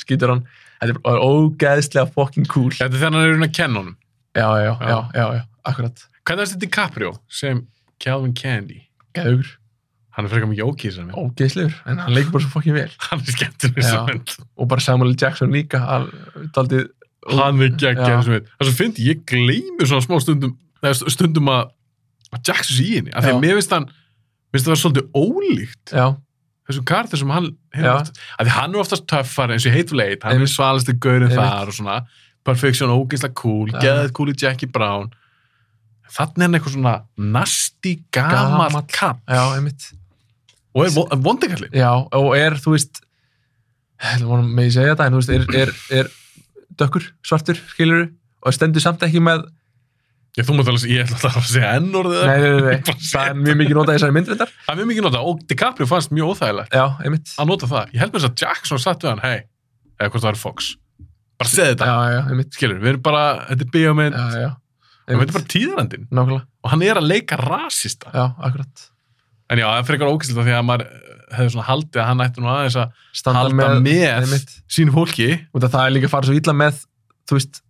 Speaker 2: skýtur hann, þetta er bara ógeðslega fucking cool.
Speaker 1: Þetta er þegar hann er raunin að kenna honum.
Speaker 2: Já, já,
Speaker 1: Já.
Speaker 2: já, já, já, akkurat.
Speaker 1: Hvernig er þetta DiCaprio sem Calvin Candy?
Speaker 2: Gæður,
Speaker 1: Hann er frekar mikið ókýr sem ég.
Speaker 2: ógeðslegur, en hann leikur bara svo fokkin vel.
Speaker 1: Hann er skemmtileg sem
Speaker 2: Já.
Speaker 1: mynd.
Speaker 2: Og bara Samuel L. Jackson líka, hann daldið,
Speaker 1: Hann er geggjað
Speaker 2: Já.
Speaker 1: sem mynd. Það sem finnst ég gleymur svona smá stundum, eða stundum að, að Jackson sé í henni. Af því
Speaker 2: Já.
Speaker 1: að mér finnst hann, mér finnst það var svolítið ólíkt
Speaker 2: já,
Speaker 1: þessum kartur sem hann hefur
Speaker 2: Já.
Speaker 1: oft. Af því hann er oftast töffari eins og Hateful Eight, hann er
Speaker 2: Einmitt.
Speaker 1: svalasti gaurinn
Speaker 2: Einmitt.
Speaker 1: þar og svona. Perfection, ógeðslega cool,
Speaker 2: Já.
Speaker 1: geðið cool í Jackie Brown. Þannig er hann eitthvað svona nasti gamall
Speaker 2: Gamall.
Speaker 1: kall.
Speaker 2: já, einmitt.
Speaker 1: Og er vo- vondikallinn.
Speaker 2: Já, og er, þú veist, það vorum með ég segja þetta, en þú veist, er, er, er dökkur, svartur, skilur og stendur samt ekki með,
Speaker 1: Ég, þú mátt alveg, ég ætla alltaf að segja N-orðið.
Speaker 2: nei, nei, nei, nei,
Speaker 1: Bara
Speaker 2: það er mjög mikið notað í þessari myndrindar.
Speaker 1: Það er mjög mikið notað og DiCaprio fannst mjög óþægilegt
Speaker 2: Já, einmitt. Já,
Speaker 1: að nota það. Ég held mér þess að Jackson satt við hann, hei, eða hvort það er Fox. Bara segð þetta.
Speaker 2: já, einmitt.
Speaker 1: Skilur, við erum bara, þetta er bíómynd,
Speaker 2: Já,
Speaker 1: og
Speaker 2: já,
Speaker 1: þetta er
Speaker 2: einmitt.
Speaker 1: bara tíðarandinn.
Speaker 2: Nákvæmlega,
Speaker 1: Og hann er að leika rasista.
Speaker 2: já, akkurat.
Speaker 1: En já, það er frekar ógæslega því að maður hefði svona haldið að hann ætti nú aðeins að
Speaker 2: Standa
Speaker 1: halda
Speaker 2: með,
Speaker 1: með,
Speaker 2: einmitt.
Speaker 1: sínu fólki.
Speaker 2: út af það er líka að fara svo illa með þú veist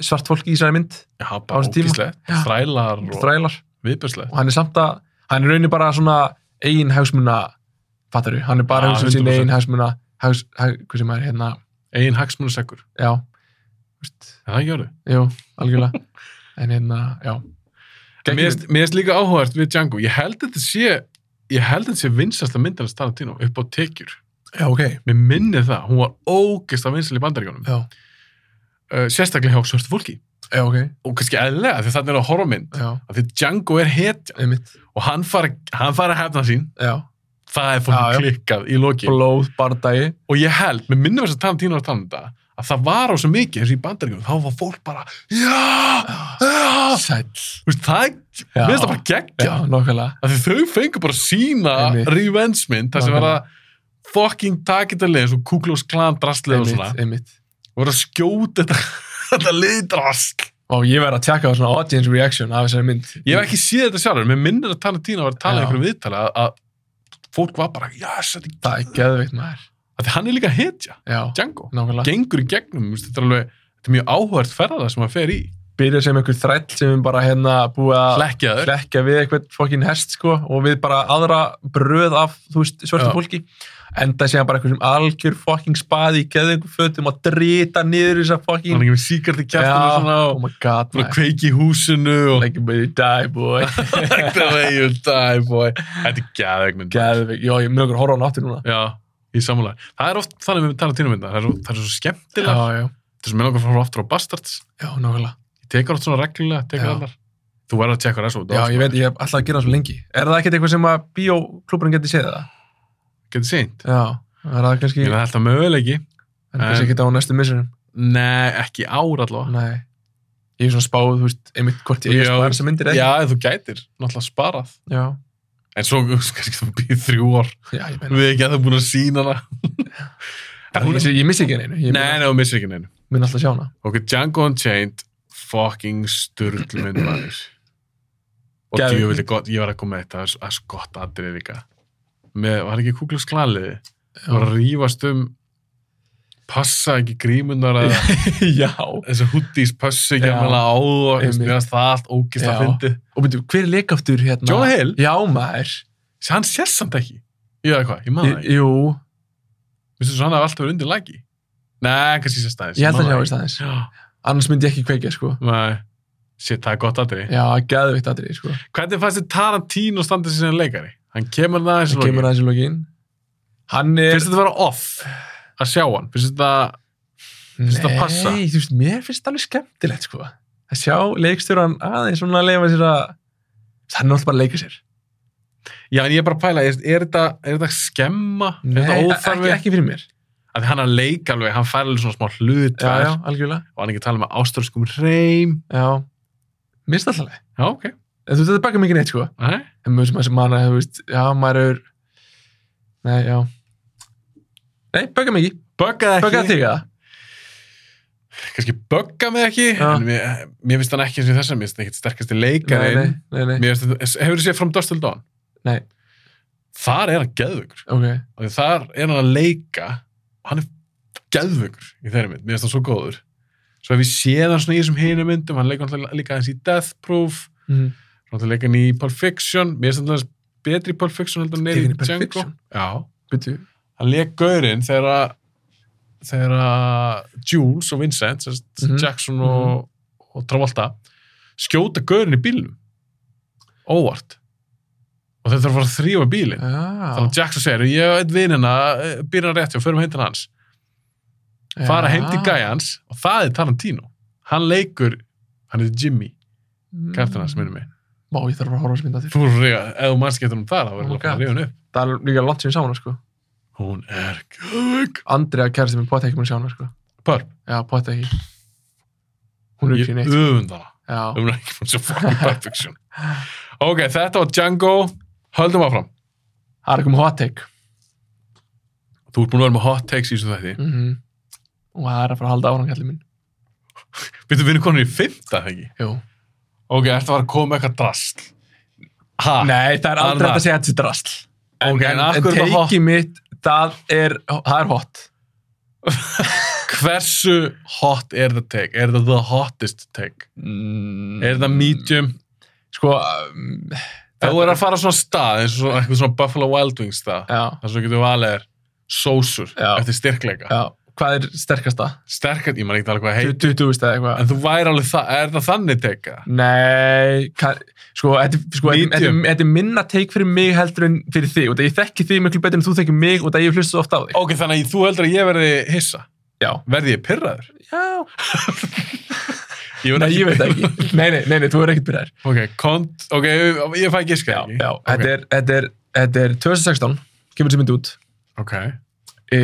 Speaker 2: svart fólk í þessari mynd,
Speaker 1: Já,
Speaker 2: Á
Speaker 1: bara
Speaker 2: þessum tíma.
Speaker 1: ógæslega.
Speaker 2: Já.
Speaker 1: Þrælar og
Speaker 2: þrælar
Speaker 1: viðbjörnslega.
Speaker 2: og hann er samt að, hann er raunin bara svona eigin hagsmuna, fattar við hann er bara
Speaker 1: Já,
Speaker 2: að hugsa um sín
Speaker 1: 100%.
Speaker 2: eigin hagsmuna hags, hag, hvað sem er hérna,
Speaker 1: Egin hagsmunaseggur.
Speaker 2: já þú veist,
Speaker 1: Það gjör þau.
Speaker 2: jú, algjörlega en hérna, já
Speaker 1: En Mér finnst- mér finnst líka áhugavert við Django. Ég held að þetta sé, ég held að þetta sé vinsast að myndina Tarantino upp á tekjur.
Speaker 2: já, ok,
Speaker 1: Mér minni það, hún var ógist að vinsal í bandaríkjónum.
Speaker 2: já,
Speaker 1: Uh, sérstaklega hjá svörstu fólki.
Speaker 2: já, ok
Speaker 1: Og kannski eðlega, því þannig er að horfa á mynd.
Speaker 2: já,
Speaker 1: Af Því Django er hetja
Speaker 2: einmitt,
Speaker 1: og hann fara, hann fara að hefna sín.
Speaker 2: já,
Speaker 1: Það er
Speaker 2: Já, já.
Speaker 1: fólk klikkað í loki.
Speaker 2: blóð, bardagi
Speaker 1: Og ég held, mér minnum þess að Tarantino var að tala um þetta, að það var á svo mikið eins og í bandaríkjónum. Þá var fólk bara, já, já.
Speaker 2: sæll,
Speaker 1: Þú veist, það,
Speaker 2: já,
Speaker 1: mér Ah! finnst það bara
Speaker 2: já,
Speaker 1: geggja.
Speaker 2: nokkulega
Speaker 1: að þau fengur bara sína
Speaker 2: Einmitt.
Speaker 1: revenge mynd þar sem verða fucking takitalega eins og Kuklós klan drastlið og svona
Speaker 2: einmitt, einmitt
Speaker 1: og verða að skjóta þetta, þetta lið drast
Speaker 2: og ég verð að tjekka á svona audience reaction af þessari mynd
Speaker 1: ég hef ekki séð þetta sjálfur, mér minnir að Tarantino var að tala í
Speaker 2: Já.
Speaker 1: einhverju viðtali að, að fólk var bara, jæs, þetta er
Speaker 2: það er geðveikt maður
Speaker 1: að því hann er líka hetja,
Speaker 2: já,
Speaker 1: Django
Speaker 2: nákvæmlega
Speaker 1: gengur í gegnum, þú veist, þetta er alveg þetta er mjög áhugart ferðaða sem hann fer í
Speaker 2: byrja sem einhver þræll sem er bara hérna búið að
Speaker 1: hlekkjaður,
Speaker 2: hlekja við eitthvað fokkin hest sko og við bara aðra bröð af þú veist svörtu
Speaker 1: Já.
Speaker 2: fólki enda sé hann bara einhver sem algjör fokkin spaði í geðingu fötum að drita niður þessa
Speaker 1: hann er
Speaker 2: fokkin
Speaker 1: ekki með síkart í
Speaker 2: Já.
Speaker 1: kjartinu svona
Speaker 2: oh
Speaker 1: og
Speaker 2: my god
Speaker 1: svona kveiki í húsinu og
Speaker 2: like me die boy
Speaker 1: the way you die boy þetta er geðveikmynd
Speaker 2: geðveik, já ég mjög okkur horfa á náttu núna
Speaker 1: Já, í samúlega. Það er oft þannig með Tarantino mynda. Það er, það er svo skemmtilega.
Speaker 2: já, já,
Speaker 1: Þess að mér langar að fara aftur á Bastards.
Speaker 2: já, nákvæmlega
Speaker 1: Ég tekur oft svona reglulega, tekur
Speaker 2: Já.
Speaker 1: allar. Þú verður að tjekka þessu.
Speaker 2: já, ég veit, ég hef alltaf að gera það svo lengi er það ekkert eitthvað sem að bíóklúburinn geti séð það?
Speaker 1: Getið seint.
Speaker 2: já, er það kannski,
Speaker 1: Ég er alltaf möguleiki.
Speaker 2: en kannski
Speaker 1: en-
Speaker 2: ekkert á næstu missurum
Speaker 1: Nei, ekki ár allavega.
Speaker 2: Nei. Ég er svona spáð, þú veist, einmitt hvort ég er
Speaker 1: Sko. Já,
Speaker 2: spáð þessar myndir eða
Speaker 1: Já, ef þú gætir. Náttúrulega sparað.
Speaker 2: ekki. Já.
Speaker 1: En svo kannski þú býð þrjú ár.
Speaker 2: Já, ég meina.
Speaker 1: Við ekki að það búin að sína hana. En hún
Speaker 2: Ég, ég missi ekki neinu. Ég
Speaker 1: Nei, nei, þú missir ekki neinu.
Speaker 2: Minn alltaf sjá hana.
Speaker 1: Ok, Django Unchained, fucking sturglmynd maður. og
Speaker 2: Geðveikt.
Speaker 1: djöfull er gott, ég var að koma með þetta það er svo gott aðrið líka með, var ekki kúklus klaliði og að rífast um passa ekki grímunar að
Speaker 2: já.
Speaker 1: þessi hoodies passa ekki
Speaker 2: Já.
Speaker 1: alveg á og
Speaker 2: Einmitt.
Speaker 1: spilast það allt ógist að
Speaker 2: Já.
Speaker 1: fyndi
Speaker 2: Og byrju, hver er leikaftur hérna?
Speaker 1: Jonah Hill?
Speaker 2: Já, maður.
Speaker 1: sem hann sér samt ekki ég veit hvað, ég maður það
Speaker 2: Í-
Speaker 1: ekki
Speaker 2: Jú,
Speaker 1: Vistu, svo hann hafði alltaf verið undir lagi nei, kannski sér staðis
Speaker 2: ég held að sjá þess aðeins. Annars myndi ég ekki kveikja, sko.
Speaker 1: nei, shit, það er gott aðrið
Speaker 2: Já, geðvikt aðrið, sko.
Speaker 1: Hvernig fannst þið Tarantino standa sig sem leikari? Hann kemur það eins
Speaker 2: Það
Speaker 1: og
Speaker 2: kemur
Speaker 1: lókin.
Speaker 2: aðeins í lokin. Hann er...
Speaker 1: Finnst þetta að vera off að sjá hann? Finnst þetta finnst þetta passa?
Speaker 2: Nei, þú veist, mér finnst þetta alveg skemmtilegt, sko. Að sjá leikstjóran aðeins svona að leifa sér að... Hann er alltaf bara að leika sér.
Speaker 1: Já, en ég er bara að pæla, er, er, þetta, er þetta skemma? er þetta óþarfi?
Speaker 2: ekki, ekki fyrir mér.
Speaker 1: Að því hann er að leika alveg, hann fær alveg svona smá hlut
Speaker 2: Já, já, algjörlega.
Speaker 1: og hann er ekki að tala með ástralskum reym.
Speaker 2: Já. Mér finnst þetta alltaf.
Speaker 1: Já, ok.
Speaker 2: En þú veist, þetta bakar mikið neitt, sko.
Speaker 1: Nei.
Speaker 2: En mjög sem maður sem manna, þú veist, já, maður er... Nei, já. Nei, bakar mikið.
Speaker 1: Böggaði ekki.
Speaker 2: Bakar þig að það.
Speaker 1: Kannski bögga mig ekki,
Speaker 2: Já.
Speaker 1: en mér, mér finnst hann ekki eins og þessan, mér finnst hann ekkit sterkasti
Speaker 2: Nei,
Speaker 1: leikarinn.
Speaker 2: nei, nei, nei.
Speaker 1: Mér finnst þetta, hefur þú séð From Dust Till Dawn?
Speaker 2: Nei.
Speaker 1: Þar er hann geðvöggur.
Speaker 2: Ok.
Speaker 1: og því þar er hann að leika og hann er geðvöggur í þeirri mynd, mér finnst hann svo góður svo ef ég séð hann svona í þessum hinu myndum hann leika hann líka aðeins í Death Proof
Speaker 2: Mm.
Speaker 1: hann leika hann í Pulp Fiction mér finnst hann aðeins betri í Pulp Fiction heldur en hann er
Speaker 2: Leika
Speaker 1: í
Speaker 2: hann
Speaker 1: Django
Speaker 2: í Pulp Fiction?
Speaker 1: Já,
Speaker 2: Byttu.
Speaker 1: hann leik gaurinn þegar að þegar að Jules og Vincent sem sagt,
Speaker 2: Mhm.
Speaker 1: Jackson og, og Travolta skjóta gaurinn í bílnum óvart og þeir þurfa að fara að þrýfa bílinn
Speaker 2: Já.
Speaker 1: Þannig að Jackson segir, ég og einn vinnina býr hann rétt hjá, förum heim til hans fara heim til gæjans og það er Tarantino hann leikur, hann heitir Jimmy kærtan hans, minnum mig
Speaker 2: Má, Mhm. ég þarf að fara að horfa á þessu mynd að því.
Speaker 1: þú voru reyða, ef þú mannskiptur um það þá verður
Speaker 2: Oh my
Speaker 1: hann að
Speaker 2: God.
Speaker 1: reyða hann upp
Speaker 2: Það er líka langt sem ég sá hana, sko.
Speaker 1: hún er gök
Speaker 2: Andrea kærasti minn potta ekki mér að sjá hana, sko.
Speaker 1: Pörp,
Speaker 2: Já, potta ekki. Hún er
Speaker 1: ég
Speaker 2: ekki neitt.
Speaker 1: öfund hana
Speaker 2: Já.
Speaker 1: um hann ekki fann svo fucking perfection ok, þetta var Django höldum áfram,
Speaker 2: Það er komið hot take.
Speaker 1: þú ert búin að vera með hot takes í þessu þætti,
Speaker 2: Mhm. Og það er að fara að halda áfram, kallið minn.
Speaker 1: byrjuðu vinnu konur í fymta þegar ekki,
Speaker 2: Jú.
Speaker 1: ok, ertu að fara að koma með eitthvað drasl ha,
Speaker 2: Nei, það er
Speaker 1: Það er
Speaker 2: aldrei
Speaker 1: það.
Speaker 2: hægt að segja þetta sé drasl. En,
Speaker 1: Ok, en
Speaker 2: en,
Speaker 1: af
Speaker 2: en
Speaker 1: hverju er það hot?
Speaker 2: teikið mitt, það er, það er hot.
Speaker 1: hversu hot er þetta take, er þetta the hottest take Er það medium?
Speaker 2: Sko, um,
Speaker 1: Ef þú er að fara á svona stað, eins og svona, eitthvað svona Buffalo Wild Wings stað,
Speaker 2: já,
Speaker 1: þar sem þú getur valið er sósur
Speaker 2: Já.
Speaker 1: eftir styrkleika.
Speaker 2: já. Hvað er sterkasta?
Speaker 1: Sterkast, ég man ekki alveg hvað heit,
Speaker 2: 20 veist eða eitthvað.
Speaker 1: en þú væri alveg það, er það þannig teka?
Speaker 2: Nei, ka, sko, þetta sko, þetta-
Speaker 1: Medium.
Speaker 2: þetta- þetta er minna teik fyrir mig heldur en fyrir þig og það ég þekki þig miklu betur en þú þekki mig og það ég hlusta svo oft á þig.
Speaker 1: Ok, þannig að þú heldur að ég verði hissa.
Speaker 2: Já.
Speaker 1: Verði ég pyrraður?
Speaker 2: Já.
Speaker 1: Ég verð
Speaker 2: Nei, ég veit það ekki. Nei, nei, nei, nei, þú er ekkert byrjar.
Speaker 1: Ok, kont, ok, ég fæ giska
Speaker 2: Já,
Speaker 1: ekki.
Speaker 2: já. Þetta
Speaker 1: ok.
Speaker 2: er, þetta er, þetta er 2016, kemur þessi mynd út.
Speaker 1: Ok,
Speaker 2: E,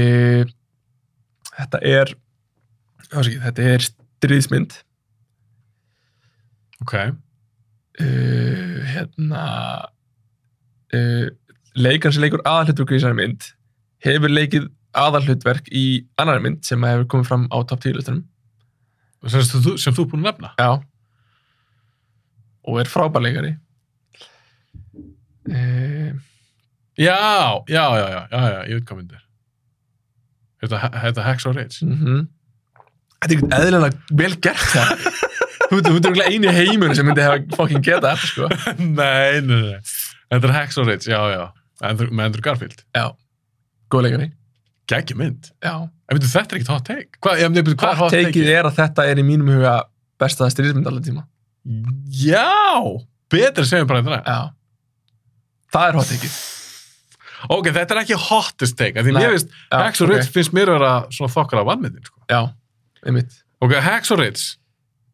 Speaker 2: þetta er, það sé ekki, þetta er stríðsmynd.
Speaker 1: ok,
Speaker 2: uh, hérna uh, leikar sem leikur aðalhlutverk í þessari mynd hefur leikið aðalhlutverk í annari mynd sem hefur komið fram á top 10 listunum
Speaker 1: sem, sem, þú- sem þú er búin að nefna.
Speaker 2: já og er frábær leikari uh,
Speaker 1: Já, já, já, já, já, já, ég veit hvað myndir. Er þetta- er þetta Hex og Rage?
Speaker 2: mm þetta er eitthvað eðlilega vel gert það Þú veit, þú veit, einu í heimunum sem myndi hefa fucking geta þetta, sko.
Speaker 1: nei, nei, nei. Þetta er Hex og Rich, já, já. Andrew, með Andrew Garfield.
Speaker 2: Góð leikari.
Speaker 1: Gægja mynd.
Speaker 2: Já.
Speaker 1: En veitu, þetta er ekkert hot take. Hva, ég, byrju, hvað er
Speaker 2: Hot
Speaker 1: hot take?
Speaker 2: takeið er að þetta er í mínum huga besta stríðismynd allir tíma.
Speaker 1: Já, betur segjum bara hérna. þetta.
Speaker 2: Já. Það er hot takeið.
Speaker 1: Ok, þetta er ekki hottest take. af Því
Speaker 2: Nei.
Speaker 1: mér finnst,
Speaker 2: Já,
Speaker 1: Hex og
Speaker 2: ok.
Speaker 1: Rich finnst mér að vera svona þokkar af vannmyndin. Sko.
Speaker 2: Já, einmitt.
Speaker 1: Ok, Hex og Rich,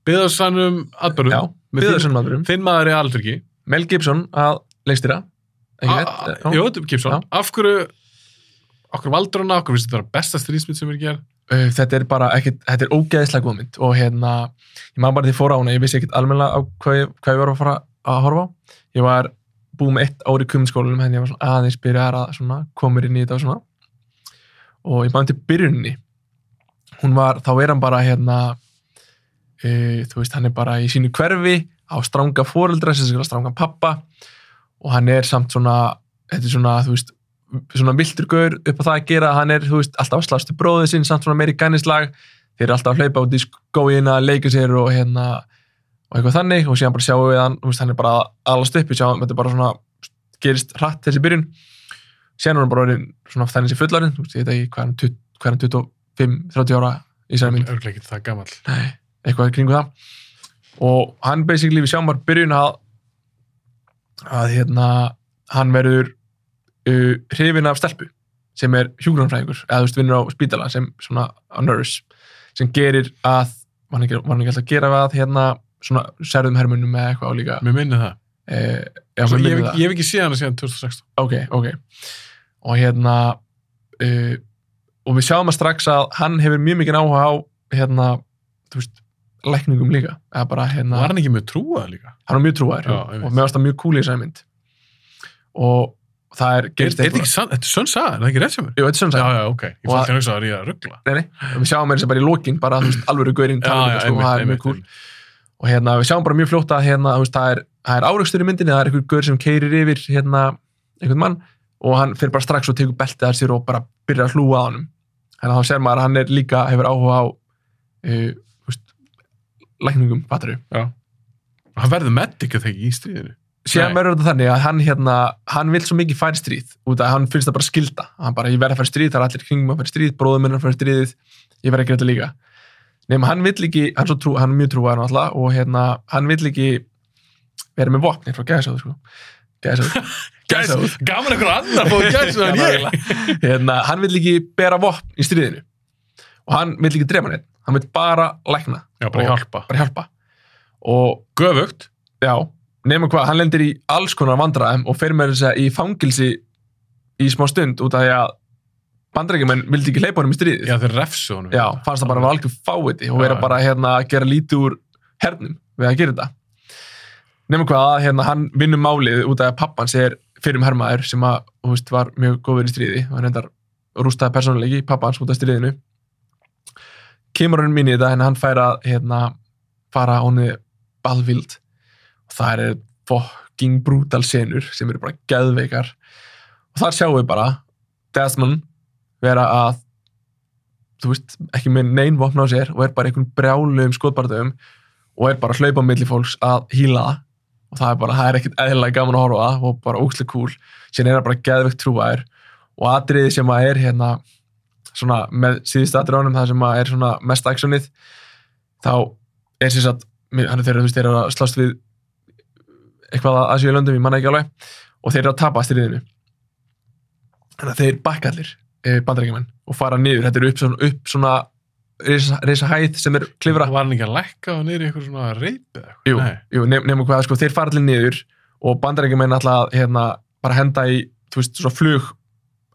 Speaker 1: byggðu sannum
Speaker 2: Já,
Speaker 1: atbyrðum. Með
Speaker 2: byggður
Speaker 1: þín-
Speaker 2: sem maðurum.
Speaker 1: Þinn maður er aldrei
Speaker 2: Mel Gibson að leikstýra. Ekki
Speaker 1: Ah,
Speaker 2: rétt?
Speaker 1: ekki. Jó, Gibson,
Speaker 2: Já.
Speaker 1: af hverju, okkur valdur hann, okkur finnst þetta vera besta strísmynd sem er gerð.
Speaker 2: Uh, Þetta er bara ekkit, þetta er ógeðislega góð mynd og hérna, ég maður bara því fór á hana, ég vissi ekkit almennilega á hvað ég, hvað ég var að fara að horfa á. Ég var búið með eitt ár í kumskólanum, henni ég var svona aðeins byrjar að svona, komur inn í þetta og svona. Og ég maður til byrjunni, E, hún var, þá er hann bara hérna, uh, þú veist, hann er bara í sínu hverfi, á stranga foreldra sem skilja stranga pappa og hann er samt svona þetta er svona, þú veist, svona viltur gaur upp á það að gera, hann er, þú veist, alltaf slastu bróðið sinn, samt svona meiri gænislag þeir eru alltaf að hlaupa út í skóina leika sér og hérna og eitthvað þannig og síðan bara sjáum við hann, þú veist, hann er bara allast uppi, sjáum, þetta er bara svona gerist hratt þessi byrjun síðan er hann bara orðin svona þannig sem fullarinn þú veist, ég veit ekki hvað hann, tut- hvað hann 25, 30 ára í sér mynd
Speaker 1: Örglega ekki það gammal.
Speaker 2: Nei, eitthvað kringu það og hann basically við sjáum bara byrjun að að hérna hann verður uh, hrifin af stelpu sem er hjúgrunfræðingur eða þú veist vinnur á spítala sem svona a nurse sem gerir að var hann ekki, var hann ekki alltaf að gera að hérna svona særðum hermunum eða eitthvað álíka
Speaker 1: Mér minni það.
Speaker 2: eh, já,
Speaker 1: Svo, ég,
Speaker 2: mér minnir
Speaker 1: hef
Speaker 2: það.
Speaker 1: ekki- ég hef ekki séð hana síðan 2016.
Speaker 2: ok, ok og hérna uh, og við sjáum að strax að hann hefur mjög mikið áhuga á hérna, þú veist, lækningum líka eða bara hérna,
Speaker 1: Var hann ekki með trúað líka?
Speaker 2: hann er mjög trúar
Speaker 1: Já,
Speaker 2: og
Speaker 1: einmitt.
Speaker 2: mér varst það mjög cool í þessari mynd og það er
Speaker 1: Er, er
Speaker 2: gerist
Speaker 1: þetta ekki sann, þetta er sönn saga, er það ekki rétt sem er?
Speaker 2: Jú, þetta er svona
Speaker 1: Já,
Speaker 2: sagt.
Speaker 1: já, ok. Ég
Speaker 2: Og
Speaker 1: fannst
Speaker 2: að-
Speaker 1: þér að það er í að ruggla.
Speaker 2: Nei, nei. við sjáum mér þess að bara í lokin bara, þú veist, alvöru gaurinn
Speaker 1: Já,
Speaker 2: tala um
Speaker 1: já,
Speaker 2: þetta, sko, og
Speaker 1: einmitt,
Speaker 2: það er
Speaker 1: einmitt.
Speaker 2: mjög cool
Speaker 1: einmitt.
Speaker 2: og hérna, við sjáum bara mjög fljótt að hérna, þú veist, það er, það er áreikstur í myndinni, það er einhver gaur sem keirir yfir hérna, einhvern mann og hann fyrir bara strax og tekur beltið að sér og bara byrjar að hlúa að honum þannig að þá sér maður að hann er líka, hefur áhuga á uh, þú veist, lækningum, batteri
Speaker 1: Hann verður medic að þekki í stríðinu.
Speaker 2: síðan
Speaker 1: Nei.
Speaker 2: verður þetta þannig að hann hérna, hann vil svo mikið færi stríð út af að hann finnst það bara skilda hann bara, ég verð að færi stríð, það er allir kringum að færi stríð bróðum minn er að færi stríðið, ég verð að gera þetta líka nema hann vill ekki, hann, er svo trú, hann er mjög trúar náttúrulega og hérna, hann vill ekki vera með vopni frá gæðsáð sko. gæðsáð
Speaker 1: Gæs, gaman einhver annar fóðu gæs en ég.
Speaker 2: hérna, hann vill ekki bera vopn í stríðinu og hann vill ekki drefa neitt, hann vill bara lækna,
Speaker 1: Já, bara hjálpa.
Speaker 2: bara hjálpa og
Speaker 1: Göfugt.
Speaker 2: já, nema hvað, hann lendir í alls konar vandræðum og fer með þess að segja í fangilsi í smá stund út af því að bandrækjumenn vildi ekki hleypa honum í stríðið.
Speaker 1: Já, þeir refsu honum.
Speaker 2: Já, fannst það bara að vera algjör fáviti og vera
Speaker 1: Já.
Speaker 2: bara hérna að gera lítið úr hernum við að gera þetta. Nefnum hvað að hérna, hann vinnur málið út af að pappans er fyrrum hermaður sem að, þú veist, var mjög góður í stríði og hann reyndar rústaði persónulegi pappans út af stríðinu. Kemur hann mín í þetta en hann fær að hérna, fara honni Balvild og það er fucking brutal senur sem eru bara geðveikar og þar sjáum við bara Desmond vera að þú veist, ekki með neinn vopna á sér og er bara einhvern brjáluðum um skotbardöfum og er bara að hlaupa á milli fólks að hýla það og það er bara, það er ekkert eðlilega gaman að horfa á það og bara ókslega cool síðan er það bara geðvegt trúaðir og atriði sem að er hérna svona með síðustu atriðanum það sem að er svona mest actionið þá er sem sagt mér- hann er þeirra, þú veist, þeir eru að slást við eitthvað að Asíu löndum, ég manna ekki alveg og þeir eru að tapa styrðinu þannig að þeir bakkallir bandarækjumenn og fara niður, þetta er upp svona, upp svona risa, risa hæð sem er klifra
Speaker 1: Var hann ekki að lækka og niður í eitthvað svona reypið?
Speaker 2: Jú,
Speaker 1: Nei.
Speaker 2: jú nef nefnum hvað, sko, þeir fara allir niður og bandarækjumenn alltaf hérna, bara henda í, þú veist, svona flug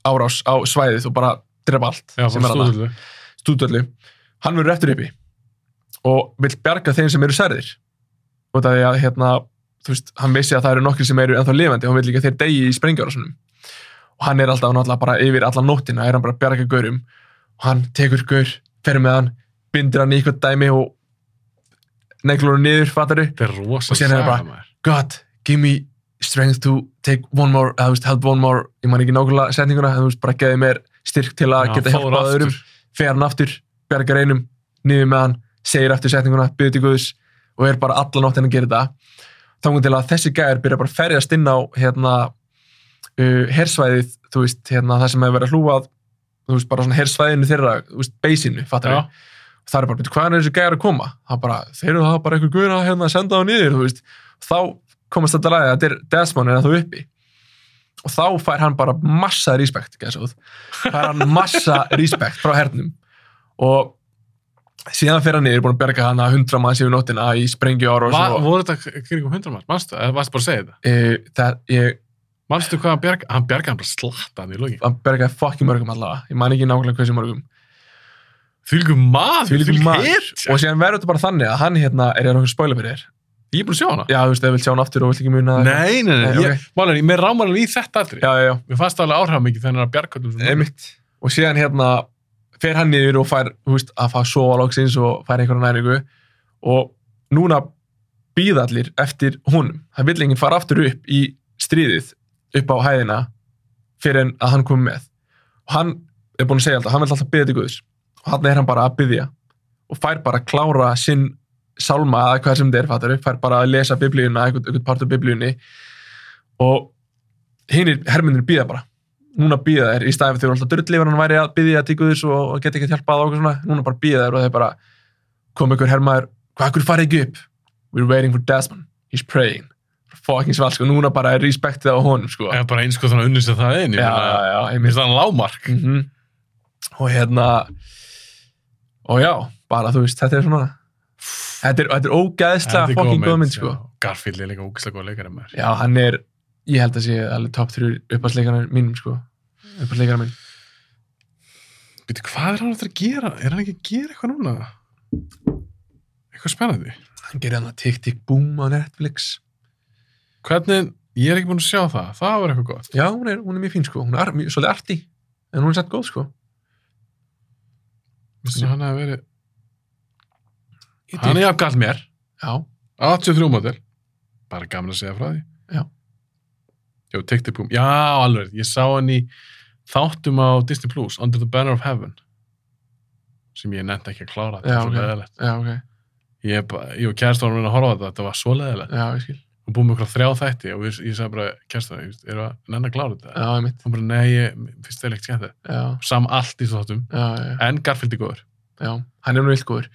Speaker 2: árás á svæðið og bara drepa allt
Speaker 1: Já,
Speaker 2: sem
Speaker 1: bara
Speaker 2: er þarna.
Speaker 1: stóðullu.
Speaker 2: stúdöllu hann verður eftir uppi og vill bjarga þeim sem eru særðir og það er að hérna þú veist, hann vissi að það eru nokkri sem eru ennþá lifandi og hann vill líka þeir degi í sprengjárásunum og hann er alltaf náttúrulega bara yfir allan nóttina er hann bara að bjarga gaurum og hann tekur gaur, fer með hann bindur hann í eitthvað dæmi og neglur hann niður, fattaru
Speaker 1: Þetta er rosa
Speaker 2: Og síðan er það bara-
Speaker 1: maður.
Speaker 2: God, give me strength to take one more, eða þú veist, help one more ég man ekki nákvæmlega setninguna, en þú veist, bara geði mér styrk til að
Speaker 1: Já,
Speaker 2: geta
Speaker 1: fór
Speaker 2: hjálpað
Speaker 1: aftur.
Speaker 2: öðrum fer hann aftur, bergar einum niður með hann, segir aftur setninguna byrðu til Guðs og er bara alla nóttina að gera þetta þangum til að þessi gæjar byrja bara að ferjast inn á hérna uh, hersvæðið, þú veist, hérna það sem hefur verið að hlúa að, þú veist, bara svona hersvæðinu þeirra, þú veist, beisinu, fattar
Speaker 1: Já,
Speaker 2: við það er bara, betur, hvaðan er þessi gæjar að koma? Það er bara, þeir eru það bara einhver guður að hérna, senda þá niður, þú veist þá komast þetta ræðið að þetta er Desmond er það uppi og þá fær hann bara massa respekt gæsóð. fær hann massa respekt frá hernum og síðan fyrir hann niður, búin að berga hann að hundra manns yfir nóttina í sprengju ára og
Speaker 1: Var,
Speaker 2: svo
Speaker 1: voru þetta k- kringum hundra mann, manstu, eða varstu bara að segja þetta?
Speaker 2: e, það, ég,
Speaker 1: Manstu hvað hann bjarga, hann bjarga hann bara slatta hann í loki.
Speaker 2: hann bergaði fokki mörgum allavega, ég man ekki nákvæmlega hversu mörgum
Speaker 1: Þvílgu maður,
Speaker 2: Þvílíkur
Speaker 1: þvílík
Speaker 2: maður.
Speaker 1: hetja.
Speaker 2: og síðan verður þetta bara þannig að hann hérna, er ég að nokkuð spoiler fyrir þér
Speaker 1: Ég er búin að sjá hana.
Speaker 2: já, þú veist, ef við sjá hann aftur og vilt ekki muna
Speaker 1: Nei, nei, nei,
Speaker 2: Nei,
Speaker 1: ég, málari, mér rámar alveg í þetta aldrei.
Speaker 2: já, já, já,
Speaker 1: Mér fannst það alveg áhrifam mikið þannig að bjarga hann sem
Speaker 2: einmitt og síðan hérna fer hann niður og fær þú veist, að fá sofa loksins og fær einhverja næringu og núna býða allir eftir honum. Það vill enginn fara aftur upp í stríðið upp á hæðina fyrir en að hann kom með. Og hann er búin að segja alltaf, hann vil alltaf byggja til Guðs. Og hann er hann bara að byggja og fær bara að klára sinn sálma eða hvað sem þetta er fattari, fær bara að lesa biblíuna, einhvern, einhvern part af biblíunni og hinnir hermyndir býða bara. Núna býða þeir í staðið þegar alltaf drullifan hann væri að byggja til Guðs og, og geta ekki að hjálpa að okkur svona. Núna bara býða þeir og þeir bara kom einhver hermaður, hvað akkur farið ekki upp? We're waiting for Desmond, he's praying. Fucking svall, sko, núna bara er respektið á honum, sko.
Speaker 1: Eða bara eins og þannig að unnist að það er inn.
Speaker 2: já, já, já, ég
Speaker 1: Mér finnst það lámark.
Speaker 2: mm og hérna og já, bara þú veist, þetta er svona þetta er, þetta er ógæðslega fokkin góð mynd sko.
Speaker 1: já. Garfield er líka ógislega góð leikari maður.
Speaker 2: já, hann er, ég held að sé alveg top 3 uppáðsleikarar mínum sko. uppáðsleikarar mín
Speaker 1: Býtu, hvað er hann aftur að gera? Er hann ekki að gera eitthvað núna? Eitthvað spennandi.
Speaker 2: hann gerir hann að tiktik boom á Netflix
Speaker 1: Hvernig, ég er ekki búin að sjá það. Það var eitthvað gott.
Speaker 2: já, hún er, hún er mjög fín sko, hún er ar- mjög- svolítið arti en hún er satt góð sko
Speaker 1: Vistu, hann hefði verið... Hann er jafnkall mér.
Speaker 2: já,
Speaker 1: 83 mótil. Bara gaman að segja frá því.
Speaker 2: Já.
Speaker 1: Jó, TikTok-búm. Já, alveg. Ég sá hann í þáttum á Disney Plus, Under the Banner of Heaven. Sem ég nefndi ekki að klára. Þetta
Speaker 2: Já,
Speaker 1: var svo
Speaker 2: ok.
Speaker 1: leðilegt.
Speaker 2: já, ok,
Speaker 1: Ég, bara- ég og kæristónum minna að horfa á þetta. Þetta var svo leðilegt.
Speaker 2: já, ég skil
Speaker 1: og búið með okkur þrjá þætti og við, ég sagði bara, kjærstan, eru að nenn að klára þetta?
Speaker 2: já, ég mitt,
Speaker 1: Hún bara, nei, ég finnst það leikt skemmt þetta.
Speaker 2: já,
Speaker 1: Sam allt í þáttum,
Speaker 2: já, já, já.
Speaker 1: en Garfield er góður.
Speaker 2: Já, hann er nú illgóður.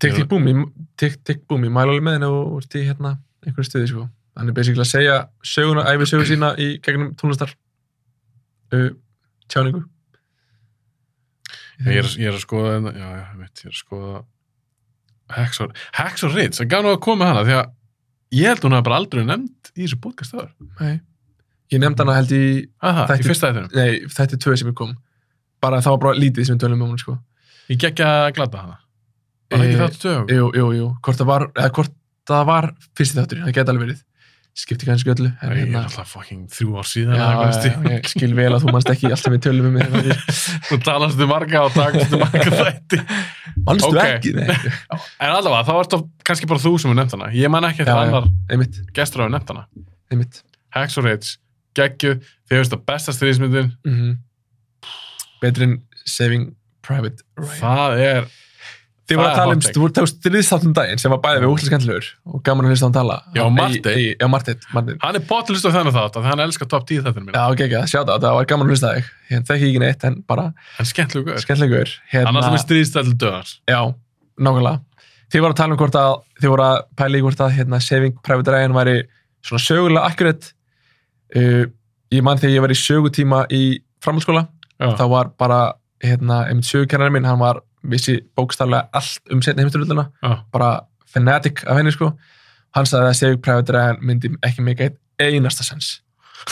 Speaker 2: Tick, tick, boom, ég- tick, tick, boom, ég mæla alveg með henni og úrst í hérna einhverju stuði, sko. Hann er basically að segja söguna, æfi sögu sína í gegnum tónlistar uh, tjáningu. Mhm.
Speaker 1: Ég er, ég er að skoða, hérna- já, já, ég veit, ég er að skoða Hexor, Hexor Ritz, það gaf nú að koma með hana, því að ég held hún hafa bara aldrei nefnd í þessu podcast þar.
Speaker 2: Nei. Ég nefndi hana held í,
Speaker 1: Aha,
Speaker 2: Þætti-
Speaker 1: í fyrsta þættinum.
Speaker 2: nei, þetta er tvö sem ég kom. Bara það var bara lítið sem við tölum um hún, sko.
Speaker 1: Ég gekk að glata hana. Var það ekki
Speaker 2: Eh,
Speaker 1: þáttu tögum?
Speaker 2: Jú, jú, jú, hvort það var, eða hvort það var fyrsti þátturinn, það geti alveg verið. Skipti kannski öllu. en
Speaker 1: Ég er
Speaker 2: hérna-
Speaker 1: alltaf fucking þrjú ár síðan. eða
Speaker 2: Já,
Speaker 1: eitthvað
Speaker 2: já,
Speaker 1: stíl.
Speaker 2: ég skil vel að þú manst ekki alltaf við tölum um þetta.
Speaker 1: Þú talast um marga og takast um marga þætti.
Speaker 2: Manstu
Speaker 1: Ok.
Speaker 2: ekki? Nei,
Speaker 1: En allavega, þá er þetta kannski bara þú sem er nefnt hana. Ég man ekki
Speaker 2: Já,
Speaker 1: eftir
Speaker 2: já.
Speaker 1: annar
Speaker 2: einmitt,
Speaker 1: gestur hafa nefnt hana.
Speaker 2: einmitt.
Speaker 1: Hex og Rage, geggjuð, þið veist að besta stríðismyndin,
Speaker 2: Mm Betri en Saving Private Ryan.
Speaker 1: það er
Speaker 2: Þið
Speaker 1: það
Speaker 2: voru
Speaker 1: er
Speaker 2: að tala um,
Speaker 1: hot take.
Speaker 2: þú voru að tala um stríðstáttum daginn sem var bæðið við útlæst skemmtilegur og gaman að hlusta á hann tala.
Speaker 1: Já,
Speaker 2: Ei-
Speaker 1: Marteinn.
Speaker 2: ei- Já, Marteinn, Marteinn.
Speaker 1: hann er bóttlust á þennan þátt, að hann elskar top 10 þetta mín,
Speaker 2: Já, ok, ekki, sjá það, það var gaman að hlusta á þig. Ég þekki ekki neitt, en bara
Speaker 1: hann er skemmtlugur
Speaker 2: skemmtilegur. Hérna-
Speaker 1: hann er alltaf með stríðstæll döðar
Speaker 2: Já, nákvæmlega. Þið voru að tala um hvort að, þið voru að pæla í hvort að hérna, Saving Private Ryan væri svona sögulega akkurat. Uh, ég man þegar ég var í sögutíma í framhaldsskóla, þá
Speaker 1: já,
Speaker 2: var bara, hérna, einmitt sögukennarinn minn, hann var vissi bókstaflega allt um setni heimsturvölduna,
Speaker 1: já,
Speaker 2: bara fanatic af henni, sko. Hann sagði að Saving Private Ryan myndi ekki meika einn einasta sens.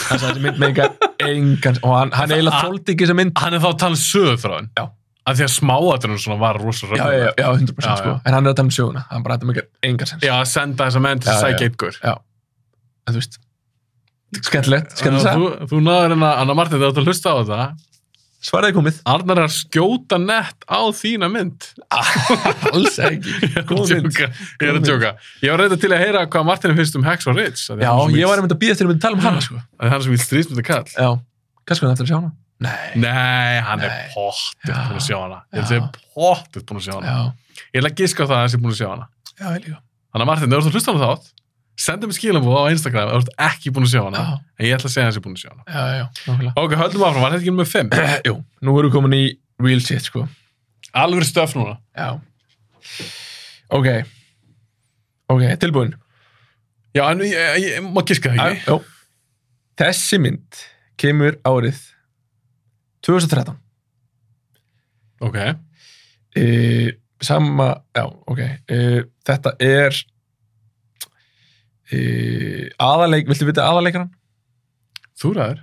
Speaker 2: Hann sagði að þessi mynd meika engan, og hann, hann eiginlega þóldi ekki þessa mynd.
Speaker 1: hann er þá að tala um sögur frá hann
Speaker 2: Já.
Speaker 1: að því að smáatunum svona var rosa
Speaker 2: Já, já, já, já, 100%
Speaker 1: Já,
Speaker 2: sko.
Speaker 1: já.
Speaker 2: En hann er að tala um söguna, hann bara þetta meika engan sens.
Speaker 1: já, að senda þessa menn til
Speaker 2: Já,
Speaker 1: að
Speaker 2: já.
Speaker 1: sækja ykkur
Speaker 2: en þú veist skemmtilegt, skemmtilegt
Speaker 1: Þannig að
Speaker 2: að
Speaker 1: þú, þú náður hennar, Anna Martin, þú átt að hlusta á þetta
Speaker 2: svaraði komið
Speaker 1: Arnar er að skjóta nett á þína mynd
Speaker 2: alls ekki,
Speaker 1: Ég er að
Speaker 2: góð mynd
Speaker 1: djóka, ég er að
Speaker 2: Góð mynd.
Speaker 1: djóka. Ég var reynda til að heyra hvað Martinu finnst um Hex og Ritz. af því
Speaker 2: já,
Speaker 1: hann er svo
Speaker 2: ég
Speaker 1: mikill-
Speaker 2: var einmitt að býða eftir að myndi tala um hana sko.
Speaker 1: af því Hann er sem ég stríðsmynda kall.
Speaker 2: já, kannski hann eftir að sjá hana nei,
Speaker 1: Nei, hann
Speaker 2: Nei.
Speaker 1: er pottitt
Speaker 2: Já.
Speaker 1: búin að sjá hana. Ég held
Speaker 2: Já.
Speaker 1: að ég er pottitt búin að sjá hana.
Speaker 2: já,
Speaker 1: Ég ætla að giska á það að hann sé búin að sjá hana.
Speaker 2: já, ég líka
Speaker 1: Þannig að Martin, ef þú ert að hlusta á hana þátt, sendu mér skilabóð á Instagram ef þú ert ekki búin að sjá hana.
Speaker 2: já,
Speaker 1: En ég ætla að segja að hann sé búin að sjá hana.
Speaker 2: já, já, nákvæmlega
Speaker 1: Ok, höldum áfram, var þetta ekki með 5?
Speaker 2: jú, nú erum við komin í real shit sko
Speaker 1: Alveg stöf núna.
Speaker 2: já ok ok, tilbúin
Speaker 1: Já, en ég, ég, ég má giska það
Speaker 2: Já,
Speaker 1: ekki.
Speaker 2: jú. þessi mynd kemur árið 2013
Speaker 1: Ok,
Speaker 2: uh, sama, já, ok uh, þetta er uh, aðaleik, viltu vita aðaleikaran?
Speaker 1: þú ræður.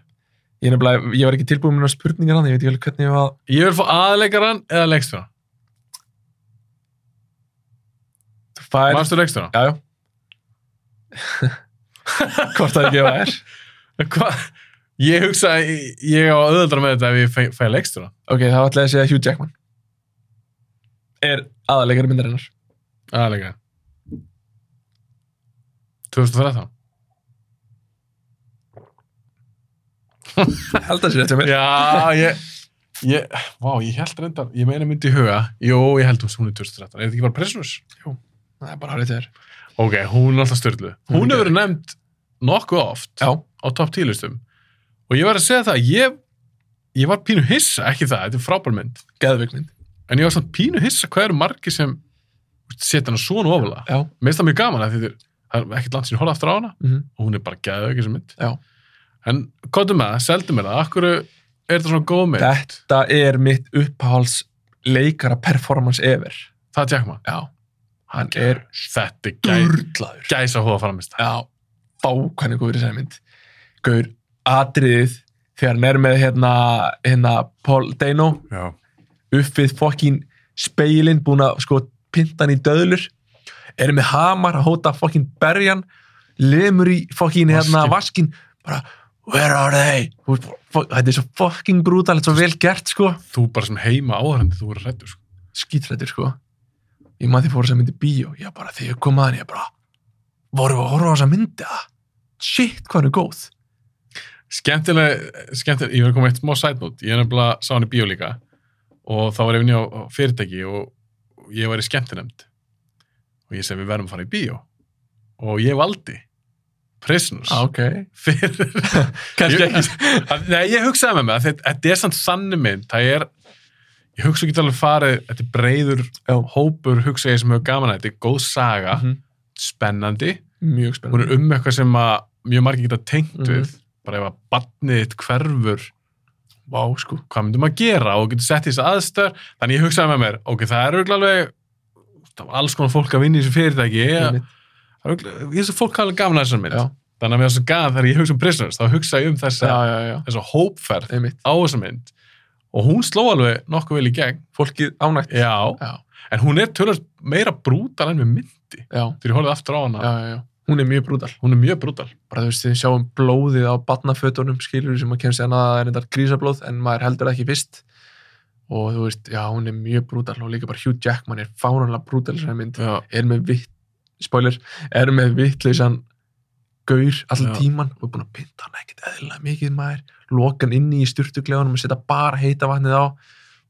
Speaker 2: Ég, er nefnilega, ég var ekki tilbúin með spurningar hann, ég veit ekki alveg hvernig ég var
Speaker 1: Ég vil fá aðleikaran eða leikstjóran.
Speaker 2: þú fær,
Speaker 1: Manstu leikstjóran?
Speaker 2: já, já hvort það ekki var er
Speaker 1: Hva? Ég hugsa að ég- ég á auðvöldra með þetta ef ég fæ, fæ leikstur hann.
Speaker 2: ok, það var alltaf að segja Hugh Jackman er aðaleikari myndarinnar
Speaker 1: Aðalega. 2013
Speaker 2: held að sér eftir mér.
Speaker 1: Já, ég, ég, vá, ég held reyndar, ég meina myndi í huga, jú, ég held hún er 2013, er þetta ekki bara Prisoners?
Speaker 2: Það er bara hálfrið þér.
Speaker 1: Ok, hún er alltaf styrlu.
Speaker 2: Hún
Speaker 1: Hún
Speaker 2: er
Speaker 1: hefur verið nefnd nokkuð oft
Speaker 2: Já.
Speaker 1: á topp 10 listum og ég var að segja það, ég, ég var pínu hissa, ekki það, þetta er frábær mynd,
Speaker 2: Geðveikmynd.
Speaker 1: en ég var svona pínu hissa hvað eru margir sem setja hana svona ofalega.
Speaker 2: Já.
Speaker 1: Mér finnst það mjög gaman að því þetta er- það er ekkert land sem ég horfði aftur á hana
Speaker 2: Mm
Speaker 1: og hún er bara gæðið ekki sem mynd.
Speaker 2: Já.
Speaker 1: En kóttu með það, seldu með það, akkur er þetta svona góð mynd?
Speaker 2: Þetta er mitt uppáhalds leikara performance ever.
Speaker 1: Það er Jackman.
Speaker 2: Já. Hann er
Speaker 1: Þetta er gæ,
Speaker 2: durglaður.
Speaker 1: gæsa hóða framist.
Speaker 2: Já, bákvæmni góður í þessari mynd. Gaur, atriðið þegar hann er með hérna, hérna Paul Dano
Speaker 1: Já.
Speaker 2: upp við fokkin speilin búin að sko pinta hann í döðlur er með hamar að hóta fokkin berjan lemur í fokkin hérna vaskin bara where are they Þú veist, fokk- þetta er svo fokkin brútal þetta er svo vel gert sko
Speaker 1: Þú bara sem heima áhærandi, þú verður hrættur. Sko.
Speaker 2: skítrættir sko ég maður því fór þess að myndi bíó ég bara þegar ég kom að hann ég bara vorum við að horfa á þess að myndi að shit hvað hann er góð
Speaker 1: Skemmtileg, skemmtileg, ég verður að koma með eitt smá side note. Ég er nefnilega sá hann í bíó líka og þá var ég vinni á á fyrirtæki og ég var í skemmtinemnd og ég segi við verðum að fara í bíó og ég valdi Prisoners
Speaker 2: Ah, ok
Speaker 1: fyrir
Speaker 2: kannski
Speaker 1: Ég-
Speaker 2: ekki
Speaker 1: Að- Nei, ég hugsaði með mig að þetta- þetta er samt þannig mynd, það er ég hugsa ekki alveg farið, þetta er breiður
Speaker 2: Já.
Speaker 1: hópur hugsa ég sem hefur gaman að þetta er góð saga,
Speaker 2: Mhm.
Speaker 1: spennandi
Speaker 2: mjög
Speaker 1: hún
Speaker 2: spennandi
Speaker 1: er um eitthvað sem að mjög margir geta tengt
Speaker 2: Mhm.
Speaker 1: við, bara ef að barnið þitt hverfur,
Speaker 2: vá sko
Speaker 1: hvað myndum að gera og getur sett í þess aðstör þannig ég hugsaði með mér, ok, það er örugglega alveg það var alls konar fólk að vinna í þessu fyrirtæki það
Speaker 2: Einmitt.
Speaker 1: er örugglega- ég þessu fólk hafa gaman að þessar mynd
Speaker 2: Já.
Speaker 1: þannig að mér er svo gaman þegar ég hugsa um prisoners þá hugsa ég um þessa,
Speaker 2: já já já
Speaker 1: þessa hópferð
Speaker 2: einmitt
Speaker 1: á þessa mynd og hún sló alveg nokkuð vel í gegn
Speaker 2: fólkið ánægt
Speaker 1: já,
Speaker 2: já
Speaker 1: en hún er tölvöld meira brútal en við myndi
Speaker 2: já
Speaker 1: þegar ég horfði aftur á hana,
Speaker 2: já já, já hún er mjög brútal
Speaker 1: hún er mjög brútal
Speaker 2: bara þú veist þið sjáum blóðið á barnafötunum skilur sem að kemst hérna að það er þetta grísablóð en maður heldur það ekki fyrst og þú veist já hún er mjög brútal og líka bara Hugh Jackman er fáranlega brútal sem mynd
Speaker 1: já,
Speaker 2: er með vitt spoiler, er með vittleysan gaur allan
Speaker 1: Já.
Speaker 2: tíman og er búin að pinta hann ekkert eðlilega mikið maður lokan inni í styrtugleganum og setja bara heita vatnið á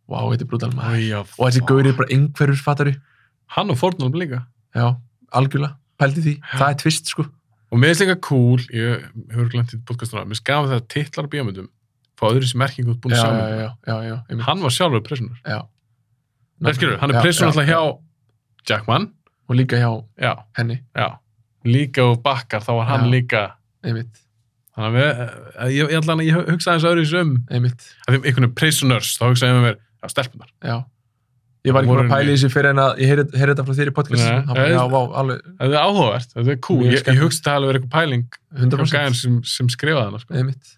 Speaker 2: vá, þetta er brútal maður
Speaker 1: já
Speaker 2: og þessi gaur er bara einhverjur fattari
Speaker 1: hann og Fornalm líka
Speaker 2: já, algjörlega, pældi því
Speaker 1: Já.
Speaker 2: það er tvist sko
Speaker 1: Og mér finnst líka cool, ég hefur glemt í podcastuna, mér finnst gaman þegar titlar á bíómyndum fá öðru sem merkingu út búin að
Speaker 2: já,
Speaker 1: sjá
Speaker 2: já,
Speaker 1: myndum.
Speaker 2: já, já, já, einmitt.
Speaker 1: Hann var sjálfur prisoner.
Speaker 2: já.
Speaker 1: Nei, skilur, hann er
Speaker 2: Já,
Speaker 1: prisoner
Speaker 2: já,
Speaker 1: alltaf
Speaker 2: já.
Speaker 1: hjá Jackman.
Speaker 2: og líka hjá
Speaker 1: Já,
Speaker 2: henni,
Speaker 1: já. Líka og bakkar, þá var hann
Speaker 2: Já.
Speaker 1: líka.
Speaker 2: einmitt,
Speaker 1: Þannig að við, að ég, ég, allan, ég hugsaði eins öðru um,
Speaker 2: einmitt
Speaker 1: að því einhvern veginn prisoners, þá hugsaði ég með mér, já, stelpunar.
Speaker 2: já Ég var ekki bara að pæla í þessu fyrir en að ég heyri, heyri þetta frá þér í podcast.
Speaker 1: Nei.
Speaker 2: Nei, já, vá, alveg
Speaker 1: Það er áhugavert, það er cool.
Speaker 2: Mjög
Speaker 1: Ég, ég
Speaker 2: skemmtilegt.
Speaker 1: hugsaði að það hafi verið eitthvað pæling
Speaker 2: 100%.
Speaker 1: frá gæðan sem, sem skrifaði hana, sko.
Speaker 2: Nei, mitt.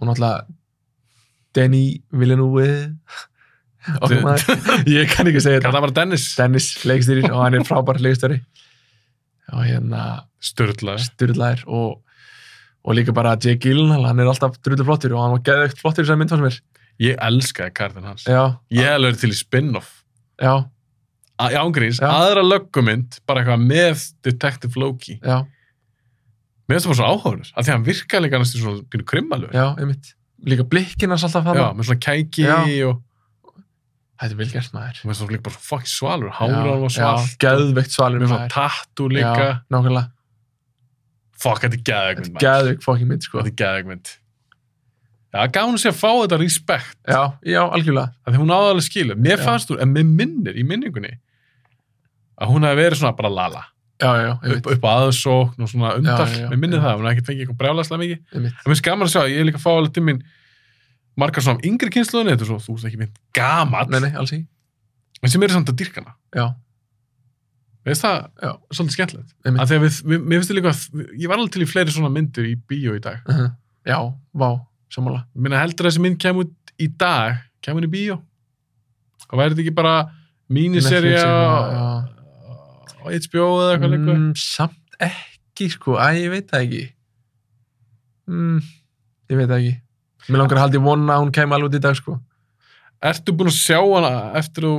Speaker 2: Og náttúrulega Denny Villeneuve
Speaker 1: Þi-
Speaker 2: okkur maður. Ég kann ekki
Speaker 1: Kallar
Speaker 2: segja þetta.
Speaker 1: það bara Dennis?
Speaker 2: Dennis leikstýrir og hann er frábær leikstýri. Og hérna
Speaker 1: Sturlaði.
Speaker 2: styrlaðir og, og líka bara Jake Gyllenhaal, hann er alltaf drullu flottur og hann var geðveikt flottur sem mynd fannst mér.
Speaker 1: Ég elskaði kartin hans.
Speaker 2: Já,
Speaker 1: Ég hef alveg verið til í spin-off.
Speaker 2: já,
Speaker 1: Að- Já, ángríns,
Speaker 2: Já.
Speaker 1: aðra löggumynd bara eitthvað með Detective Loki
Speaker 2: já,
Speaker 1: mér finnst það bara svona áhörður, af því að hann virkaði líka annars til svona pínu krimmalur
Speaker 2: já, einmitt. Líka blikkinn hans alltaf
Speaker 1: já,
Speaker 2: þannig.
Speaker 1: með svona kæki
Speaker 2: Já.
Speaker 1: og
Speaker 2: Þetta er vel gert maður.
Speaker 1: mér finnst það líka bara svona fucking svalur hárið hann var
Speaker 2: Já,
Speaker 1: svalt og-
Speaker 2: geðveikt svalur
Speaker 1: með svona tattu líka
Speaker 2: Já, nákvæmlega.
Speaker 1: fuck, þetta er geðegmynd
Speaker 2: Þetta er geðveikt fokkin mynd, sko.
Speaker 1: þetta er geðegmynd já, gáðum sér að fá þetta respekt
Speaker 2: Já, já, algjörlega.
Speaker 1: af því hún áðalega skilu, mér
Speaker 2: Já.
Speaker 1: fannst hún en mér minnir í minningunni að hún hefði verið svona bara lala
Speaker 2: Já, já, já, einmitt,
Speaker 1: upp, upp á aðsókn og svona undal
Speaker 2: já,
Speaker 1: mér minnir
Speaker 2: já.
Speaker 1: það, hún hefði ekkert fengið eitthvað brjálaslega mikið
Speaker 2: einmitt.
Speaker 1: Það finnst gaman að sjá, ég er líka að fá alveg til mín margar svona af yngri kynsluðinni, þetta er svo, þú veist ekki mynd gamall,
Speaker 2: Nei, nei, alls ekki.
Speaker 1: en sem eru samt að dýrkana.
Speaker 2: Já,
Speaker 1: Veist það,
Speaker 2: Já.
Speaker 1: svolítið skemmtilegt.
Speaker 2: Einmitt.
Speaker 1: Af því að við, við, mér finnst það líka að, ég var alveg til í fleiri svona myndir í bíó í dag.
Speaker 2: uh já, vá, sammála.
Speaker 1: Minna heldur að þessi mynd kemur út í dag, kemur í bíó. Og væri þetta ekki bara míniserja
Speaker 2: Netflix, já, já.
Speaker 1: á HBO eða eitthvað líka?
Speaker 2: Mm, samt ekki, sko, að ég veit það ekki. Mm, ég veit það ekki. Mér langar að haldi vona að hún kemur alveg út í dag, sko.
Speaker 1: Ertu búin að sjá hana eftir þú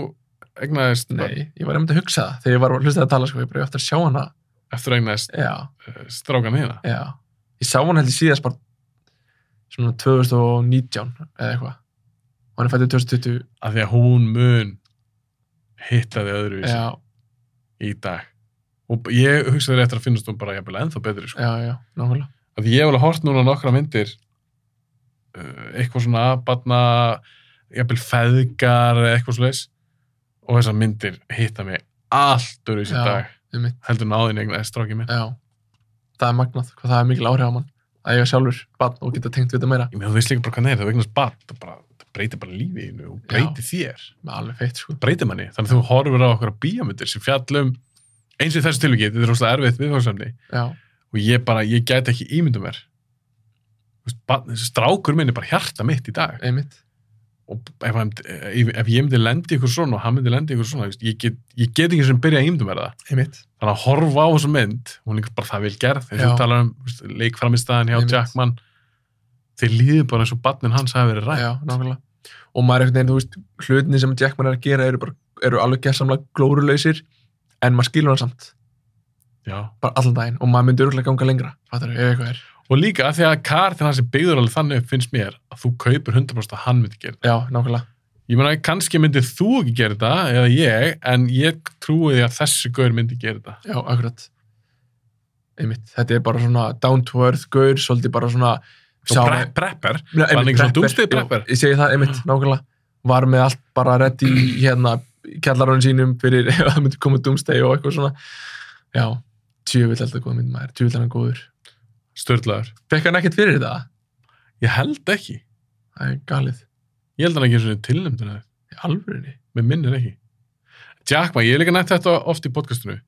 Speaker 1: egnaðist?
Speaker 2: Nei, ég var einmitt að hugsa það þegar ég var að hlusta það að tala, sko. Ég bara, ég á eftir að sjá hana
Speaker 1: eftir að eignast
Speaker 2: já,
Speaker 1: uh, strákan hérna.
Speaker 2: já ég sá hann heldur síðast bara svona 2019 eða eitthvað og hann er fættið 2020
Speaker 1: Af því að hún mun hitta þið öðruvísi
Speaker 2: já,
Speaker 1: í dag. Og b- ég hugsaði réttir að finnast hún bara jafnvel ennþá betri, sko.
Speaker 2: já, já, nákvæmlega
Speaker 1: Af því ég hef alveg hort núna á nokkra myndir, uh, eitthvað svona, barna, jafnvel feðgar eða eitthvað slags, og þessar myndir hitta mig allt öðruvísi
Speaker 2: Já.
Speaker 1: í dag.
Speaker 2: Einmitt.
Speaker 1: Heldur náðin eignaði strákið minn.
Speaker 2: já, það er magnað hvað það er mikil áhrif á mann að eiga sjálfur barn og geta tengt við þetta meira
Speaker 1: Ég meina, þú veist líka bara hvað það er, það eignast barn, það bara, það breytir bara lífið þínu og breytir þér.
Speaker 2: með alveg feitt sko
Speaker 1: breytir manni. Þannig að þú horfir á okkur bíómyndir sem fjallum eins og í þessu tilvikið, þetta er rosalega erfitt viðfáðsefni
Speaker 2: já,
Speaker 1: og ég bara, ég gæti ekki ímyndum mér. Þú veist, barn- þessi Strákur minn er bara hjarta mitt í dag
Speaker 2: einmitt
Speaker 1: og ef, hann- ef, ef ég myndi lendi ykkur svona og hann myndi lendi ykkur svona, þú veist, ég get, ég get ekki sem byrja að ímyndum mér það.
Speaker 2: einmitt,
Speaker 1: Þannig að horfa á þessu mynd, hún er líka bara það vel gerð, þegar
Speaker 2: Já.
Speaker 1: þú talar um þú veist, leikframistæðan hjá
Speaker 2: Einmitt.
Speaker 1: Jackman, þeir líður bara eins og barnin hans hafi verið rætt.
Speaker 2: já, nákvæmlega og maður einhvern veginn, þú veist, hlutinni sem Jackman er að gera eru, bara, eru alveg gerðsamlega glórulausir en maður skilur hann samt
Speaker 1: Já.
Speaker 2: bara allan daginn og maður myndi örgulega ganga lengra fattar ef eitthvað er,
Speaker 1: Og líka að því að kartin hans er byggður alveg þannig upp finnst mér að þú kaupir 100% að hann myndi gera.
Speaker 2: já, nákvæmlega
Speaker 1: Ég meina, kannski myndið þú ekki gera þetta, eða ég, en ég trúi því að þessi gaur myndi gera þetta.
Speaker 2: Já, akkurat einmitt, þetta er bara svona down to earth gaur, svolítið bara svona
Speaker 1: Og pre prepper.
Speaker 2: Nei,
Speaker 1: hann
Speaker 2: einmitt,
Speaker 1: ekki svona
Speaker 2: prepper.
Speaker 1: doomsday prepper? Ah.
Speaker 2: Jú, Ég segi það, einmitt, nákvæmlega var með allt bara ready í, hérna, kjallarunum sínum fyrir ef það myndi koma doomsday og eitthvað svona Já, tjöfull alltaf góð mynd maður, tjöfull hann er góður
Speaker 1: Störlaður.
Speaker 2: Fekk hann ekkert fyrir þetta?
Speaker 1: Ég held ekki.
Speaker 2: Það er galið,
Speaker 1: Ég held hann ekki eins og tilnæmdina þér.
Speaker 2: í alvörinni
Speaker 1: Mér minnir ekki. Jackman, ég hef líka nætt þetta oft í podcastinu.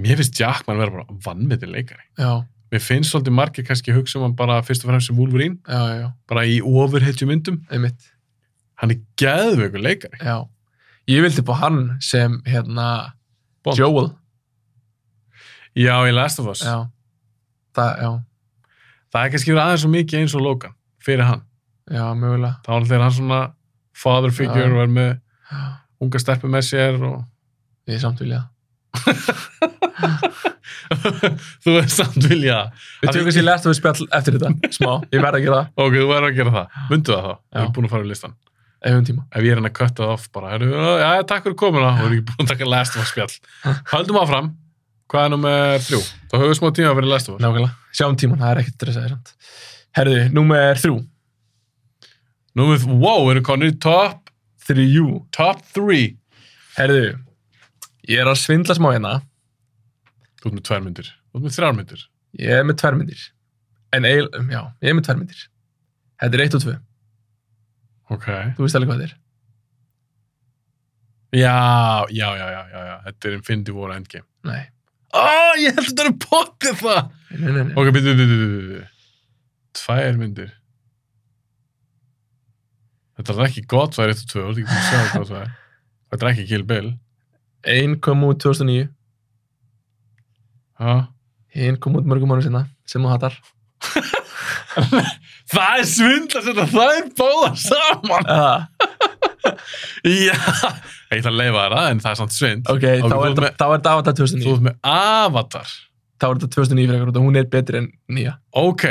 Speaker 1: Mér finnst Jackman vera bara vannmyndin leikari.
Speaker 2: Já,
Speaker 1: Mér finnst svolítið margir kannski að hugsa um hann bara fyrst og fremst sem Wolverine,
Speaker 2: já, já, já,
Speaker 1: bara í ofurhetju myndum.
Speaker 2: einmitt
Speaker 1: Hann er geðveikur leikari.
Speaker 2: Já, ég vildi bá hann sem, hérna,
Speaker 1: Bond.
Speaker 2: Joel
Speaker 1: Já, í Last of Us.
Speaker 2: Já, það, já,
Speaker 1: Það er kannski verið aðeins svo mikið eins og Logan fyrir hann.
Speaker 2: já, mögulega
Speaker 1: þá var þegar hann svona father figure
Speaker 2: Já.
Speaker 1: og er með
Speaker 2: Já
Speaker 1: unga stelpu með sér og
Speaker 2: Ég er samt vilja það.
Speaker 1: þú veist samt vilja það.
Speaker 2: Við tökum sér lest og við spjall eftir þetta, smá. Ég verð að gera það,
Speaker 1: ok, þú verður að gera það, myndu það þá
Speaker 2: Já.
Speaker 1: ég er búin að fara í listan,
Speaker 2: ef við höfum tíma.
Speaker 1: ef ég er hann að kötta það off bara, er, já, takk fyrir komuna og er ekki búin að taka last of us spjall haldum áfram, hvað er nummer þrjú þá höfum við smá tíma að vera í last of us
Speaker 2: Nákvæmlega. Sjáum tíman, það er ekkert stressaði samt. Herðu, númer þrjú.
Speaker 1: nummer, wow, erum konir í top
Speaker 2: Þrjú.
Speaker 1: top three
Speaker 2: Herðu, ég er að svindla smá hérna.
Speaker 1: þú ert með tvær myndir, þú ert með þrjár myndir
Speaker 2: Ég er með tvær myndir. En eil, um, já, ég er með tvær myndir. Þetta er eitt og tvö.
Speaker 1: ok,
Speaker 2: Þú veist alveg hvað þetta er.
Speaker 1: já, já, já, já, já, já. þetta er Infinity War og Endgame
Speaker 2: Nei.
Speaker 1: ó, ég held að þetta er pottið það
Speaker 2: Nei, nei, nei.
Speaker 1: Ok, býttu, býttu, býttu, býttu. Tvær myndir. Þetta er ekki Godfather 1 og 2, þú ert ekki búin að sjá Godfather. Þetta er ekki Kill Bill.
Speaker 2: Einn kom út 2009.
Speaker 1: Ha?
Speaker 2: Hinn kom út mörgum mánu sinna, sem þú hattar.
Speaker 1: Það er svindla sem þetta, það er bóða saman.
Speaker 2: Uh,
Speaker 1: Já, ég ætla að leifa þér það, en það er samt svindl.
Speaker 2: ok,
Speaker 1: Ok,
Speaker 2: þá
Speaker 1: þú
Speaker 2: er
Speaker 1: ert
Speaker 2: þetta-
Speaker 1: með-
Speaker 2: þá er þetta Avatar 2009.
Speaker 1: Þú ert með Avatar.
Speaker 2: Þá er þetta 2009 fyrir eitthvað, hún er betri en nýja.
Speaker 1: Ok,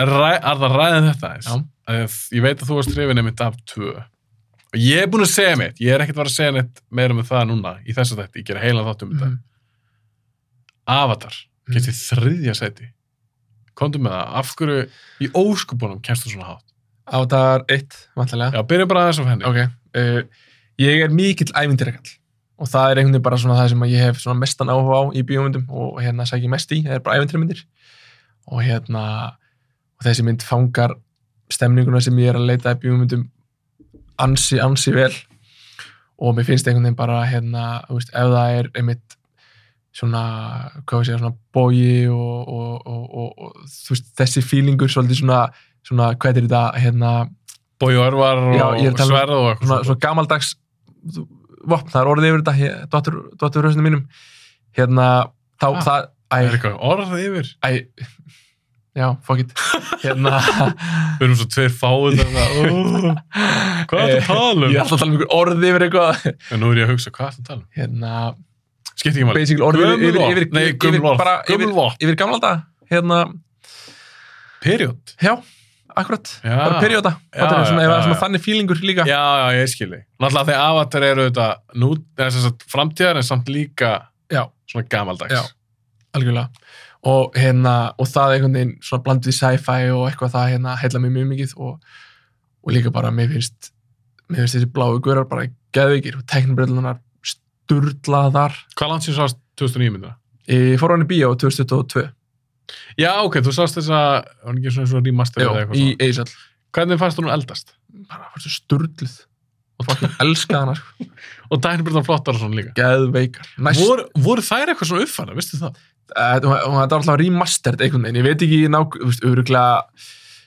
Speaker 1: ræ, er það ræðin þetta eins?
Speaker 2: Já.
Speaker 1: Að Ég veit að þú varst hrifin einmitt af 2. Og ég er búin að segja mitt, ég er ekkert að fara að segja neitt meira með það núna, í þessu þetta, ég gera heila þáttum um þetta.
Speaker 2: Mhm.
Speaker 1: Avatar
Speaker 2: Mm.
Speaker 1: kemst í þriðja seti komdu með það, af hverju í óskupunum kemst þú svona hátt
Speaker 2: Avatar 1, vantilega.
Speaker 1: já, byrjum bara aðeins af henni
Speaker 2: Ok, uh, ég er mikill ævindirakall og það er einhvern veginn bara svona það sem að ég hef svona mestan áhuga á í bíómyndum og hérna sæki mest í, það er bara ævindirmyndir og hérna og þessi mynd fangar stemninguna sem ég er að leita í bíómyndum ansi, ansi vel og mér finnst einhvern veginn bara hérna, þú veist, ef það er einmitt svona, hvað við segja, svona bógi og, og, og, og, og þú veist, þessi fílingur svolítið svona, svona, hvað er þetta, hérna
Speaker 1: Bói og Örvar
Speaker 2: Já,
Speaker 1: og
Speaker 2: ég er að tala um-
Speaker 1: Sverð og eitthvað
Speaker 2: svona,
Speaker 1: svona
Speaker 2: svona gamaldags vopn, það er orðið yfir þetta hér- dóttur, dóttur rausinu mínum hérna, þá,
Speaker 1: Ah,
Speaker 2: það æ,
Speaker 1: er eitthvað orð yfir
Speaker 2: æ, já, fuck it hérna
Speaker 1: við erum svo tveir fáið þarna, ó, hvað er það að
Speaker 2: ég
Speaker 1: tala
Speaker 2: er
Speaker 1: um?
Speaker 2: alltaf að tala um ykkur orðið yfir eitthvað
Speaker 1: en nú er ég að hugsa, hvað er það að tala um?
Speaker 2: hérna,
Speaker 1: Skiptir ekki máli.
Speaker 2: basically orðið
Speaker 1: Gömul
Speaker 2: yfir, yfir,
Speaker 1: orð.
Speaker 2: yfir,
Speaker 1: Nei,
Speaker 2: yfir,
Speaker 1: gömul orð.
Speaker 2: bara yfir,
Speaker 1: Gömul orð.
Speaker 2: yfir gamla dag hérna,
Speaker 1: Period.
Speaker 2: já, akkurat
Speaker 1: Já.
Speaker 2: bara perjóta,
Speaker 1: Ah. Já,
Speaker 2: þetta er
Speaker 1: já,
Speaker 2: svona,
Speaker 1: já,
Speaker 2: já, svona
Speaker 1: já.
Speaker 2: þannig fílingur líka
Speaker 1: Já, já, ég skilji. Náttúrulega þegar avatar eru auðvitað nú, eða sem sagt framtíðar en samt líka
Speaker 2: Já.
Speaker 1: svona gamaldags.
Speaker 2: Já. algjörlega og, hérna, og það einhvern veginn svona bland við sci-fi og eitthvað það hérna, heilla mér mjög mikið og, og líka bara mér finnst mér finnst þessi bláu görar bara geðvikir og teknibrellunar sturlaðar
Speaker 1: Hvað langt sér sást 2009 myndina?
Speaker 2: ég fór á hann í bíó 2022
Speaker 1: Já, ok, þú sást þess að, var hún ekki svona, svona remaster
Speaker 2: já,
Speaker 1: eða eitthvað
Speaker 2: í
Speaker 1: svona.
Speaker 2: Eisall
Speaker 1: Hvernig fannst hún eldast?
Speaker 2: bara fannst þú sturluð og fannst elska hana sko.
Speaker 1: Og tæknibröðan flottar og svona líka.
Speaker 2: geðveikar næst
Speaker 1: Vor, voru þær eitthvað svona uppfæra, veistu það?
Speaker 2: Eh, hún- hún- þetta var alltaf remastered einhvern veginn, ég veit ekki nák, þú veist, öruglega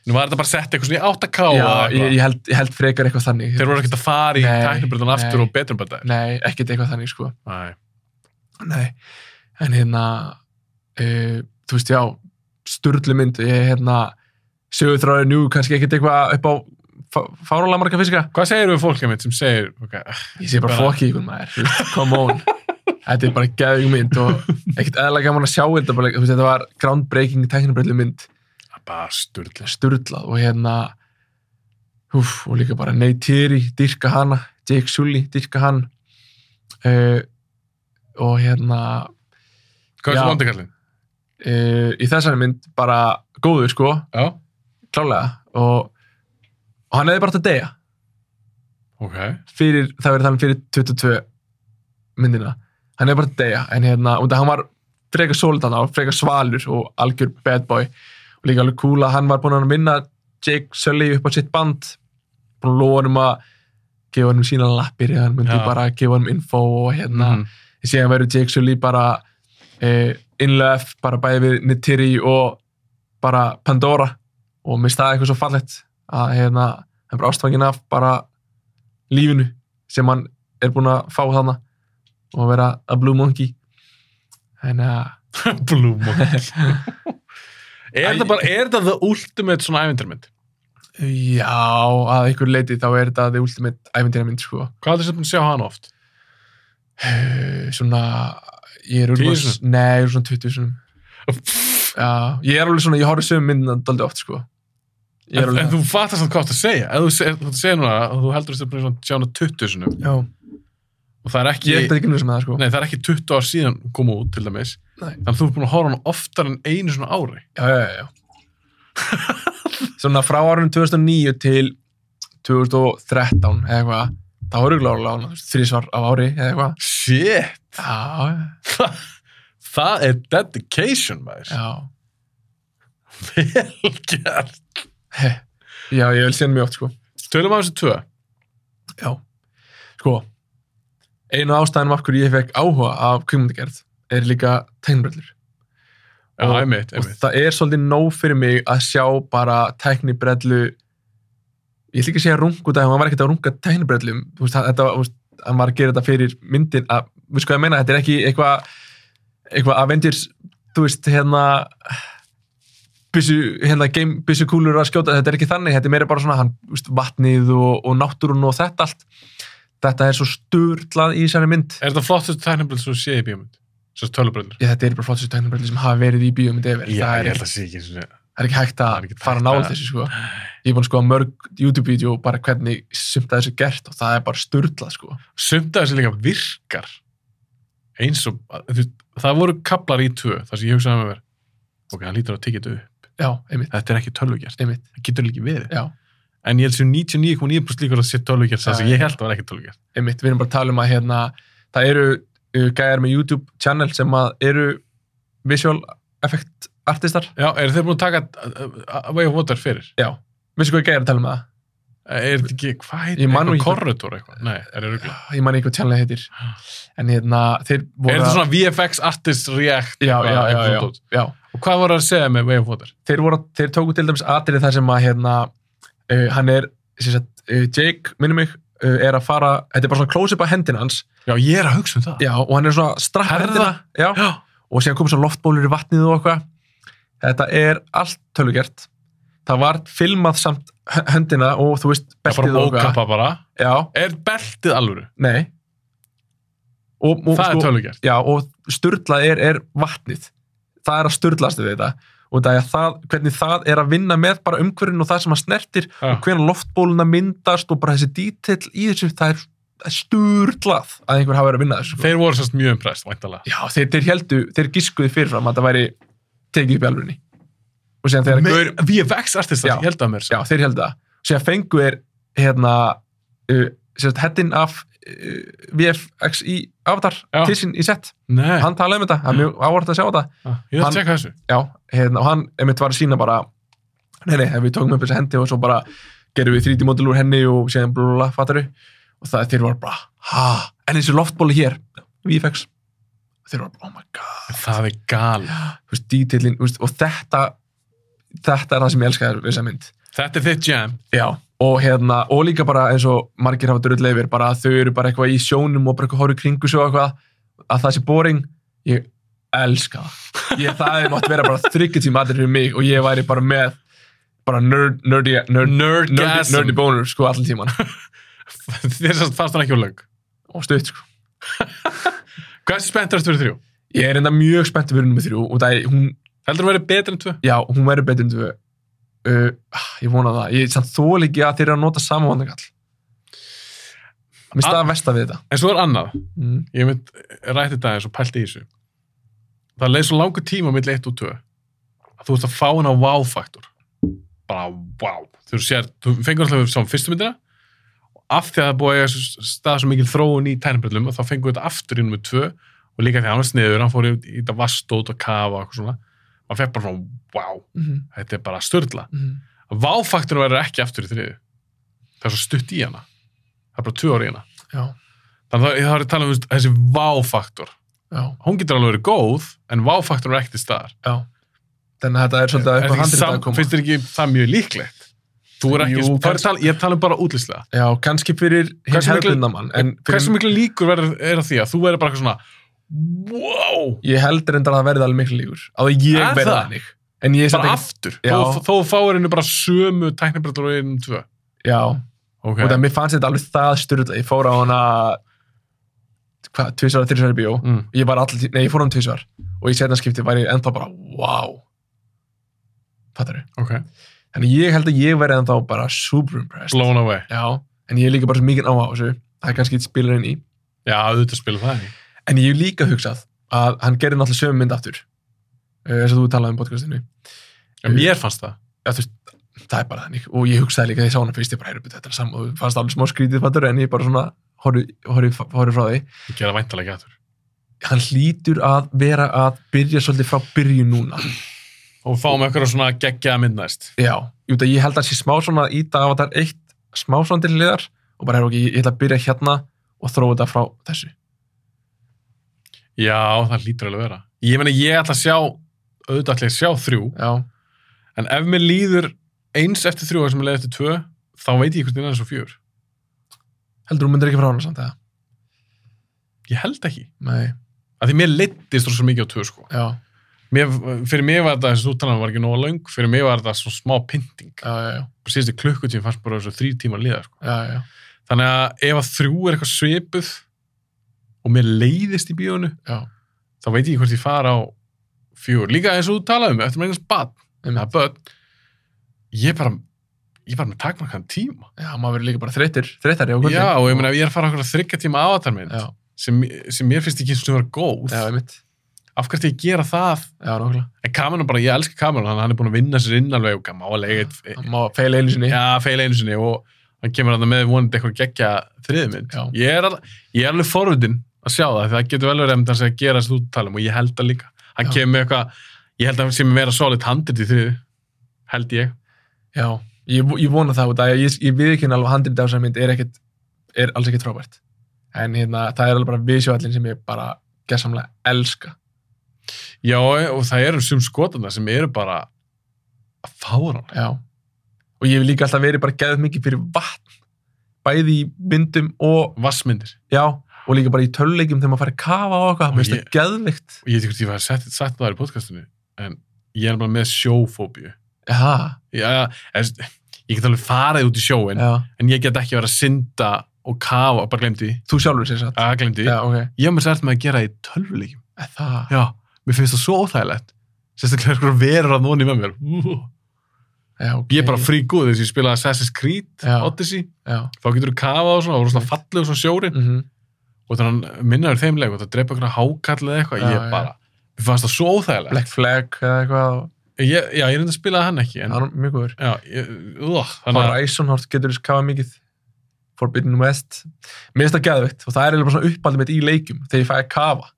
Speaker 1: Nú var þetta bara sett eitthvað svona í 8K
Speaker 2: já,
Speaker 1: eða
Speaker 2: ég,
Speaker 1: eitthvað.
Speaker 2: ég, held, ég held frekar eitthvað þannig
Speaker 1: Þeir voru ekkert að fara í
Speaker 2: Nei,
Speaker 1: tæknibröðan aftur
Speaker 2: nei.
Speaker 1: og um betur bara það.
Speaker 2: nei, ekkert eitthvað þannig sko
Speaker 1: Nei.
Speaker 2: nei, en hérna uh, þú veist, já sturlu mynd, ég hérna sögurþráður njú, kannski ekkert eitthvað upp á fá- fáránlega marga fiska
Speaker 1: Hvað segir við fólkið mitt sem segir, ok, eh,
Speaker 2: ég sé bara
Speaker 1: Bara-
Speaker 2: fokki í ykkur maður, þú veist, come on þetta er bara geðug mynd og ekkert eðalega gaman að sjá þetta, bara, þú veist, þetta var groundbreaking tæknibrellu mynd
Speaker 1: bara sturðlega.
Speaker 2: sturlað og hérna húf, og líka bara Ney Tiri dyrka hana, Jake Sully dyrka hann uh, og hérna
Speaker 1: Hvað er
Speaker 2: Já.
Speaker 1: svo vondi kallinn?
Speaker 2: uh, í þessari mynd bara góður sko,
Speaker 1: Já.
Speaker 2: klálega og, og hann hefði bara átt að deyja
Speaker 1: Ok.
Speaker 2: fyrir, það verið þannig fyrir 22 myndina, hann hefði bara átt að deyja en hérna, og það hann var frekar sólitann á, frekar svalur og algjör bad boy og líka alveg cool að hann var búinn að vinna Jake Sully upp á sitt band búinn að lóa hann að gefa hann sína lappir eða hann myndi
Speaker 1: Já.
Speaker 2: bara gefa hann info og hérna
Speaker 1: Mhm.
Speaker 2: síðan verður Jake Sully bara eh, innlöf, bara bæði við Nitiri og bara Pandora og mér staði eitthvað svo fallett að hérna, hann er bara ástfangin af bara lífinu sem hann er búinn að fá þarna og vera a blue monkey þannig að
Speaker 1: Blue Monkey. er
Speaker 2: Æ.
Speaker 1: þetta bara, er þetta the ultimate svona ævindarmynd?
Speaker 2: já, að einhver leiti þá er þetta the ultimate æfintýra mynd sko
Speaker 1: Hvað er þetta búin að sjá hann oft?
Speaker 2: Eh, svona ég er
Speaker 1: Tíu
Speaker 2: úrlega,
Speaker 1: sinnum?
Speaker 2: nei, ég er svona 20 sinum já, ég er alveg svona, ég horfði sögum myndina daldi oft sko Ég er
Speaker 1: En,
Speaker 2: alveg-
Speaker 1: en þú fattar samt hvað það segja. Ef þú, se- þú segir núna að þú heldur þetta búin að svona sjá hana 20 sinum
Speaker 2: Já,
Speaker 1: og það er ekki,
Speaker 2: ég er ekkert ekki nýsum með það sko
Speaker 1: nei það er ekki 20 ár síðan koma út til dæmis,
Speaker 2: Nei.
Speaker 1: þannig að þú er búin að horfa hann oftar en einu svona ári.
Speaker 2: Já, já, já, já Svona frá árunum 2009 til 2013 eða eitthvað þá horfðu gláðulega á hana, þrísvar á ári eða eitthvað
Speaker 1: Shit!
Speaker 2: Já, já,
Speaker 1: það er dedication, maður.
Speaker 2: já
Speaker 1: Vel gert.
Speaker 2: Heh. Já, ég vil síðan mjög oft sko
Speaker 1: Tölum að þessu tvö.
Speaker 2: Já, sko einu ástæðanum af hverju ég fekk áhuga af kvikmyndagerð er líka tegnbrellur
Speaker 1: Já,
Speaker 2: Og-
Speaker 1: einmitt,
Speaker 2: og
Speaker 1: einmitt.
Speaker 2: það er svolítið nóg fyrir mig að sjá bara tæknibrellu ég ætla ekki að segja rung út af því að hann var ekkert að runga tæknibrellum þú veist, það- þetta, var- þú veist, hann var að gera þetta fyrir myndin að, þú veist hvað ég meina, þetta er ekki eitthvað eitthvað Avengers þú veist, hérna byssu, hérna game, byssu kúlur að skjóta, þetta er ekki þannig, þetta er meira bara svona hann, þú veist, vatnið og, og náttúrun og þetta allt, þetta er svo sturlað í þessari mynd
Speaker 1: Er þetta flottustu tæknibröld sem þú sé í bíómynd? Svo tölubröldur?
Speaker 2: Já, þetta er bara flottistu tæknibrellu sem hafa verið í bíómynd efer, það er
Speaker 1: að sé ekki svona.
Speaker 2: það er ekki hægt
Speaker 1: Það er
Speaker 2: að
Speaker 1: ekki
Speaker 2: fara
Speaker 1: hægt
Speaker 2: nála
Speaker 1: að-
Speaker 2: þessu sko. ég er búin að skoða mörg YouTube-vídeó og bara hvernig sumt að þessu er gert og það er bara sturdlað sko.
Speaker 1: Sumt af þessu líka virkar eins og, þú veist, það voru kaplar í tvö, þar sem ég hugsaði með mér ok, hann lítur að tekja þetta upp.
Speaker 2: já, einmitt,
Speaker 1: Þetta er ekki tölvugert.
Speaker 2: einmitt
Speaker 1: Það getur ekki verið.
Speaker 2: já,
Speaker 1: En ég held sem 99,9% líkur að sé tölvugert það sem
Speaker 2: Já,
Speaker 1: ég
Speaker 2: já.
Speaker 1: held að var ekki tölvugert.
Speaker 2: einmitt, við erum bara að tala um að hérna, það eru uh, gæjar með YouTube-channel sem að eru visual effect artistar
Speaker 1: Já, eru þeir búin að taka uh, uh, Way of Water fyrir? Eh,
Speaker 2: já, veistu hvað ég gæjar að tala um það?
Speaker 1: Er þetta ekki, hvað heitir,
Speaker 2: Ég man nú
Speaker 1: eitthvað
Speaker 2: ekki-
Speaker 1: korridor eitthvað? Nei, er þetta ruggla?
Speaker 2: ég man ekki hvað channel heitir en hérna, þeir
Speaker 1: Er
Speaker 2: voru
Speaker 1: þetta
Speaker 2: að-
Speaker 1: svona VFX Artist React?
Speaker 2: já,
Speaker 1: eitthvað-
Speaker 2: já, já,
Speaker 1: eitthvað
Speaker 2: já,
Speaker 1: dót?
Speaker 2: já.
Speaker 1: Og hvað voru að segja með Way of Water?
Speaker 2: þeir, voru, þeir tóku til dæmis atrið þar sem að hérna, uh, hann er sem sagt, uh, Jake, minnum mig uh, er að fara, þetta er bara svona close-up að hendina hans
Speaker 1: Já, ég er að hugsa um það.
Speaker 2: já, og hann er svona að strappa
Speaker 1: Herða.
Speaker 2: hendina já,
Speaker 1: Já.
Speaker 2: og síðan komur svona loftbólur í vatnið og eitthvað þetta er allt tölugert það var filmað samt h- höndina og þú veist
Speaker 1: Það er
Speaker 2: beltið
Speaker 1: bara
Speaker 2: og
Speaker 1: mókappa bara.
Speaker 2: já,
Speaker 1: Er beltið alvöru?
Speaker 2: nei og, og, sko,
Speaker 1: það er tölugert.
Speaker 2: Já, og sturlað er, er vatnið. Það er að sturlaðast við þetta. Og það er það, hvernig það er að vinna með bara umhverfinu og það sem að snertir,
Speaker 1: Já.
Speaker 2: hvernig loftbóluna myndast og bara þessi dítill í þessum, það er- það er sturlað að einhver hafa verið að vinna þessu. sko.
Speaker 1: Þeir voru sérst mjög umprest, væntalega.
Speaker 2: Já, þeir, þeir heldu, þeir gískuði fyrirfram að það væri tekið upp í alvörinni. Og síðan þegar gaur,
Speaker 1: VFX artistar,
Speaker 2: Já.
Speaker 1: ég held að mér. sko.
Speaker 2: já, þeir heldu það. Síðan fengu þeir, hérna, uh, sérst, hettin af uh, VFX í Avatar
Speaker 1: Já.
Speaker 2: til sín í sett.
Speaker 1: Nei, Ah,
Speaker 2: Hann talaði um þetta, það er mjög áhvert að sjá þetta.
Speaker 1: ég ætla
Speaker 2: hann-
Speaker 1: að tjekka þessu.
Speaker 2: Já, hérna, og hann, einmitt var að sína bara, nei, nei, við tókum upp þessi hendi og svo bara gerum við 3D model úr henni og síðan blúla, fattaru. Og það þeir var bara, ha, en þessi loftbóli hér, VFX. Þeir var bara, oh my god.
Speaker 1: Það er gal.
Speaker 2: þú veist, dítillin, þú veist, og þetta þetta er það sem ég elska við þessa mynd
Speaker 1: Þetta er þitt jam.
Speaker 2: já, og hérna, og líka bara eins og margir hafa drull leifir, bara að þau eru bara eitthvað í sjónum og bara eitthvað horfðu í kringu svo eitthvað að það sé boring, ég elska það, ég það hefði mátt vera bara þryggja tíma allir fyrir mig og ég væri bara með bara nerd, nerdy, nerd, nerdy,
Speaker 1: Nerdgasm.
Speaker 2: nerdy boner, sko, allir tíman
Speaker 1: Þér sérst fannst hann ekki úr lög.
Speaker 2: og stutt, sko
Speaker 1: Hvað er spenntarast fyrir þrjú?
Speaker 2: ég er enda mjög spennt fyrir nummer þrjú og það er, hún,
Speaker 1: Heldur að vera betur en tvö?
Speaker 2: já, hún verður betur en tvö uh, ah, ég vona það ég sann þól ekki að þeir eru að nota sama vandakall mér staða versta við þetta
Speaker 1: En svo er annað.
Speaker 2: mm.
Speaker 1: Ég mynd rætti þetta eins og pælti í þessu. Það leið svo langur tíma milli 1 og 2 að þú ert að fá hennar wow-faktor. Bara wow. Þú, sér, þú fengur alltaf sá fyrstu myndina og af því að það er búið að eiga sér stað svo mikil þróun í tærnbrellum og þá fengur þetta aftur í nummer 2 og líka því að hann var sniður, hann fór í, í þetta vastót og kafa og eitthvað svona. Man fekk bara svona wow,
Speaker 2: Mm.
Speaker 1: þetta er bara störla.
Speaker 2: Mm.
Speaker 1: Váfakturinn verður ekki aftur í þriðu. Það er svo stutt í hana. Það er bara 2 ári í hana.
Speaker 2: já,
Speaker 1: Þannig að það- það er að tala um þú veist, þessi váfaktor.
Speaker 2: já,
Speaker 1: Hún getur alveg verið góð, en váfaktorinn er ekki til staðar.
Speaker 2: já þannig að þetta er svolítið
Speaker 1: Er
Speaker 2: að eitthvað
Speaker 1: ekki
Speaker 2: handrið að
Speaker 1: sam-
Speaker 2: koma
Speaker 1: Finnst þér ekki það mjög líklegt? Þú er ekki,
Speaker 2: Jú,
Speaker 1: það er
Speaker 2: kannski-
Speaker 1: tala, ég tala um bara útlýslega.
Speaker 2: já, kannski fyrir hinn
Speaker 1: Hversu miklu-
Speaker 2: hefðbundna mann en fyrir,
Speaker 1: Hversu miklu líkur verður er að því að þú verður bara eitthvað svona wow,
Speaker 2: ég held reyndar að það verði alveg miklu líkur á því ég
Speaker 1: Er
Speaker 2: verði
Speaker 1: það?
Speaker 2: þannig en ég er
Speaker 1: bara
Speaker 2: samt ekki
Speaker 1: aftur.
Speaker 2: Já.
Speaker 1: Þó, þó fáir henni bara sömu tæknibreldur og einum tvö.
Speaker 2: já,
Speaker 1: Ok.
Speaker 2: og það mér fannst þetta alveg það styrla ég fór á hana hvað, tvisvar að þrisvar í bíó
Speaker 1: Mm.
Speaker 2: ég var alltaf, nei, ég fór á hann tvisvar og í setna skipti var ég ennþá bara, wow fattar þau,
Speaker 1: Ok.
Speaker 2: þannig ég held að ég verði ennþá bara super impressed
Speaker 1: Blown away.
Speaker 2: já, en ég er líka bara svo mikið áhuga á þessu það er kannski spilar inn í,
Speaker 1: Já, auðvitað spila það ekki.
Speaker 2: en ég hef líka hugsað að hann gerir náttúrulega sömu mynd aftur eh, eins og þú talaði um podcastinu
Speaker 1: En mér fannst það.
Speaker 2: já, þú veist, það er bara þannig og ég hugsaði líka þegar ég sá hana fyrst, ég bara heyrðu þetta er saman og fannst alveg smá skrítið fattur en ég bara svona horfi, horfi, horfi frá því
Speaker 1: Ég gera væntalega ekki aftur.
Speaker 2: hann hlýtur að vera að byrja svolítið frá byrju núna
Speaker 1: Og fáum eitthvað svona geggjaða mynd næst.
Speaker 2: Já, jú, það ég held að sé smá svona að íta af að það er eitt smá svona til liðar og bara er okkur, ég ætla að byrja hérna og þróa þetta frá þessu.
Speaker 1: Já, það lítur alveg að vera. Ég meina, ég ætla að sjá, auðvitað ætla ég að sjá þrjú,
Speaker 2: Já,
Speaker 1: en ef mér líður eins eftir þrjú og sem ég leið eftir tvö, þá veit ég hvernig það er svo fjör.
Speaker 2: heldur þú myndir ekki frá hana samt eða?
Speaker 1: Ég held ekki.
Speaker 2: Nei,
Speaker 1: Af því mér leittist þú svo mikið á tvö, sko.
Speaker 2: já,
Speaker 1: Mér, fyrir mig var þetta, þessi úttalan var ekki nóga löng, fyrir mig var þetta svona smá pynting.
Speaker 2: já, já, já,
Speaker 1: Bara síðusti klukkutíma fannst bara þessu þrý tíma liða, sko.
Speaker 2: já, já,
Speaker 1: Þannig að ef að þrjú er eitthvað svipuð og mér leiðist í bíónu,
Speaker 2: já,
Speaker 1: þá veit ég hvort ég fara á fjör. Líka eins og þú talaði um, eftir maður einhvers bad,
Speaker 2: já,
Speaker 1: það börn ég er bara ég er bara með takmarkaðan tíma
Speaker 2: já, maður verður líka bara þreyttir, þreyttari á kvöldin.
Speaker 1: já og ég meina ef ég er að fara okkur að þryggja tíma avatarmynd
Speaker 2: Já,
Speaker 1: sem, sem mér finnst ekki eins og vera góð
Speaker 2: já, ég mitt,
Speaker 1: af hvert ég gera það
Speaker 2: já, nákvæmlega.
Speaker 1: en kamerun bara, ég elska kamerun hann hann er búin að vinna sér inn alveg og má að lega eitt
Speaker 2: Það má feila einu sinni.
Speaker 1: já, feil einu sinni og hann kemur hann með vonandi eitthvað geggja þriðið mynd
Speaker 2: Já.
Speaker 1: ég er, al, ég er alveg forvitinn að sjá það því það getur vel verið að það sé að gera þessu úttalum um og ég held það líka hann
Speaker 2: Já.
Speaker 1: kemur með eitthvað, ég held að hann sé með vera solid handrit í þriðið held ég
Speaker 2: Já, ég, ég vona það út að ég, ég viðkynna alveg handrið af þessar mynd er ekkit, er alls ekkit frábært. En hérna, það er alveg bara visuallin sem ég bara gessamlega elska.
Speaker 1: Já, og það eru sum skotana sem eru bara að fára
Speaker 2: Já. Og ég hef líka alltaf verið bara geðið mikið fyrir vatn. Bæði í myndum og,
Speaker 1: vassmyndir.
Speaker 2: já, og líka bara í töluleikjum þegar maður farið að kafa á okkar.
Speaker 1: Og
Speaker 2: Mér finnst
Speaker 1: ég-
Speaker 2: það geðvikt.
Speaker 1: Og ég veit ekki hvort ég var sett, sett það í podcastinu, en ég er bara með sjófóbíu.
Speaker 2: Já,
Speaker 1: Já, en, ég get alveg farið út í sjóin,
Speaker 2: já,
Speaker 1: en ég get ekki verið að synda og kafa, bara glemdi því.
Speaker 2: Þú sjálfur sér satt.
Speaker 1: Já, glemdi því.
Speaker 2: Já, ok.
Speaker 1: Ég hef mér sært með að gera það í tölvuleikjum.
Speaker 2: Eh, Það,
Speaker 1: Já, mér finnst það svo óþægilegt. Sérstaklega sko verur að nóni með mér. Ú,
Speaker 2: já, ok.
Speaker 1: Ég er bara frí góð þess að ég spila Assassin's Creed,
Speaker 2: Já.
Speaker 1: Odyssey.
Speaker 2: Já.
Speaker 1: Þá getur þú kafa og svona, og voru svona fallið og svona sjórin.
Speaker 2: Mm
Speaker 1: Og þannig að minnaður þeim leik og það drepa einhverja hákall eða eitthvað.
Speaker 2: Já,
Speaker 1: Ég
Speaker 2: já.
Speaker 1: bara, mér fannst það svo óþægilegt.
Speaker 2: Black Flag eða eitthvað. og-
Speaker 1: Ég, já, ég reyndi að spila hann ekki, en...
Speaker 2: Það er mjög góður.
Speaker 1: Já, ég, uh, þannig að...
Speaker 2: Horizon, hort getur þess kafa mikið. Forbidden West. Mér finnst það geðveikt og það er eiginlega bara svona uppaldið mitt í leikum þegar ég fæ að kafa.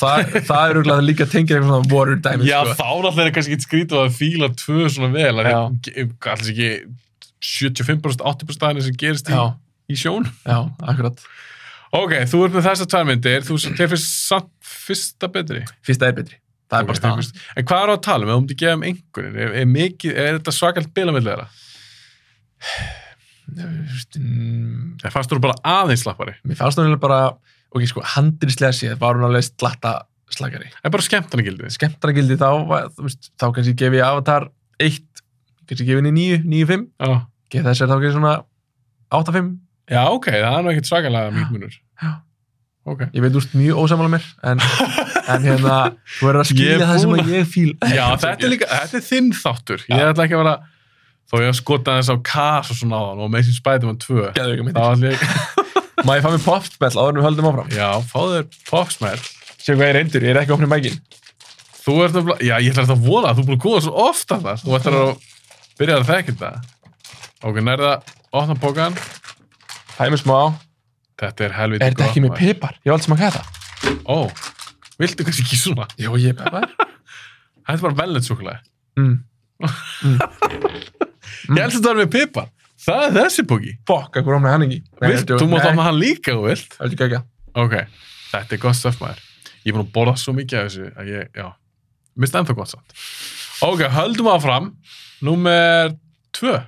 Speaker 2: það, það er auðvitað líka tengið eitthvað svona warrior dæmi.
Speaker 1: Já,
Speaker 2: sko.
Speaker 1: þá náttúrulega er kannski ekki skrítið að fíla tvö svona vel, að
Speaker 2: Já.
Speaker 1: ég- alls ekki 75%, 80% aðeins sem gerist í,
Speaker 2: Já,
Speaker 1: í sjón.
Speaker 2: já, akkurat.
Speaker 1: Ok, þú ert með þessar tvær myndir, þú þér finnst samt fyrsta betri.
Speaker 2: Fyrsta er betri. Það er
Speaker 1: Ok,
Speaker 2: bara
Speaker 1: þér
Speaker 2: staðan.
Speaker 1: finnst- En hvað er á að tala um, ef þú mútið gefa um einhverjum, er, er, mikið, er þetta svakalt bilamillir þeirra?
Speaker 2: Þú veist, mm,
Speaker 1: Það fannst þú bara aðeins slappari,
Speaker 2: Mér fannst hún eiginlega bara, ok, sko, handriðslega séð var hún alveg slatta slagari.
Speaker 1: það er bara skemmtanagildið.
Speaker 2: skemmtaragildi þá, var- þú veist, þá kannski gefi ég Avatar 1, kannski gefi henni 9, 9, 5,
Speaker 1: Já.
Speaker 2: gefi þess er þá kannski svona 8, 5.
Speaker 1: Já, ok, það er nú ekkert svakalega mikið munur.
Speaker 2: Já.
Speaker 1: Ok.
Speaker 2: Ég veit úrst mjög ósamála mér, en, en hérna, þú verður
Speaker 1: Ég
Speaker 2: að
Speaker 1: er
Speaker 2: skilja það sem
Speaker 1: búin
Speaker 2: að ég fíl.
Speaker 1: Já, þetta er líka, þetta er þinn þáttur. Ég
Speaker 2: Já.
Speaker 1: ætla ekki að vera, þó ég að skota þess á Kars og svona á hann og Amazing Spider-Man 2.
Speaker 2: Gæðu
Speaker 1: Þá
Speaker 2: ekki
Speaker 1: ætla
Speaker 2: myndir.
Speaker 1: ég,
Speaker 2: Má ég fá mér popspell áður en við höldum áfram?
Speaker 1: já, fáðu þér popsmell.
Speaker 2: Sér hvað ég reyndur, ég er ekki opnið mækin.
Speaker 1: Þú ert nefnilega, já, ég ætla þetta að vona, þú er búin að góða svo ofta það. Þú ætlar að byrja að þekka þetta. Ok, nærða, opna bókan.
Speaker 2: Hæmi smá.
Speaker 1: Þetta er helviti
Speaker 2: Er þetta ekki með
Speaker 1: maður.
Speaker 2: pipar? Ég var alltaf að það.
Speaker 1: Ó, viltu kannski ekki svona?
Speaker 2: Jó, ég er pipar.
Speaker 1: Þetta er bara velnetsúkulega.
Speaker 2: Mm. Mm.
Speaker 1: Ég held að þetta er með pipa. Það er þessi bóki.
Speaker 2: Fuck, akkur opnið hann ekki.
Speaker 1: Vilt, þú mátt opna hann líka, ef þú vilt.
Speaker 2: Það er ekki ekki.
Speaker 1: Ok, þetta er gott stöf maður. Ég er búin að borða svo mikið af þessu að ég, já, mista ennþá gott samt. Ok, höldum áfram. Númer tvö.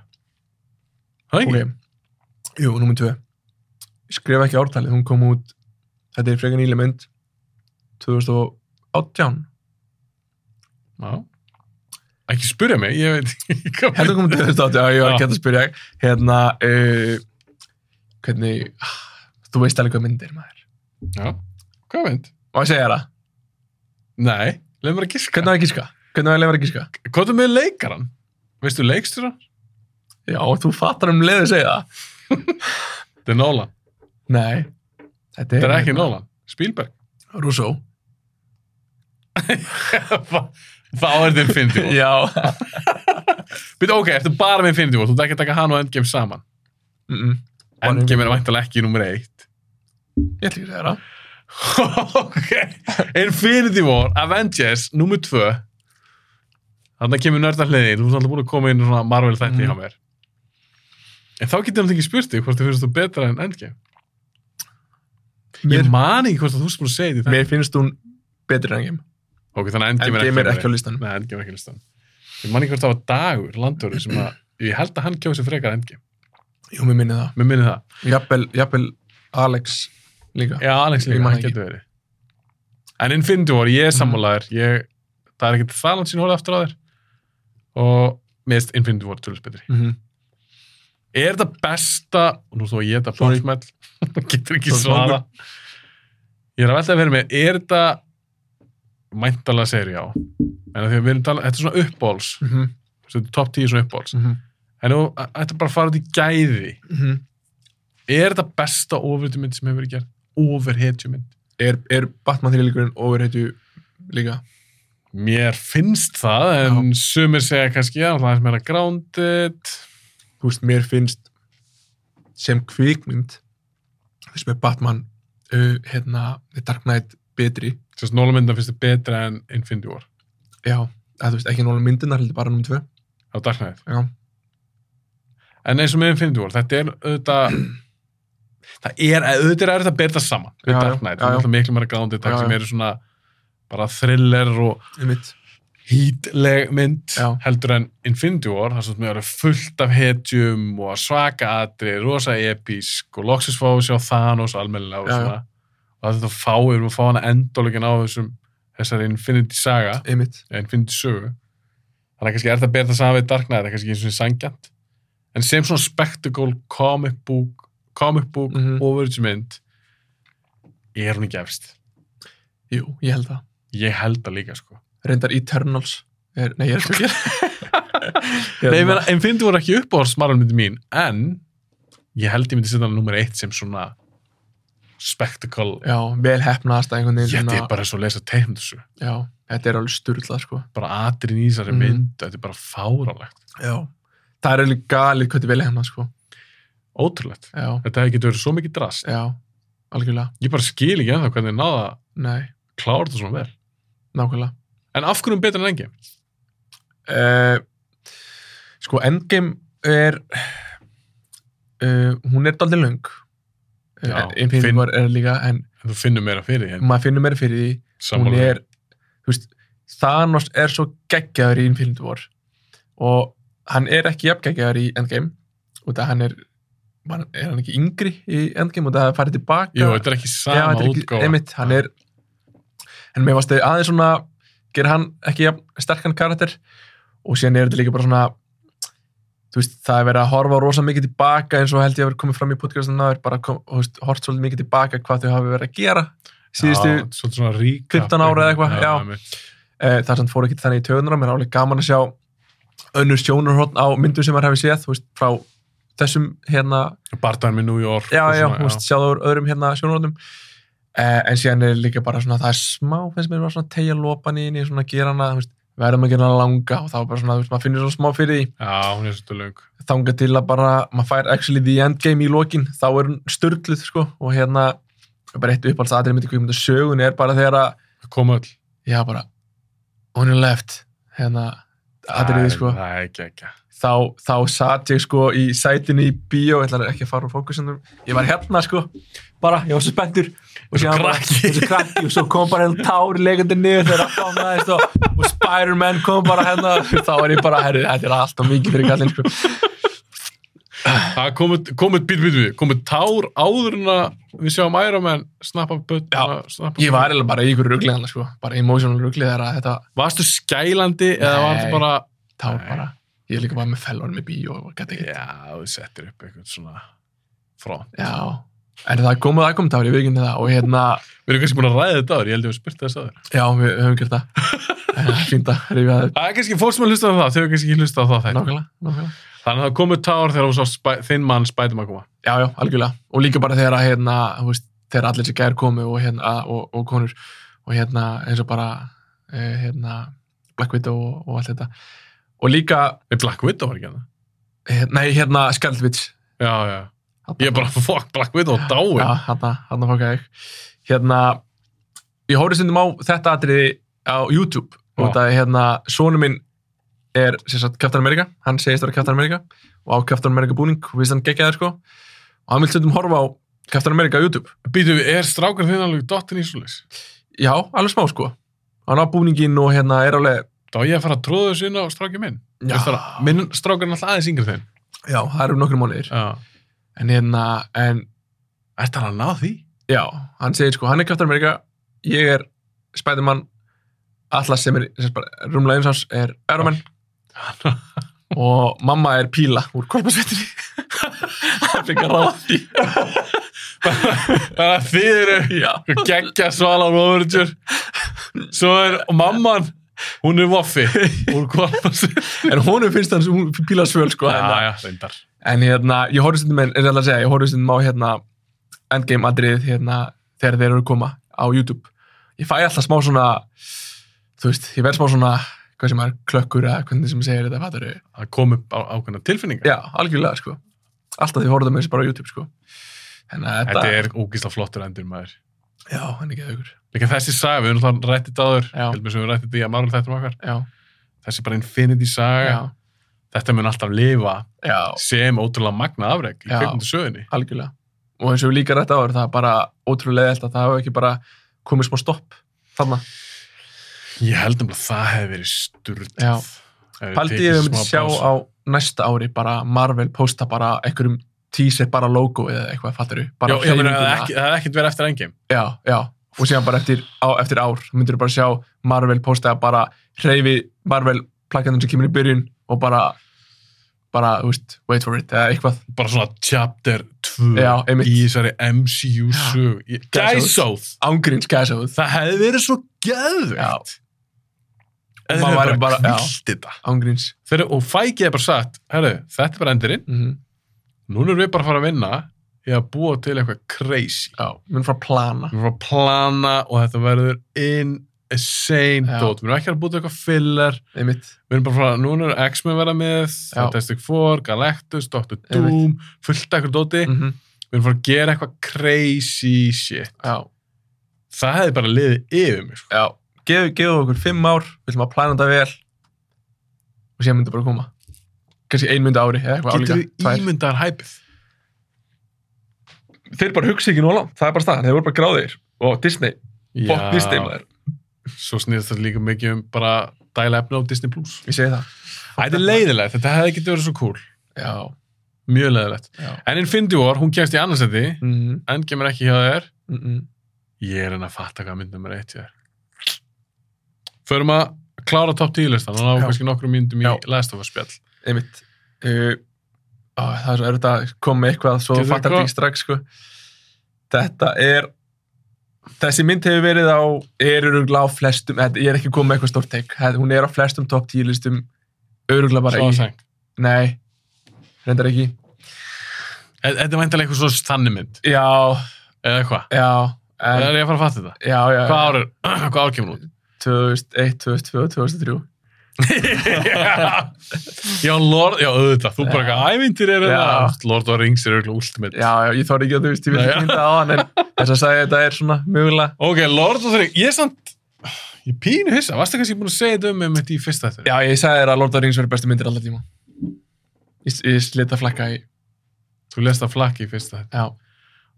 Speaker 1: Það ekki?
Speaker 2: Ok. Jú, númer 2. Ég skrifa ekki ártalið, hún kom út, þetta er frekar nýlega mynd, 2018.
Speaker 1: Já. Ekki spyrja mig, ég veit ekki hvað.
Speaker 2: Heldur komið 2018, já, ég
Speaker 1: Já.
Speaker 2: var ekki hægt að spyrja. Hérna, uh, hvernig, ah, þú veist alveg hvað mynd er, maður.
Speaker 1: Já, hvað mynd?
Speaker 2: Má ég segja þér það?
Speaker 1: Nei, leið mér að giska.
Speaker 2: Hvernig var ég að gíska? Hvernig var ég leifar að gíska?
Speaker 1: Hvað er með leikarann? Veistu leikstjóra?
Speaker 2: Já, þú fattar um leið að segja það.
Speaker 1: Þetta er Nolan.
Speaker 2: Nei. Þetta er, hérna
Speaker 1: Þetta er ekki Nolan. Spielberg.
Speaker 2: Rousseau.
Speaker 1: Þá er þetta Infinity War.
Speaker 2: Já.
Speaker 1: Býttu, ok, ertu bara með Infinity War. Þú ert ekki að taka hann og Endgame saman.
Speaker 2: mm -mm. Bara
Speaker 1: Endgame er
Speaker 2: Infinity War.
Speaker 1: væntalega ekki nummer eitt.
Speaker 2: Ég ætla ekki að segja þér það.
Speaker 1: ok, Infinity War, Avengers, nummer tvö Þannig kemur nörda hliðin, þú ert alltaf búin að koma inn í svona Marvel þætti
Speaker 2: Mm.
Speaker 1: hjá mér En þá getur hann ekki spurt þig hvort þú finnst þú betra en Endgame
Speaker 2: Mér,
Speaker 1: Ég man ekki hvort að þú sem búin að segja því
Speaker 2: mér finnst hún betri en engim.
Speaker 1: Ok, þannig að Endgame,
Speaker 2: Endgame er
Speaker 1: á
Speaker 2: ekki á
Speaker 1: listanum.
Speaker 2: listanum.
Speaker 1: Nei, Endgame er ekki á listanum Ég man ekki hvort það var dagur, landurinn sem að Ég held að hann kjósi frekar Endgame
Speaker 2: Jú, mér minni það.
Speaker 1: Mér minni það
Speaker 2: Jafnvel, jafnvel Alex líka.
Speaker 1: Já, Alex
Speaker 2: Ég
Speaker 1: líka,
Speaker 2: man
Speaker 1: hann
Speaker 2: ekki. Mm.
Speaker 1: getur verið En Infinity War, ég er sammálaður ég, Það er ekkert það langt sín hólið aftur á þér Og mér finnst Infinity War tölvist betri
Speaker 2: Mm -hmm.
Speaker 1: Er þetta besta, og nú þó ég þetta
Speaker 2: Sorry.
Speaker 1: bóðsmell, getur ekki
Speaker 2: Sorry,
Speaker 1: svara. Ég er að velta að vera með, er þetta mæntalega segir já, en að því að við erum talað, þetta er svona uppbóls,
Speaker 2: Mm
Speaker 1: þetta er top 10 svona uppbóls,
Speaker 2: -hmm.
Speaker 1: en nú, að- þetta er bara að fara út í gæði.
Speaker 2: mhm.
Speaker 1: Er þetta besta ofurhetjumynd sem hefur verið gerð? Ofurhetjumynd?
Speaker 2: er, er Batman 3 líkurinn overhættu líka?
Speaker 1: Mér finnst það, en sumir segja kannski, já, það er meira grounded,
Speaker 2: Þú veist, mér finnst sem kvikmynd þú veist með Batman uh, hérna, The Dark Knight betri
Speaker 1: þess að Nólamynda finnst þið betra en Infinity War,
Speaker 2: já, að, þú veist, ekki nála myndunar heldur bara nr. 2
Speaker 1: á Dark Knight.
Speaker 2: já.
Speaker 1: En eins og með Infinity War, þetta er auðvitað það er, auðvitað er auðvitað að bera þetta saman við
Speaker 2: Já, já,
Speaker 1: Dark Knight,
Speaker 2: já,
Speaker 1: það
Speaker 2: já.
Speaker 1: er miklu meira grounded
Speaker 2: Já,
Speaker 1: takk sem
Speaker 2: já.
Speaker 1: eru svona bara thriller og
Speaker 2: einmitt
Speaker 1: hýtleg mynd
Speaker 2: Já.
Speaker 1: heldur en Infinity War, það er svona meira fullt af hetjum og svaka atri rosa episk og loksins fá að sjá Thanos almennilega og
Speaker 2: Já, já.
Speaker 1: svona og það er þetta að fá, við erum að fá hana endolögin á þessum þessari Infinity saga
Speaker 2: einmitt
Speaker 1: eða Infinity sögu þannig að kannski er það að bera það saman við Dark Knight það er kannski eins og sangjant en sem svona spectacle comic book comic book, mm
Speaker 2: Mhm.
Speaker 1: -hmm. ofuritsmynd er hún ekki efst
Speaker 2: Jú, ég held það.
Speaker 1: ég held það líka sko
Speaker 2: Reyndar Eternals. Er, nei, ég Hérna, er sko ekki.
Speaker 1: Nei, menn, en finnst þú voru ekki uppáhalds marvelmyndi mín en ég held ég myndi setja hann nummer eitt sem svona spectacle
Speaker 2: Já, vel hefnaðast að einhvern veginn.
Speaker 1: ég þetta
Speaker 2: svona-
Speaker 1: er bara svo að lesa teim þessu
Speaker 2: Já, þetta er alveg styrlað, sko.
Speaker 1: bara atrin í þessari
Speaker 2: Mhm.
Speaker 1: mynd þetta er bara fáralegt,
Speaker 2: Já. Það er alveg galið hvað þetta er vel hefnað, sko.
Speaker 1: ótrúlegt
Speaker 2: Já,
Speaker 1: þetta hefði getur verið svo mikið drast
Speaker 2: já, algjörlega.
Speaker 1: ég bara skil ekki ennþá hvernig þið náða að
Speaker 2: Nei,
Speaker 1: klára þetta svona vel
Speaker 2: nákvæmlega.
Speaker 1: en af hverjum betur en engi?
Speaker 2: Uh, sko, Endgame er... Uh, hún er daldið löng.
Speaker 1: Já,
Speaker 2: Eh, Infinity
Speaker 1: finn-
Speaker 2: War er líka, en
Speaker 1: þú finnur meira fyrir því en
Speaker 2: maður finnur meira fyrir því Mm. hún
Speaker 1: sammála
Speaker 2: er þú veist, Thanos er svo geggjaður í Infinity War og hann er ekki jafn geggjaður í Endgame út af hann er man, er hann ekki yngri í Endgame út af að það farið tilbaka
Speaker 1: Jú, þetta er ekki
Speaker 2: Já,
Speaker 1: sama
Speaker 2: þetta er ekki-
Speaker 1: útgáfa
Speaker 2: einmitt, hann er en mér varst þau aðeins svona gerir hann ekki jafn sterkan karakter og síðan er þetta líka bara svona þú veist, það er verið að horfa rosa mikið tilbaka eins og held ég að vera komið fram í podcastin náður, bara kom, þú veist, hort svolítið mikið tilbaka hvað þau hafi verið að gera síðustu
Speaker 1: Já, svolítið svona ríka
Speaker 2: 15 ára eða eitthvað, já.
Speaker 1: einmitt.
Speaker 2: Eh, þar sem fór ekki þannig í töðunar menn álega gaman að sjá önnur sjónarhótt á myndum sem maður hefði séð þú veist, frá þessum hérna
Speaker 1: bardaðum í New York
Speaker 2: já,
Speaker 1: og
Speaker 2: já,
Speaker 1: svona,
Speaker 2: þú veist, sjáðu úr öðrum hérna sjónarhóttum eh, en síðan er líka bara svona það er smá, finnst mér var svona tegja lopan í henni, svona gera hana, þú veist, verðum hérna að gera hana langa og þá bara svona, þú veist, maður finnir svona smá fyrir því
Speaker 1: já, hún er svolítið löng
Speaker 2: þanga til að bara, maður fær actually the endgame í lokin, þá er hún störluð sko, og hérna bara eitt uppáhalds aðrið myndi kvikmynda sögun er bara þegar að,
Speaker 1: kom öll
Speaker 2: já bara on your left, hérna atriði sko
Speaker 1: það er ekki ekki
Speaker 2: þá, þá satt ég sko í sætinu í bíó, ég ætla ekki að fara úr fókusinu ég var hérna sko, bara ég var svo spenntur og
Speaker 1: Þessu
Speaker 2: síðan bara-
Speaker 1: krakki.
Speaker 2: þessu krakki og svo kom bara hérna tár leikandi niður þegar alltaf ánaðist og, sko. og Spider-Man kom bara hérna þá var ég bara, herri, þetta er alltaf mikið fyrir kallin sko.
Speaker 1: það komið, komið, bít, bít, bít, komið tár áður en að við sjáum Iron Man snappa böt
Speaker 2: Já, ég var eiginlega bara í ykkur ruglið hérna sko, bara emotional ruglið þegar að þetta
Speaker 1: varstu skælandi eða
Speaker 2: Nei.
Speaker 1: var þetta bara
Speaker 2: tár
Speaker 1: Nei.
Speaker 2: bara, ég er líka bara með fellonum í bíó og gæti ekki,
Speaker 1: já, þú settir upp eitthvað svona front
Speaker 2: já en það kom og það kom tár, ég viðkynni það og hérna,
Speaker 1: við erum kannski búin að ræða þetta aður, ég held ég að spyrta þess aður
Speaker 2: já, við höfum gert það En það er fínt að rifja það upp.
Speaker 1: Það er kannski fólk sem er hlustað á það, þau er kannski ekki hlustað á það þetta.
Speaker 2: nákvæmlega, nákvæmlega
Speaker 1: Þannig að það komu tár þegar þú sá spæ, þinn mann spætum að koma.
Speaker 2: Já, já, algjörlega. Og líka bara þegar að, hérna, þú veist, þegar allir þessi gær komu og, hérna, og, og konur og hérna eins og bara eh, hérna, Black Widow og, og allt þetta. Og líka,
Speaker 1: Nei, Black Widow var ekki hann.
Speaker 2: hérna, nei, hérna Skaldvits.
Speaker 1: Já, já. Ég er bara, fuck, Black Widow, dáin.
Speaker 2: Já, hérna, hérna fokka ég. Hérna, ég hóri stundum á þetta atriði á YouTube
Speaker 1: Já.
Speaker 2: og þetta er hérna, sonu minn er sem sagt Captain America, hann segist að vera Captain America og á Captain America búning, við hann geggjaði sko og hann vil stundum horfa á Captain America á YouTube
Speaker 1: Býtu við, er strákar þinn alveg dottin í svoleiðis?
Speaker 2: Já, alveg smá sko. Hann á búningin og hérna er alveg...
Speaker 1: Þá ég að fara að tróða þessu inn á strákið minn.
Speaker 2: Já,
Speaker 1: Veist Það, minn strákar er alltaf aðeins yngri þinn.
Speaker 2: já það eru nokkru mánuðir.
Speaker 1: Já.
Speaker 2: En hérna, en
Speaker 1: Ert hann að ná því?
Speaker 2: já, hann segir sko, hann er Captain America, ég er Spiderman, Atlas sem er sem er bara rúmlega eins hans er Iron Man og mamma er Píla úr kolbasvettinni. hann fikk að ráða því.
Speaker 1: Þannig að þið eru
Speaker 2: Já,
Speaker 1: geggja svalan og overture. Svo er og mamman, hún er vaffi. Úr kvalpast.
Speaker 2: en honum finnst hann, hún Píla svöl sko. hérna.
Speaker 1: Já, já, reyndar.
Speaker 2: En hérna, ég horfði stundum, en er það að segja, ég horfði stundum á hérna endgame atrið hérna þegar þeir eru að koma á YouTube. Ég fæ alltaf smá svona, þú veist, ég verð smá svona, hvað sem er, klökkur eða hvernig sem segir þetta, fattur þau?
Speaker 1: Það kom upp á, ákveðna tilfinningar.
Speaker 2: Já, algjörlega, sko. Alltaf því horfði með þessi bara á YouTube, sko. Þannig að þetta,
Speaker 1: Þetta er ógísla flottur endur maður.
Speaker 2: já, hann er geðugur.
Speaker 1: Líka þessi saga, við erum alltaf rættið dáður,
Speaker 2: Já.
Speaker 1: heldur mér sem við rættið því að maður þetta um okkar.
Speaker 2: Já,
Speaker 1: Þessi bara Infinity saga,
Speaker 2: já,
Speaker 1: þetta mun alltaf lifa
Speaker 2: já,
Speaker 1: sem ótrúlega magna afreg í
Speaker 2: Já.
Speaker 1: kveikmyndu sögunni.
Speaker 2: algjörlega. Og eins og við líka rætt áður, það er bara ótrúlega eðalt að það hefur ekki bara komið smá stopp þarna.
Speaker 1: Ég held um að það hefði verið sturt.
Speaker 2: Já. Paldi ég um sjá á næsta ári bara Marvel posta bara einhverjum teaser bara logo eða eitthvað fattur
Speaker 1: Já,
Speaker 2: bara
Speaker 1: ég meina, það
Speaker 2: hreyfinguna.
Speaker 1: hefði ekki- það hefði ekkert verið eftir engim.
Speaker 2: já, já, og síðan bara eftir, á, eftir ár myndir bara sjá Marvel posta bara hreyfi Marvel plakandum sem kemur í byrjun og bara bara, þú veist, wait for it eða eitthvað
Speaker 1: Bara svona chapter 2 tvö
Speaker 2: Já, einmitt.
Speaker 1: í þessari MCU sög Ég-
Speaker 2: Gæsahúð.
Speaker 1: Gæsahúð
Speaker 2: ángríns gæsahúð
Speaker 1: Það hefði verið svo geðvegt
Speaker 2: Og
Speaker 1: Þeir
Speaker 2: maður
Speaker 1: hefði
Speaker 2: væri
Speaker 1: bara
Speaker 2: bara- já.
Speaker 1: kvilt þetta
Speaker 2: ángríns
Speaker 1: Þeir, Og fækið er bara sagt Herru, þetta er bara endurinn
Speaker 2: mm -hmm.
Speaker 1: Núna erum við bara að fara að vinna Ég að búa til eitthvað crazy
Speaker 2: já, mun frá plana
Speaker 1: Við erum að plana og þetta verður insane
Speaker 2: Já.
Speaker 1: dot Við erum ekki að búa til eitthvað filler
Speaker 2: einmitt
Speaker 1: Við erum bara að fara, núna er X-Men verða með Fantastic Four, Galactus, Doctor
Speaker 2: Einmitt.
Speaker 1: Doom Fullt ekkur dóti
Speaker 2: mm -hmm.
Speaker 1: Við erum að fara að gera eitthvað crazy shit
Speaker 2: já,
Speaker 1: Það hefði bara liðið yfir mig sko.
Speaker 2: já gefum gef okkur fimm ár, við ætlum að plana þetta vel og sér myndi bara koma kannski ein myndi á ári eða eitthvað
Speaker 1: Getur
Speaker 2: álíka, tvær.
Speaker 1: við ímyndaðar hæpið?
Speaker 2: þeir bara hugsa ekki nóla, það er bara staðan, þeir voru bara gráðir og Disney, bótt Disney maður
Speaker 1: Svo snýðast þetta líka mikið um bara dæla efni á Disney Plus.
Speaker 2: ég segi það,
Speaker 1: Þetta er leiðilegt, þetta hefði ekki verið svo cool.
Speaker 2: já,
Speaker 1: Mjög leiðilegt.
Speaker 2: já
Speaker 1: En Infinity War, hún kemst í annarsætti,
Speaker 2: mm -hmm.
Speaker 1: en kemur ekki hjá þér.
Speaker 2: Mm -hmm.
Speaker 1: Ég er henni að fatta hvað mynd nummer eitt ég er. Förum að klára top 10 listan, hann á
Speaker 2: Já.
Speaker 1: kannski nokkrum myndum í
Speaker 2: Já.
Speaker 1: Last of Us spjall.
Speaker 2: einmitt uh, á, það er svo erfitt að koma með eitthvað svo
Speaker 1: Getur
Speaker 2: Getur fattar
Speaker 1: eitthvað?
Speaker 2: þetta ekki strax sko. þetta er þessi mynd hefur verið á er örugla á flestum, þetta- ég er ekki komið með eitthvað stórt teik, hún er á flestum top 10 listum örugla bara
Speaker 1: Svo að
Speaker 2: í
Speaker 1: seng.
Speaker 2: nei, reyndar ekki
Speaker 1: E- Þetta er væntalega eitthvað svo þannig mynd,
Speaker 2: já,
Speaker 1: eða hvað?
Speaker 2: já
Speaker 1: Það
Speaker 2: en,
Speaker 1: er ég að fara að fatta þetta.
Speaker 2: já, já,
Speaker 1: Hvað ár, er- hvað ár kemur hún?
Speaker 2: 2001, 2002, 2003
Speaker 1: já, já, Lord, já, auðvitað, þú bara
Speaker 2: Já.
Speaker 1: eitthvað ævindir eru
Speaker 2: Já.
Speaker 1: það. Lord of the Rings er auðvitað ultimate.
Speaker 2: já, já, ég þóri ekki að þú veist, ég vil
Speaker 1: Nei,
Speaker 2: ekki
Speaker 1: já.
Speaker 2: mynda á hann en þess að sagði þetta er svona mögulega
Speaker 1: Ok, Lord of the Rings, ég er samt, ég er pínu hissa, varstu kannski búin að segja þetta um með mitt í fyrsta þetta?
Speaker 2: Já, ég sagði þér að Lord of the Rings verið bestu myndir allar tíma. Ég, ég slit að flakka í,
Speaker 1: Þú lest það flakki í fyrsta þetta.
Speaker 2: já.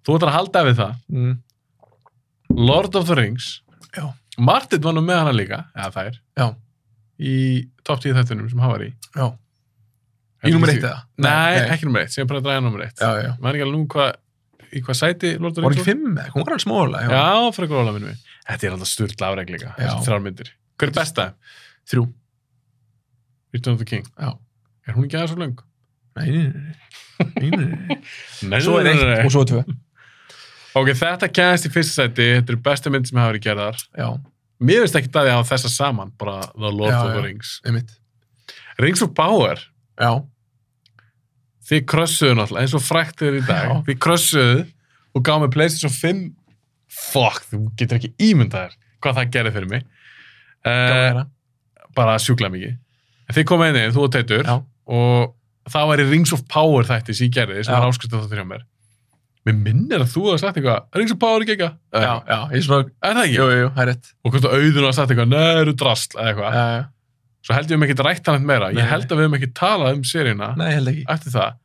Speaker 1: Þú ætlar að halda við það,
Speaker 2: Mm.
Speaker 1: Lord of the Rings,
Speaker 2: Já.
Speaker 1: Martin var nú með hana líka, eða þær,
Speaker 2: Já.
Speaker 1: í top 10 þættunum sem hann var í.
Speaker 2: Já. Í nummer eitt eða?
Speaker 1: Nei, ekki nummer eitt, sem bara að draga nummer eitt.
Speaker 2: Já, já, já.
Speaker 1: Mæn ekki alveg nú hvað, í hvað sæti Lord of the
Speaker 2: Var
Speaker 1: Rings
Speaker 2: ekki fimm eða? Hún var alveg smóðulega, já.
Speaker 1: Já, frekar ólega minnum við. Þetta er alltaf sturt lafreg líka,
Speaker 2: Já.
Speaker 1: þessar þrjár myndir. Hver er besta?
Speaker 2: Þrjú.
Speaker 1: Return of the King.
Speaker 2: Já.
Speaker 1: Er hún ekki aðeins svo löng?
Speaker 2: Nei, nei, nei, nei, nei, nei.
Speaker 1: Nei,
Speaker 2: Svo er eitt og svo er tvö.
Speaker 1: Ok, þetta kæðist í fyrsta sæti, þetta eru bestu mynd sem hafa verið gerðar.
Speaker 2: Já,
Speaker 1: Mér veist ekki að ég hafa þessa saman, bara The Lord
Speaker 2: Já,
Speaker 1: of the
Speaker 2: já.
Speaker 1: Rings.
Speaker 2: einmitt.
Speaker 1: Rings of Power,
Speaker 2: Já,
Speaker 1: þið krössuðu náttúrulega, eins og frækt þeir í dag.
Speaker 2: Já.
Speaker 1: Þið krössuðu og gáðu mig PlayStation 5. Fuck, þú getur ekki ímyndað þér hvað það gerði fyrir mig.
Speaker 2: gaman
Speaker 1: Uh,
Speaker 2: hérna.
Speaker 1: bara sjúkla mikið. En Þið komið inn, þú og Teitur,
Speaker 2: Já.
Speaker 1: og það var í Rings of Power þætti sem ég gerði, sem
Speaker 2: Já.
Speaker 1: var áskrift að það þrjá mér. Mér minnir að þú hafa sagt eitthvað, Rings of Power er gegga.
Speaker 2: Já, já, ég svona,
Speaker 1: Er það ekki?
Speaker 2: jú, jú, jú, það er rétt.
Speaker 1: og hvort að auðun var að sagt eitthvað nöru drasl eða
Speaker 2: Já,
Speaker 1: eitthvað,
Speaker 2: já, já.
Speaker 1: svo held ég um ekki rætt hann eitthvað meira,
Speaker 2: Nei.
Speaker 1: ég held að við hefum ekki talað um seríuna
Speaker 2: Eh, Nei, held ekki.
Speaker 1: eftir það,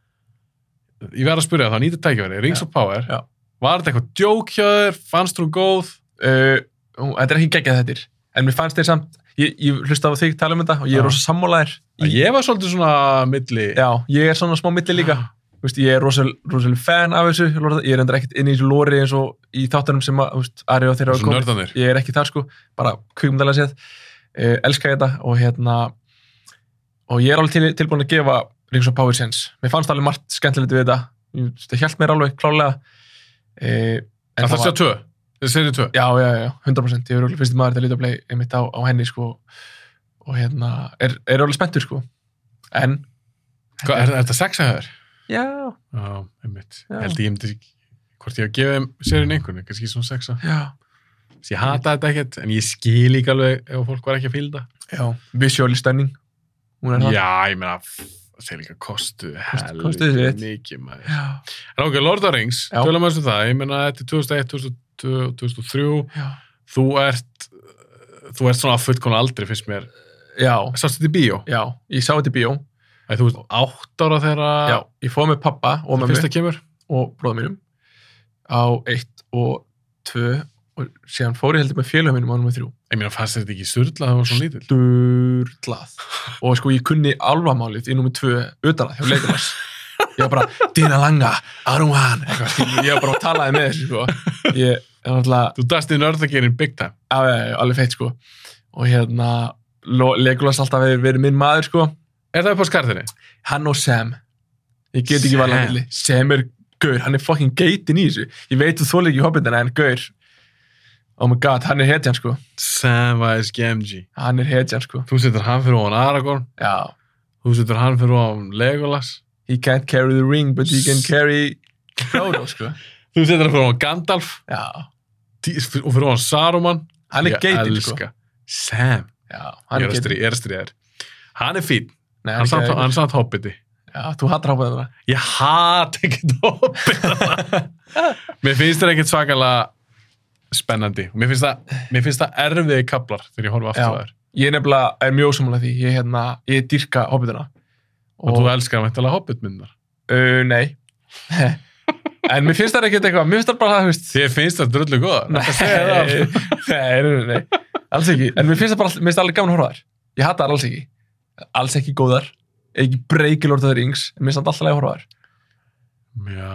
Speaker 1: ég verð að spyrja það nýta tækifæri, Rings
Speaker 2: Já.
Speaker 1: of Power
Speaker 2: Já.
Speaker 1: var þetta eitthvað djók hjá þér, fannst hún góð
Speaker 2: Uh, hún- þetta er ekki geggjað þetta En mér fannst þér samt, ég, ég hlusta á þig tala um þetta og ég
Speaker 1: Já.
Speaker 2: er rosa sammálaðir.
Speaker 1: ég var svolítið svona milli
Speaker 2: Já, ég er svona smá milli líka. Þú veist, ég er rosal, rosal fan af þessu lorda. ég er endur ekkert inn í þessu lóri eins og í þáttunum sem að, þú veist, Ari og þeirra hafa
Speaker 1: svona
Speaker 2: komið.
Speaker 1: nördanir
Speaker 2: ég er ekki þar sko, bara kvikmyndalega séð eh, elska ég þetta og hérna og ég er alveg til, tilbúin að gefa Rings of Power Sense, mér fannst alveg margt skemmtilegt við þetta, Ég- þú veist, það hjælt mér alveg klálega eh, en
Speaker 1: það sé að tvö, það sé að tvö
Speaker 2: Já, já, já, 100%. Ég er alveg fyrst maður til að líta að play einmitt á, á henni, sko. Og hérna, er, er alveg spenntur, sko. En,
Speaker 1: Hva, er, er þetta sex að þér?
Speaker 2: já,
Speaker 1: já, einmitt,
Speaker 2: Já.
Speaker 1: held ég myndi hvort ég hef gefið seríun einhvern kannski svona sexa,
Speaker 2: já,
Speaker 1: Þess ég hata þetta ekkert en ég skil líka alveg ef fólk var ekki að fíla
Speaker 2: já, visually stunning. Hún er
Speaker 1: það
Speaker 2: það.
Speaker 1: já, ég meina það sé líka kostu
Speaker 2: Kostu-
Speaker 1: helviti
Speaker 2: kostuðu sitt.
Speaker 1: mikið maður
Speaker 2: Já,
Speaker 1: En ok, Lord of the Rings,
Speaker 2: Já.
Speaker 1: tölum við þessu það, ég meina þetta er 2001, 2002, 2003,
Speaker 2: já,
Speaker 1: þú ert, þú ert svona að fullkona aldrei fyrst mér.
Speaker 2: já,
Speaker 1: Sástu þetta í bíó?
Speaker 2: já, ég sá þetta í bíó.
Speaker 1: Æ, þú ert átt ára þegar
Speaker 2: Já, ég fóð með pappa og
Speaker 1: það
Speaker 2: mömmu
Speaker 1: fyrsta kemur?
Speaker 2: og bróða mínum á eitt og tvö og síðan fór ég heldur með félagum mínum á nummer þrjú.
Speaker 1: Ég meina, fannst þér þetta ekki surla, það var svona lítill.
Speaker 2: Durlað. Og sko, ég kunni alvamálið í nummer tvö utan að hjá leikumars. Ég var bara, Dina Langa, Aruman, eitthvað, skilur, ég var bara að talaði með þessu, sko. Ég, er náttúrulega,
Speaker 1: Þú dast í nörðagerinn big time.
Speaker 2: Já, já, já, alveg feitt sko og hérna, Lo- Legolas alltaf hefur verið minn maður sko,
Speaker 1: Er það upp á skarðinni?
Speaker 2: hann og Sam ég get ekki valið að milli Sam er Gaur, hann er fucking geitin í þessu Ég veit þú þólir ekki hobbitina en Gaur Oh my god, hann er hetjan sko
Speaker 1: Samwise Gamgee
Speaker 2: Hann er hetjan sko
Speaker 1: Þú setur hann fyrir ofan Aragorn
Speaker 2: Já
Speaker 1: Þú setur hann fyrir ofan Legolas
Speaker 2: He can't carry the ring but he can carry Frodo sko
Speaker 1: Þú setur hann fyrir ofan Gandalf
Speaker 2: Já
Speaker 1: dí- og fyrir ofan Saruman
Speaker 2: Hann er
Speaker 1: Ég
Speaker 2: geitin sko
Speaker 1: elska Sam
Speaker 2: Já,
Speaker 1: Ég er
Speaker 2: hann er
Speaker 1: að
Speaker 2: geitin
Speaker 1: stríða- ég er að stríða þér Hann er fín
Speaker 2: Nei,
Speaker 1: Hann
Speaker 2: hann er
Speaker 1: samt-
Speaker 2: geitin
Speaker 1: hann er samt hobbiti
Speaker 2: Já, þú hattar hoppaði það
Speaker 1: Ég hat ekkert hobbitana. mér finnst það ekkert svakalega spennandi. Mér finnst það, mér finnst það erfiði kaplar þegar ég horfa aftur á
Speaker 2: Já.
Speaker 1: þær.
Speaker 2: Ég er nefnilega, er mjög ósamlega því Ég, hérna, ég dyrka hobbitina
Speaker 1: Og, þú elskar mæntalega hobbitmyndar.
Speaker 2: Uh, nei. en mér finnst það ekkert eitthvað, mér finnst það bara það, þú veist.
Speaker 1: Þér finnst það drullu góðar.
Speaker 2: Nei,
Speaker 1: Þetta segir það allt.
Speaker 2: nei, nei, nei, nei, alls ekki. En mér finnst það bara, mér finnst það alveg gaman að horfa á þær. Ég hata þær alls ekki. Alls ekki góðar, ekki breykilort þær yngs, en mér finnst það alltaf að horfa á þær.
Speaker 1: Já,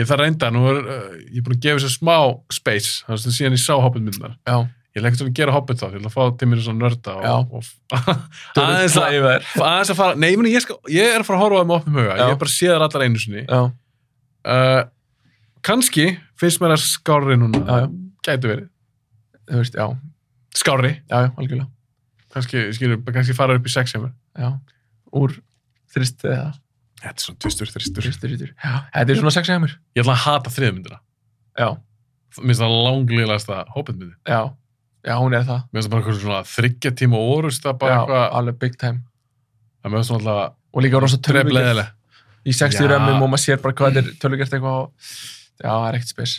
Speaker 1: ég þarf reynda, nú er, uh, ég er búin að gefa sér smá space, þannig að síðan ég sá hobbitmyndar.
Speaker 2: Já,
Speaker 1: Ég legg til að gera hobbit þá, ég ætla að fá til mér svona nörda og, og aðeins, að,
Speaker 2: að þær.
Speaker 1: aðeins að fara, nei, ég, meni, ég, skal, ég er að fara að horfa á það með opnum huga,
Speaker 2: Já.
Speaker 1: ég er bara að sé þar allar einu sinni.
Speaker 2: Já,
Speaker 1: Uh, kannski finnst mér að skári núna
Speaker 2: Já, já.
Speaker 1: gæti verið,
Speaker 2: þú veist, já,
Speaker 1: skári
Speaker 2: já, já, algjörlega.
Speaker 1: kannski, skilur, kannski fara upp í sex hjá mér
Speaker 2: Já, úr þrist eða
Speaker 1: þetta er svona tvistur, þristur ég
Speaker 2: þristur yfir. Já, þetta er svona sex hjá mér.
Speaker 1: ætla að hata þriðmyndina
Speaker 2: Já,
Speaker 1: mér finnst það langlýðlegasta hópendmyndi mér
Speaker 2: já, já, hún er það.
Speaker 1: finnst það bara eitthvað svona þryggja tíma orust það bara
Speaker 2: Já,
Speaker 1: eitthvað,
Speaker 2: alveg big time.
Speaker 1: það mér finnst svona alltaf
Speaker 2: Og líka rosa tölvugerð.
Speaker 1: drefleðileg
Speaker 2: í 60
Speaker 1: Já.
Speaker 2: römmum og maður sér bara hvað þetta er tölugert eitthvað og já, það er ekkert spes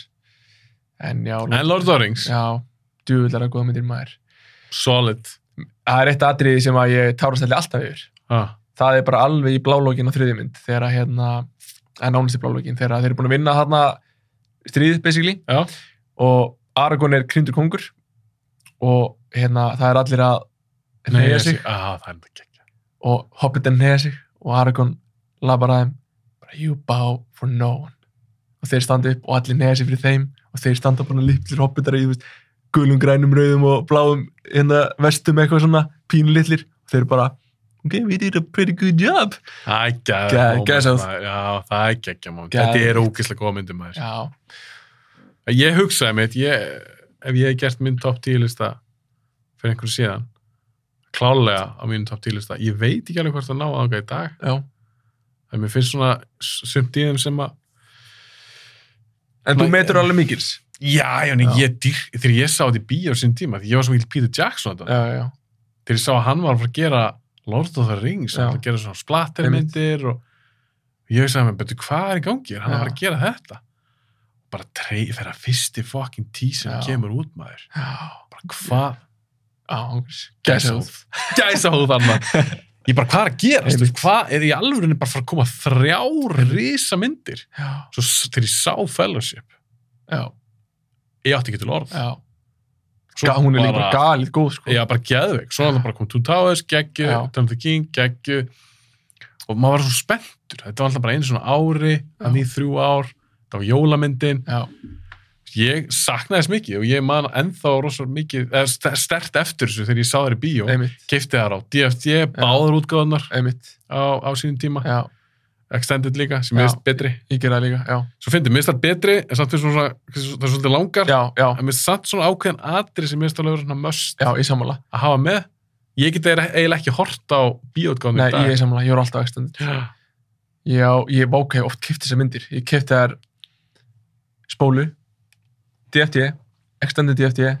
Speaker 2: en já,
Speaker 1: en Lord of the Rings,
Speaker 2: já, djúvillara góða myndir maður
Speaker 1: solid
Speaker 2: það er eitt atriði sem að ég tárast allir alltaf yfir
Speaker 1: ah,
Speaker 2: það er bara alveg í blálógin á þriði mynd þegar að hérna, að nánast í blálógin þegar að þeir eru búin að vinna þarna stríð, basically,
Speaker 1: já,
Speaker 2: og Aragorn er kryndur kongur og hérna, það er allir að
Speaker 1: ég
Speaker 2: reyja
Speaker 1: sé-
Speaker 2: sig
Speaker 1: ah, það er þetta gekkja
Speaker 2: og Hobbitin neyja sig og Aragorn labar að þeim bara you bow for no one og þeir standa upp og allir neyja sig fyrir þeim og þeir standa bara litlir Hobbitar í þú veist, gulum, grænum, rauðum og bláum hérna vestum eitthvað svona pínulitlir og þeir bara ok, we did a pretty good job
Speaker 1: það er gekkja
Speaker 2: Ge- geðsjóð.
Speaker 1: já, það er gekkja moment.
Speaker 2: Geð-
Speaker 1: þetta er ógeðslega góða myndi maður
Speaker 2: já,
Speaker 1: Ég hugsaði mitt, ég, ef ég hef gert minn top 10 lista fyrir einhverju síðan, klálega á mínum top 10 lista, ég veit ekki alveg hvort að ná aðanga í dag,
Speaker 2: já
Speaker 1: en mér finnst svona s- sumt í þeim sem að,
Speaker 2: en
Speaker 1: Like-
Speaker 2: þú metur alveg mikils
Speaker 1: já, já, en
Speaker 2: Já.
Speaker 1: ég dýr, þegar ég sá þetta í bíó á sín tíma, því ég var svo mikil Peter Jackson þetta,
Speaker 2: já, já,
Speaker 1: þegar ég sá að hann var að fara að gera Lord of the Rings,
Speaker 2: Já.
Speaker 1: hann var að gera svona splattermyndir og ég hugsaði mér, betur hvað er í gangi, er hann að
Speaker 2: Já.
Speaker 1: fara að gera þetta? Bara trey, þegar fyrsti fucking tí sem
Speaker 2: Já.
Speaker 1: kemur út maður,
Speaker 2: já,
Speaker 1: bara hvað?
Speaker 2: já ángurs.
Speaker 1: Gæsahúð. gæsahúð annar ég bara, hvað er að gera?
Speaker 2: Einmitt.
Speaker 1: Hvað er í alvörinu bara að fara að koma þrjár risa myndir?
Speaker 2: já,
Speaker 1: Svo s- þegar ég sá fellowship
Speaker 2: já,
Speaker 1: ég átti ekki til orð
Speaker 2: já Ga- hún er líka bara galið góð sko
Speaker 1: já, bara geðveik, svo hann bara kom Two Towers geggju,
Speaker 2: Já.
Speaker 1: Turn of the King, geggju og maður var svo spenntur þetta var alltaf bara einu svona ári hann í þrjú ár, það var jólamyndin
Speaker 2: já,
Speaker 1: ég saknaði þess mikið og ég man ennþá rosa mikið, eða st- sterkt eftir þessu þegar ég sá þær í bíó,
Speaker 2: einmitt,
Speaker 1: keipti þær á DFT, báður útgáðunar
Speaker 2: einmitt
Speaker 1: á, á sínum tíma
Speaker 2: já,
Speaker 1: Extended líka, sem
Speaker 2: Já.
Speaker 1: er betri
Speaker 2: ég ger það líka, já
Speaker 1: svo fyndið, mér finnst það betri, en samt finnst mér svona það er svolítið langar,
Speaker 2: já, já,
Speaker 1: en mér finnst samt svona ákveðin atri sem mér finnst alveg vera svona möst
Speaker 2: já, ég sammála
Speaker 1: að hafa með, ég get eiginlega- eiginlega ekki hort á bíótgáðum
Speaker 2: Nei, ég er sammála, ég er alltaf extended
Speaker 1: já,
Speaker 2: Já, ég hef ákveð oft kifti þessar myndir Ég kifti þær spólu DFT, E, extended DFT E,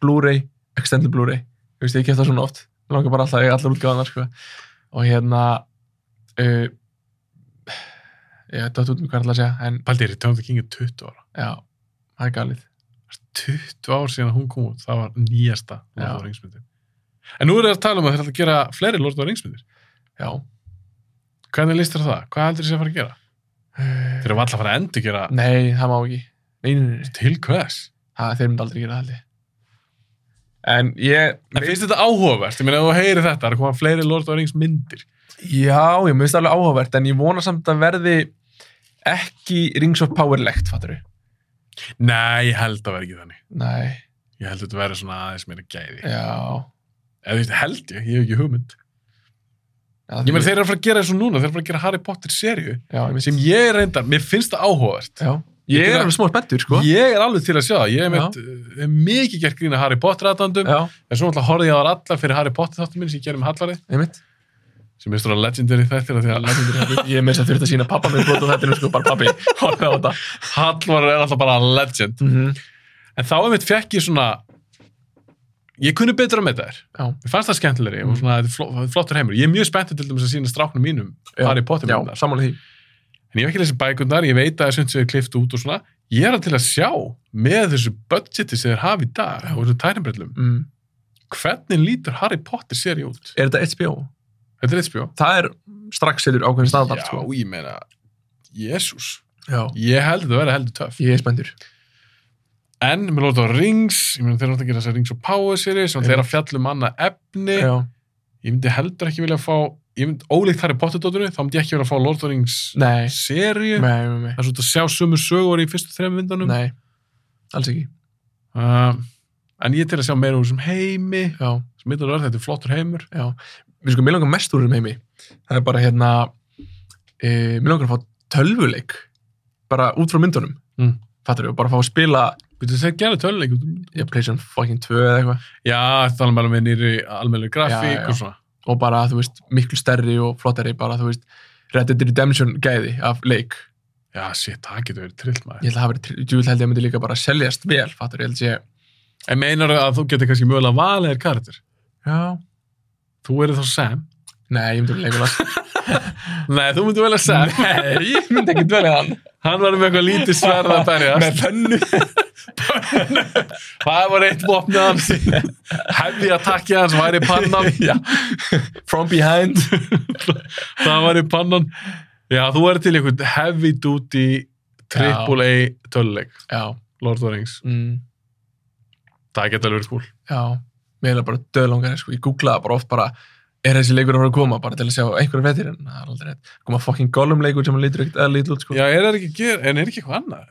Speaker 2: Blu-ray, extended Blu-ray Þú veist, ég kifti það svona oft Mér langar bara alltaf, ég er allar útgáðanar, sko Og hérna uh, Ég dætt út með hvað ég ætla að segja En
Speaker 1: paldi er í Tönda King er 20 ára
Speaker 2: já, það er galið
Speaker 1: Það er 20 ár síðan að hún kom út, það var nýjasta Lord
Speaker 2: Já.
Speaker 1: of the Rings myndin en nú er það að tala um að þeir ætla að gera fleiri Lord of the Rings myndir,
Speaker 2: Já
Speaker 1: hvernig listar það? hvað heldur þessi að fara að gera?
Speaker 2: Eh,
Speaker 1: þeir eru alltaf að fara að endur gera
Speaker 2: Nei, það má ekki Nei, nei, nei, nei.
Speaker 1: til hvers?
Speaker 2: Það, þeir myndi aldrei gera það held ég. En ég
Speaker 1: En finnst þetta áhugavert? Ég meina, ef þú heyrir þetta, það er að koma fleiri Lord of the Rings myndir.
Speaker 2: Já, ég mér finnst það alveg áhugavert en ég vona samt að verði ekki Rings of Power-legt, fattur við?
Speaker 1: Nei, ég held að vera ekki þannig.
Speaker 2: Nei,
Speaker 1: Ég held að þetta verður svona aðeins meira gæði.
Speaker 2: já,
Speaker 1: Eða þú veist, held ég, ég hef ekki hugmynd.
Speaker 2: Já,
Speaker 1: Ég meina þeir eru að fara að gera þessu núna, þeir eru að fara að gera Harry Potter seríu
Speaker 2: Já, ég
Speaker 1: sem ég er reyndar, mér finnst það áhugavert.
Speaker 2: Já. Ég
Speaker 1: Ég-
Speaker 2: er alveg smá spenntur, sko.
Speaker 1: Ég er alveg til að sjá það, ég er, meitt, er mikið gert grína Harry Potter aðdandum,
Speaker 2: Já,
Speaker 1: en svo náttúrulega horfði ég á þar allar fyrir Harry Potter þáttum minn sem ég gerði með Hallari,
Speaker 2: einmitt.
Speaker 1: sem er stóra legendary þættir af því að
Speaker 2: Ég er meins að þurft að sína pappa með brot á þættinu, sko, bara pappi, horfa á þetta.
Speaker 1: Hallvar er alltaf bara legend.
Speaker 2: Mm
Speaker 1: En þá einmitt fekk ég svona, ég kunni betur að metta þér.
Speaker 2: Já.
Speaker 1: Mér fannst það skemmtilegri
Speaker 2: Mm.
Speaker 1: og svona, þetta er fló- þetta er flottur heimur. Ég er mjög spenntið til dæmis að sína stráknum mínum
Speaker 2: Já.
Speaker 1: Harry Potter
Speaker 2: Já,
Speaker 1: myndirnar.
Speaker 2: sammála því.
Speaker 1: En ég hef ekki lesið bækundar, ég veit að það er sem þau klift út og svona. Ég er að til að sjá með þessu budgeti sem þeir hafa í dag og þessu tærinbrellum.
Speaker 2: Mm.
Speaker 1: Hvernig lítur Harry Potter seri út?
Speaker 2: Er þetta HBO?
Speaker 1: Þetta er eitt spjó.
Speaker 2: Það er strax setur
Speaker 1: Já,
Speaker 2: ákveðin standart, sko.
Speaker 1: ég meina, jésús.
Speaker 2: Já.
Speaker 1: Ég held þetta að vera heldur töff.
Speaker 2: Ég er spenntur.
Speaker 1: En með lóta á Rings, ég meina þeir eru náttúrulega að gera þessa Rings og Power seri sem
Speaker 2: Já.
Speaker 1: þeir að fjalla um annað efni.
Speaker 2: Já.
Speaker 1: Ég myndi heldur ekki vilja fá, ég myndi ólíkt Harry Potter dóttunni, þá myndi ég ekki vilja fá Lord of the Rings
Speaker 2: Nei.
Speaker 1: seríu.
Speaker 2: Nei, nei, nei.
Speaker 1: Það er svona að sjá sömu sögur í fyrstu þrejum myndunum.
Speaker 2: Nei. Alls ekki.
Speaker 1: Uh, en ég er til að sjá meira úr þessum heimi
Speaker 2: Já.
Speaker 1: sem mitt og rörð, þetta er flottur heimur
Speaker 2: Já. Við sko, mér langar mest úr um heimi. Það er bara, hérna, e, mér langar að fá tölvuleik. Bara út frá myndunum.
Speaker 1: Mm.
Speaker 2: Fattar við, bara fá að spila,
Speaker 1: Býtu þeir gera töluleik út um-
Speaker 2: ég play some fucking 2 eða eitthvað.
Speaker 1: Já, það er alveg með nýri almennir grafík
Speaker 2: Já, já.
Speaker 1: og svona
Speaker 2: og bara, þú veist, miklu stærri og flottari bara, þú veist, Red Dead Redemption gæði af leik.
Speaker 1: Já, shit, það getur verið trill maður
Speaker 2: Ég held að það hafi verið, djúvill held ég að myndi líka bara seljast vel, fattur, ég held ég,
Speaker 1: En meinar að þú getur kannski mögulega valið þér karakter
Speaker 2: já,
Speaker 1: Þú verður þá Sam
Speaker 2: nei, ég myndi leika last.
Speaker 1: Nei, þú myndir velja Sam
Speaker 2: nei, ég myndi ekki dvelja hann.
Speaker 1: Hann var með eitthvað lítið sverð að berjast
Speaker 2: Með fönnu.
Speaker 1: Það var eitt vopnið hans Hefði að takja hans væri pannan
Speaker 2: já, from behind.
Speaker 1: Það væri pannan Já, þú verður til eitthvað heavy duty triple A töluleik
Speaker 2: já,
Speaker 1: Lord of the Rings
Speaker 2: mm,
Speaker 1: Það geta alveg verið cool.
Speaker 2: já, mér er bara döðlangar, sko, ég googlaði bara oft bara, er þessi leikur að fara að koma, bara til að sjá einhverja vettir, en það er aldrei rétt. Koma fucking gollum leikur sem að lítur ekkert að lítur út, sko.
Speaker 1: Já, er það ekki að gera, en er ekki eitthvað annað?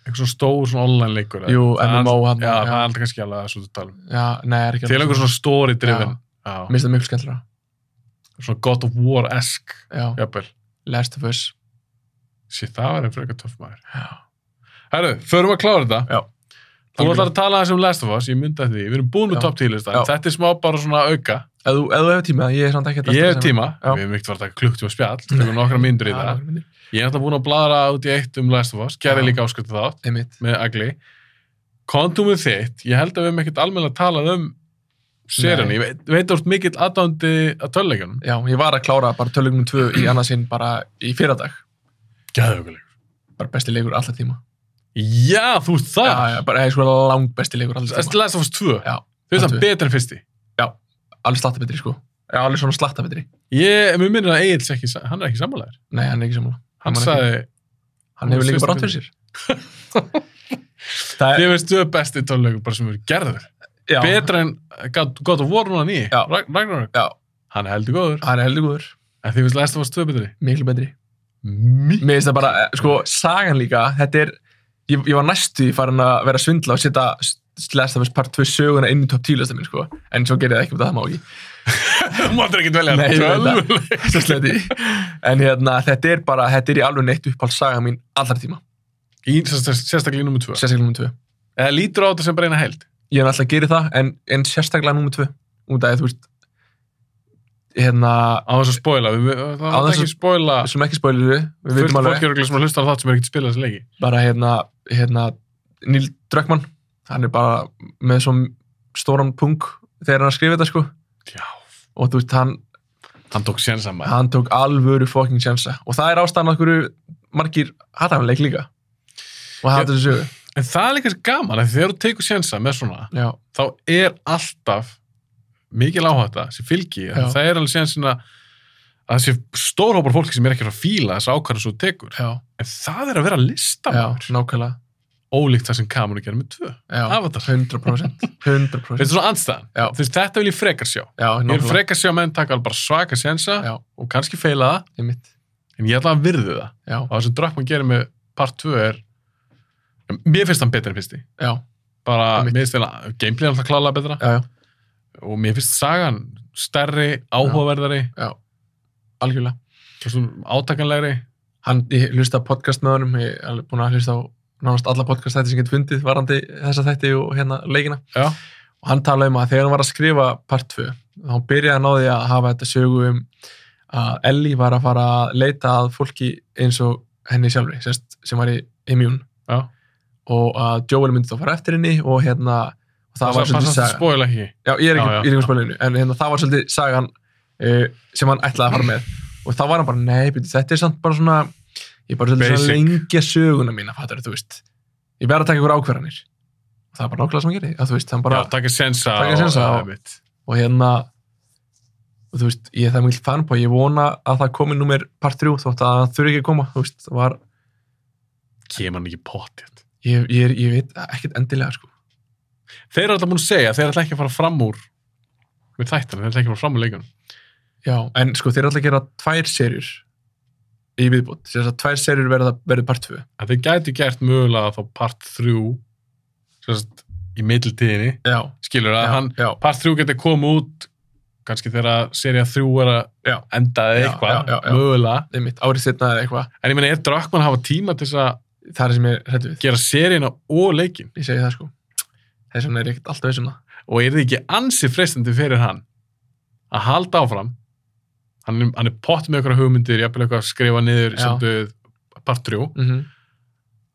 Speaker 1: Eitthvað svona stór svona online leikur? eða?
Speaker 2: Jú,
Speaker 1: Það er
Speaker 2: MMO
Speaker 1: allt-
Speaker 2: hann.
Speaker 1: Já, það er alltaf kannski alveg að svona tala um.
Speaker 2: já, nei, er ekki
Speaker 1: Til einhver svona story driven.
Speaker 2: Já.
Speaker 1: Já.
Speaker 2: Mér finnst það miklu skemmtilega.
Speaker 1: Svona God of War-esk,
Speaker 2: Já,
Speaker 1: jafnvel.
Speaker 2: Last of Us.
Speaker 1: Shit, það var einn frekar töff maður.
Speaker 2: Já.
Speaker 1: Herru, förum að klára þetta.
Speaker 2: Já.
Speaker 1: Þú ætlar að tala aðeins um Last of Us, ég myndi að því. Við erum búin með
Speaker 2: Já.
Speaker 1: top 10 lista, en
Speaker 2: Já.
Speaker 1: þetta er smá bara svona auka.
Speaker 2: Ef þú, ef þú hefur tíma, ég er samt ekki
Speaker 1: Ég hef tíma,
Speaker 2: Já.
Speaker 1: við hefum ekkert farið að taka klukktíma spjall, tökum nokkra myndur í það. Ég er alltaf búin að bladra út í eitt um Last of Us, gerði
Speaker 2: Já.
Speaker 1: líka áskrifta þátt.
Speaker 2: Einmitt.
Speaker 1: með Agli kontumum þitt, ég held að við hefum ekkert almennilega talað um seríunni,
Speaker 2: Nei.
Speaker 1: ég veit, veit orð mikill aðdándi að töluleikunum
Speaker 2: Já, ég var að klára bara tölugnum 2 í annarsinn bara í fyrradag.
Speaker 1: Gæðugulegur
Speaker 2: Bara besti leikur alltaf tíma.
Speaker 1: Já, þú ert
Speaker 2: Já,
Speaker 1: það
Speaker 2: já, bara eða sko lang besti leikur alltaf
Speaker 1: Last
Speaker 2: tíma.
Speaker 1: Last of Us 2,
Speaker 2: Já,
Speaker 1: þú veist
Speaker 2: það
Speaker 1: það betur en fyrsti
Speaker 2: Alveg slatta betri, sko. Já, alveg svona slatta betri.
Speaker 1: Ég, mér minnir að Egil ekki, sa- hann er ekki sammálaður
Speaker 2: Nei, hann er ekki sammála.
Speaker 1: Hann
Speaker 2: Hann er
Speaker 1: sagði,
Speaker 2: Hann hefur
Speaker 1: Hún
Speaker 2: líka
Speaker 1: er
Speaker 2: bara átt fyrir sér. það
Speaker 1: þið veist þau besti töluleikur bara sem eru gerður,
Speaker 2: Eh. já,
Speaker 1: betur en eh, God God of War núna nýji,
Speaker 2: Já.
Speaker 1: Ragn- Ragnarök
Speaker 2: Já,
Speaker 1: hann er heldur góður,
Speaker 2: hann er heldur góður.
Speaker 1: en þið veist Last of Us 2 betri
Speaker 2: Miklu betri.
Speaker 1: Mjög
Speaker 2: Mér finnst það bara, eh, sko, sagan líka, þetta er, ég, ég var næstu í farin að vera að svindla og setja S- Last of Us Part 2 söguna inn í top 10 lista minn, sko, en svo gerði ég það ekki, um það það má ekki.
Speaker 1: Þú máttir ekki dvelja
Speaker 2: Nei, ég veit það.
Speaker 1: tölvuleik
Speaker 2: Svo sletti ég. en hérna, þetta er bara, þetta er í alveg neitt uppáld saga mín allra tíma,
Speaker 1: Í sérstaklega í nummer 2
Speaker 2: sérstaklega nummer 2.
Speaker 1: Eða lítur á þetta sem bara eina held
Speaker 2: Ég er alltaf að gera það, en, en sérstaklega nummer 2, út af því, þú veist, hérna,
Speaker 1: á þess að spoila við, við, það
Speaker 2: Á
Speaker 1: er
Speaker 2: þess
Speaker 1: ekki
Speaker 2: að-
Speaker 1: spoila
Speaker 2: við sem ekki spólir við, við
Speaker 1: fullt
Speaker 2: veitum
Speaker 1: fólk
Speaker 2: alveg,
Speaker 1: er örugglega sem að hlusta á þátt sem er ekki að spila þessi leiki
Speaker 2: bara hérna, hérna, Neil Druckmann, hann er bara með svo stóran punk þegar hann skrifið þetta, sko.
Speaker 1: já,
Speaker 2: og þú veist, hann,
Speaker 1: hann tók sjensa maður
Speaker 2: hann tók alvöru fucking sjansa og það er ástæðan af hverju margir hataðanleik líka og
Speaker 1: Já.
Speaker 2: hata þessu sögu
Speaker 1: en það er líka svo gaman að þegar þú tekur sjensa með svona
Speaker 2: já,
Speaker 1: þá er alltaf mikil áhætta sem fylgi
Speaker 2: Já.
Speaker 1: það er alveg sjensin að að það sé stórhópar fólki sem er ekki að fíla þess ákvæða svo tekur
Speaker 2: já,
Speaker 1: en það er að vera
Speaker 2: já,
Speaker 1: listamæður
Speaker 2: nákvæmlega
Speaker 1: ólíkt það sem Kamun er gerð með tvö
Speaker 2: já,
Speaker 1: Avatar.
Speaker 2: 100% 100%
Speaker 1: þetta er svona andstæðan
Speaker 2: Já.
Speaker 1: Þú veist, þetta vil ég frekar sjá
Speaker 2: já,
Speaker 1: ég vil
Speaker 2: nákvæmlega
Speaker 1: frekar sjá menn taka alveg bara svaka sjensa
Speaker 2: já,
Speaker 1: og kannski feila það
Speaker 2: ég mitt
Speaker 1: en ég ætla að virði það
Speaker 2: já,
Speaker 1: og það sem Druckmann gerir með part 2 er mér finnst hann betur en fyrsti
Speaker 2: já,
Speaker 1: bara,
Speaker 2: Einmitt.
Speaker 1: mér finnst hann, gameplay er alltaf klálega betra
Speaker 2: já, já,
Speaker 1: og mér finnst sagan stærri, áhugaverðari
Speaker 2: já. algjörlega.
Speaker 1: Þessum átakanlegri.
Speaker 2: Hann, ég hlusta á podcast með honum, ég er búin að hlusta á nánast alla podcast þætti sem getur fundið varandi þessa þætti og hérna leikina.
Speaker 1: Já.
Speaker 2: Og hann talaði um að þegar hann var að skrifa part 2, þá byrjaði hann á því að hafa þetta sögu um að Ellie var að fara að leita að fólki eins og henni sjálfri, sérst, sem var í Immune.
Speaker 1: Já.
Speaker 2: Og að Joel myndi þá fara eftir henni og hérna, og það var
Speaker 1: svolítið
Speaker 2: svolítið
Speaker 1: saga.
Speaker 2: saga.
Speaker 1: Spóil ekki.
Speaker 2: Já, ég er ekki,
Speaker 1: Já, já,
Speaker 2: ég er ekki
Speaker 1: já.
Speaker 2: spilinu, en hérna, það var svolítið sagan uh, sem hann ætlaði að fara með og þá var hann bara, nei, byrju, þetta er samt bara svona ég er bara svolítið svona
Speaker 1: Basic.
Speaker 2: að lengja söguna mína, fattar þú veist ég verð að taka ykkur ákvarðanir og það er bara nákvæmlega sem hann gerir, að þú veist, hann bara
Speaker 1: Já, taka sensa.
Speaker 2: Taka
Speaker 1: og-
Speaker 2: sensa á-
Speaker 1: einmitt.
Speaker 2: og hérna og þú veist, ég er það mjög fann på, ég vona að það komi númer part 3 þótt að það þurfi ekki að koma, þú veist, það var
Speaker 1: Kemur hann ekki pottið.
Speaker 2: ég, ég, er- ég veit ekkert endilega, sko
Speaker 1: Þeir eru alltaf búin að segja, þeir eru alltaf ekki að fara fram úr við þættan, þeir eru alltaf ekki að fara fram úr leikunum.
Speaker 2: Já, en sko, þeir eru alltaf að gera tvær serjur í viðbútt, þess að tvær serjur verða, verði part 2
Speaker 1: að þeir gæti gert mögulega þá part 3 sérst, í middeltíðinni
Speaker 2: Já,
Speaker 1: skilur að
Speaker 2: já,
Speaker 1: hann,
Speaker 2: já,
Speaker 1: part 3 geti komið út kannski þegar seria 3 er að
Speaker 2: Já.
Speaker 1: enda eða
Speaker 2: Já,
Speaker 1: eitthvað,
Speaker 2: já, já, já.
Speaker 1: mögulega
Speaker 2: einmitt, árið setna eða eitthvað,
Speaker 1: en ég meina, er Drakman að hafa tíma til þess að
Speaker 2: það er sem ég hrættu við
Speaker 1: gera serina og leikin
Speaker 2: ég segi það sko, þess vegna er ég ekkert alltaf veist um það
Speaker 1: og er þið ekki ansi freistandi fyrir hann að halda áfram hann er, hann er pott með eitthvað hugmyndir jafnvel eitthvað að skrifa niður
Speaker 2: Já.
Speaker 1: sem duð part 3,
Speaker 2: mm -hmm.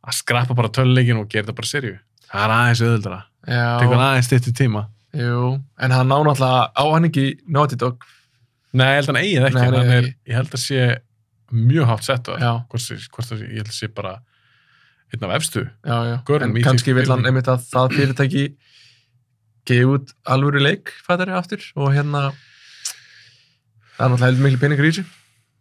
Speaker 1: að skrappa bara töluleikin og gera þetta bara serju það er aðeins auðvöldra, tekur
Speaker 2: já,
Speaker 1: aðeins stýttu tíma
Speaker 2: jú en hann ná náttúrulega á hann ekki í Naughty Dog,
Speaker 1: Nei, ég held að hann eigi það ekki,
Speaker 2: Nei,
Speaker 1: en
Speaker 2: nei,
Speaker 1: hann er,
Speaker 2: ekki.
Speaker 1: ég held að sé mjög hátt sett á það,
Speaker 2: já,
Speaker 1: hvort, sé- hvort það sé, ég held að sé bara einn af efstu.
Speaker 2: já, já
Speaker 1: Görum í
Speaker 2: en kannski
Speaker 1: því-
Speaker 2: vil hann
Speaker 1: í-
Speaker 2: einmitt að það fyrirtæki gefi út alvöru leik fættari aftur og hérna það er náttúrulega heldur miklu peningar í þessu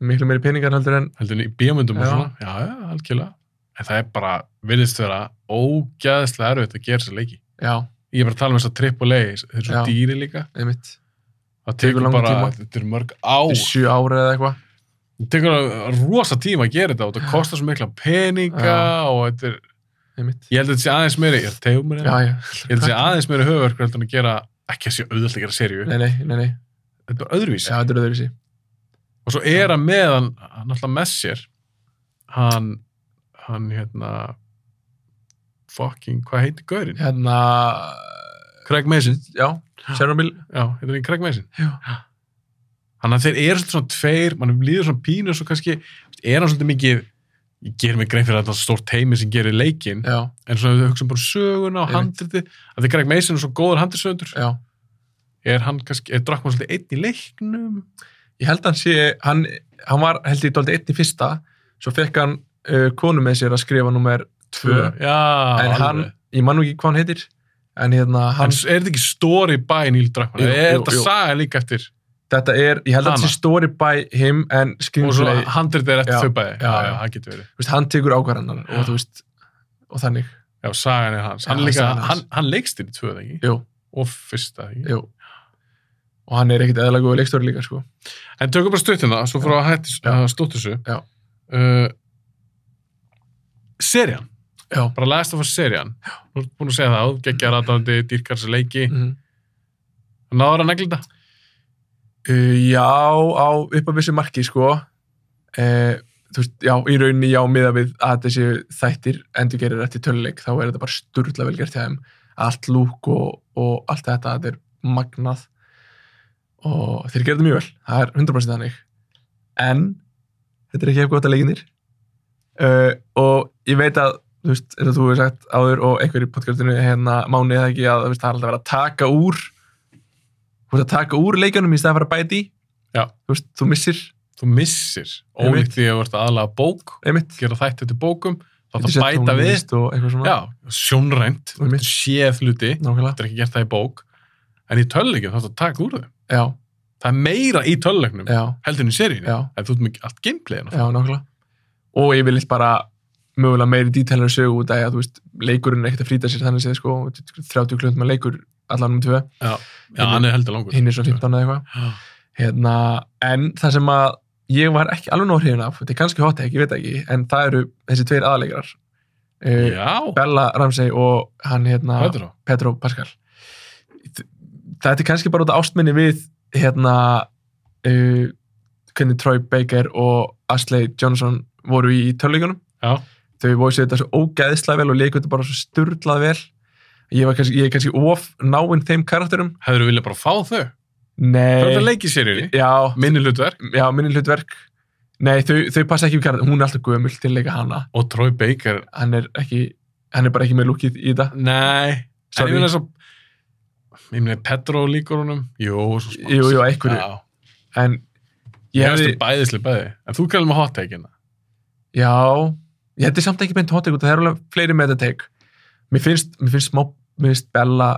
Speaker 2: miklu meiri peningar heldur en
Speaker 1: Heldur niður í bíamundum og
Speaker 2: Já.
Speaker 1: svona, já, já, algjörlega. En það er bara, virðist vera, ógæðslega erfitt að gera sér leiki.
Speaker 2: já,
Speaker 1: Ég er bara að tala um þess að triple A, þeir eru svo
Speaker 2: Já.
Speaker 1: dýri líka.
Speaker 2: einmitt,
Speaker 1: Það
Speaker 2: Tekur
Speaker 1: tekur
Speaker 2: langan
Speaker 1: bara,
Speaker 2: tíma.
Speaker 1: þetta er mörg ár.
Speaker 2: í sjö ára eða eitthvað
Speaker 1: Það tekur rosa tíma að gera þetta og það kostar svo mikla peninga
Speaker 2: Já.
Speaker 1: og þetta er,
Speaker 2: einmitt,
Speaker 1: ég held að þetta sé aðeins meiri, ég er að tegum mér
Speaker 2: já,
Speaker 1: hérna, ég
Speaker 2: já
Speaker 1: held að þetta sé aðeins meiri höfverk heldur en að gera, ekki að sé auðvöld að gera serju,
Speaker 2: nei, nei, nei, nei,
Speaker 1: þetta er bara öðruvísi.
Speaker 2: já, þetta er öðru
Speaker 1: og svo er hann með hann, hann alltaf með sér hann, hann hérna fucking, hvað heitir gaurinn?
Speaker 2: hérna,
Speaker 1: Craig Mason
Speaker 2: já, Chernobyl
Speaker 1: já, hérna heitir hann Craig Mason
Speaker 2: já,
Speaker 1: hann að þeir eru svolítið svona tveir, mann líður svona pínu og svo kannski, er hann svolítið mikið ég ger mig grein fyrir að þetta er stórt heimi sem gerir leikin,
Speaker 2: já,
Speaker 1: en svona við hugsaum bara um söguna og
Speaker 2: Einmitt.
Speaker 1: handriti, að því Craig Mason er svo góður handriðsöndur,
Speaker 2: já
Speaker 1: er hann kannski, er Drakman svolítið einn í leiknum
Speaker 2: ég held hann sé, hann, hann var held ég dóldi einn í fyrsta, svo fekk hann uh, konu með sér að skrifa nummer tvö,
Speaker 1: já,
Speaker 2: en hann, ég man nú ekki hvað hann heitir, en hérna
Speaker 1: hann,
Speaker 2: hann,
Speaker 1: er þetta ekki story by Neil Drakman,
Speaker 2: Jú,
Speaker 1: er
Speaker 2: jú,
Speaker 1: þetta
Speaker 2: jú.
Speaker 1: saga líka eftir
Speaker 2: þetta er, ég held að
Speaker 1: Hana.
Speaker 2: þetta sé story by him en
Speaker 1: og svo
Speaker 2: screenplay,
Speaker 1: handrit er eftir
Speaker 2: Já,
Speaker 1: þau bæði já,
Speaker 2: já,
Speaker 1: já,
Speaker 2: já.
Speaker 1: það getur verið
Speaker 2: þú veist, hann tekur ákvarðanar
Speaker 1: Já.
Speaker 2: og þú veist, og þannig
Speaker 1: já, sagan er hans, hann,
Speaker 2: Já,
Speaker 1: líka,
Speaker 2: sagan er hans.
Speaker 1: hann, hann leikst í tvöð ekki,
Speaker 2: jú,
Speaker 1: og fyrsta ekki
Speaker 2: jú og hann er ekkit eðalega góð leikstóri líka, sko
Speaker 1: en tökum bara stuttina, svo fyrir að hætti
Speaker 2: Já.
Speaker 1: að stóttu þessu
Speaker 2: Já.
Speaker 1: uh, serían
Speaker 2: já,
Speaker 1: bara last of us serían þú ert búin að segja það, geggja ratandi, dýrkar sér leiki
Speaker 2: mm.
Speaker 1: náður að negli þetta
Speaker 2: uh, já á upp að vissu marki, sko uh, þú veist, já, í rauninni já miða við að þessi þættir endur gerir eftir töluleik, þá er þetta bara sturla vel gert hjá þeim, allt lúk og, og allt þetta, þetta er magnað og þeir gerir þetta mjög vel það er 100% þannig en þetta er ekki eitthvað gott að leikinir uh, og ég veit að þú veist, eins og þú hefur sagt áður og einhver í podcastinu hérna mánu eða ekki að þú veist, það er alltaf að vera að taka úr þú veist að taka úr leikunum í stæðan fyrir að bæta í
Speaker 1: Já.
Speaker 2: þú veist, þú missir
Speaker 1: þú missir,
Speaker 2: Einmitt.
Speaker 1: ólíkt því að þú ert aðalega bók
Speaker 2: einmitt
Speaker 1: gera þætti eftir bókum, þá
Speaker 2: Getur
Speaker 1: það
Speaker 2: sett
Speaker 1: bæta við
Speaker 2: tónlist og eitthvað svona
Speaker 1: já, sjónrænt, þú
Speaker 2: Einmitt. Mm.
Speaker 1: getur séð hluti
Speaker 2: nákvæmlega
Speaker 1: þetta er ekki gert það í bók en í töluleikjum þá er þetta að taka úr þau
Speaker 2: já,
Speaker 1: það er meira í töluleiknum
Speaker 2: já,
Speaker 1: heldur en í seríunni
Speaker 2: já,
Speaker 1: en þú ert mikið allt hérna. gameplayin
Speaker 2: já, nákvæmlega og ég vil bara mögulega meiri dítalar sögu út af því að þú veist, leikurinn er ekkert að frýta sér þannig séð sko, 30 klundum að leikur allan um tvö,
Speaker 1: já, hann er heldur langur
Speaker 2: hinn er svo 15 eða eitthvað
Speaker 1: Já.
Speaker 2: hérna, en það sem að ég var ekki alveg nóg hrifin af, þetta er kannski hot take, ég veit það ekki, en það eru þessi tveir aðleikarar uh,
Speaker 1: já,
Speaker 2: Bella Ramsey og hann hérna,
Speaker 1: hvað er það?
Speaker 2: Petro Pascal Þ- þetta er kannski bara út af ástminni við hérna uh, hvernig Troy Baker og Ashley Johnson voru í tölvíkunum
Speaker 1: Já.
Speaker 2: þau voru þetta svo ógeðislega vel og leikur þetta bara svo sturlað vel ég, var kannski, ég er kannski of náinn þeim karakterum
Speaker 1: Hefur þú viljað bara fá þau? Þau eru að
Speaker 2: Nei,
Speaker 1: leikið sér í
Speaker 2: já,
Speaker 1: minni hlutverk
Speaker 2: já, minni hlutverk Nei, þau, þau passa ekki við karakter hún er alltaf gömul til að leika hana
Speaker 1: og Troy Baker
Speaker 2: hann er, ekki, hann er bara ekki með lúkið í þetta
Speaker 1: Nei, en
Speaker 2: Sorry.
Speaker 1: ég meina svo ég meina Petro líkur honum Jú, svo smá
Speaker 2: Jú, jú, einhverju.
Speaker 1: sko. Já,
Speaker 2: en
Speaker 1: ég
Speaker 2: ég
Speaker 1: hefði
Speaker 2: hefði
Speaker 1: bæðislega bæði En þú kallar með hot hérna. take-ina
Speaker 2: Já, ég hætti samt ekki beint hot take út af það er alveg fleiri með þetta take Mér finnst, mér finnst smá, mér finnst Bella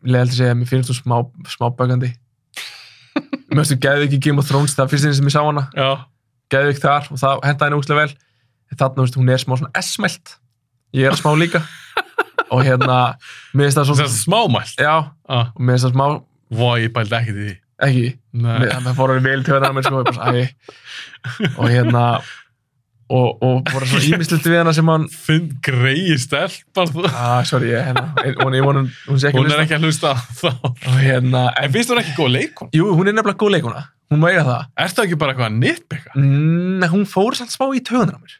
Speaker 2: leðalt að segja, mér finnst þú smá, smá bögandi Mér finnst þú geði ekki Game of Thrones, það finnst þið sem ég sá hana
Speaker 1: Já,
Speaker 2: geði ekki þar og það henda henni úkslega vel en þarna, veist, hún er smá svona esmelt ég er smá líka og hérna, mér finnst það
Speaker 1: það
Speaker 2: svona
Speaker 1: er smámælt
Speaker 2: Já, og
Speaker 1: ah,
Speaker 2: mér finnst það smá,
Speaker 1: Vá, ég bældi ekki til því
Speaker 2: ekki
Speaker 1: Nei,
Speaker 2: Mér- það fór alveg vel til hérna mér sko, ég bara, æ, og hérna og, og voru svona ímislegt við hana sem hann
Speaker 1: finn greiði stelpar þú
Speaker 2: Ah, sorry, ég, hérna, ein- hún, ég vonum, hún sé ekki
Speaker 1: Hún er
Speaker 2: hlusta.
Speaker 1: ekki að hlusta á þá
Speaker 2: Og hérna,
Speaker 1: En
Speaker 2: en,
Speaker 1: finnst þú ekki góð leikon?
Speaker 2: jú, hún er nefnilega góð leikuna. Hún má eiga það.
Speaker 1: Er það ekki bara eitthvað að nitpika?
Speaker 2: Mm, hún fór samt smá í töðunar á mér.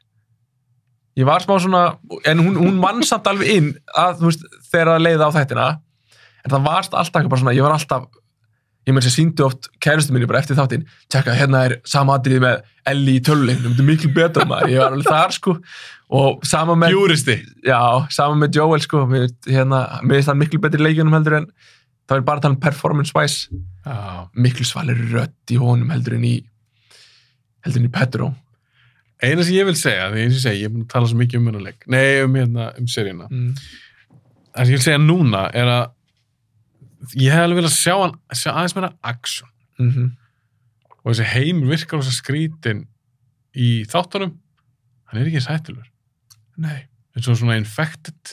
Speaker 2: Ég var smá svona, en hún, hún vann samt alveg inn að, þú veist, þegar það leiði á þættina. En það varst alltaf eitthvað bara svona, ég var alltaf, ég með þess að síndu oft kærustu minni bara eftir þáttinn, tjekka, hérna er sama atrið með Ellie í töluleiknum, þetta er miklu betra maður, ég var alveg þar sko. Og sama með...
Speaker 1: Júristi
Speaker 2: Já, saman með Joel sko, mér finnst hérna, mér finnst hann miklu betri í leikjunum heldur en það er bara að tala um performance wise
Speaker 1: Já.
Speaker 2: miklu svalir rödd í honum heldur en í heldur en í Petro
Speaker 1: Eina sem ég vil segja, því eins og ég segi, ég er búin að tala svo mikið um munuleik Nei, um hérna, um seríuna
Speaker 2: mm.
Speaker 1: það sem ég vil segja núna er að ég hef alveg viljað sjá hann sjá aðeins meira action
Speaker 2: Mm
Speaker 1: og þessi heimur virkar þess að skrítin í þáttunum hann er ekki eins hættilegur
Speaker 2: Nei,
Speaker 1: eins og svona infected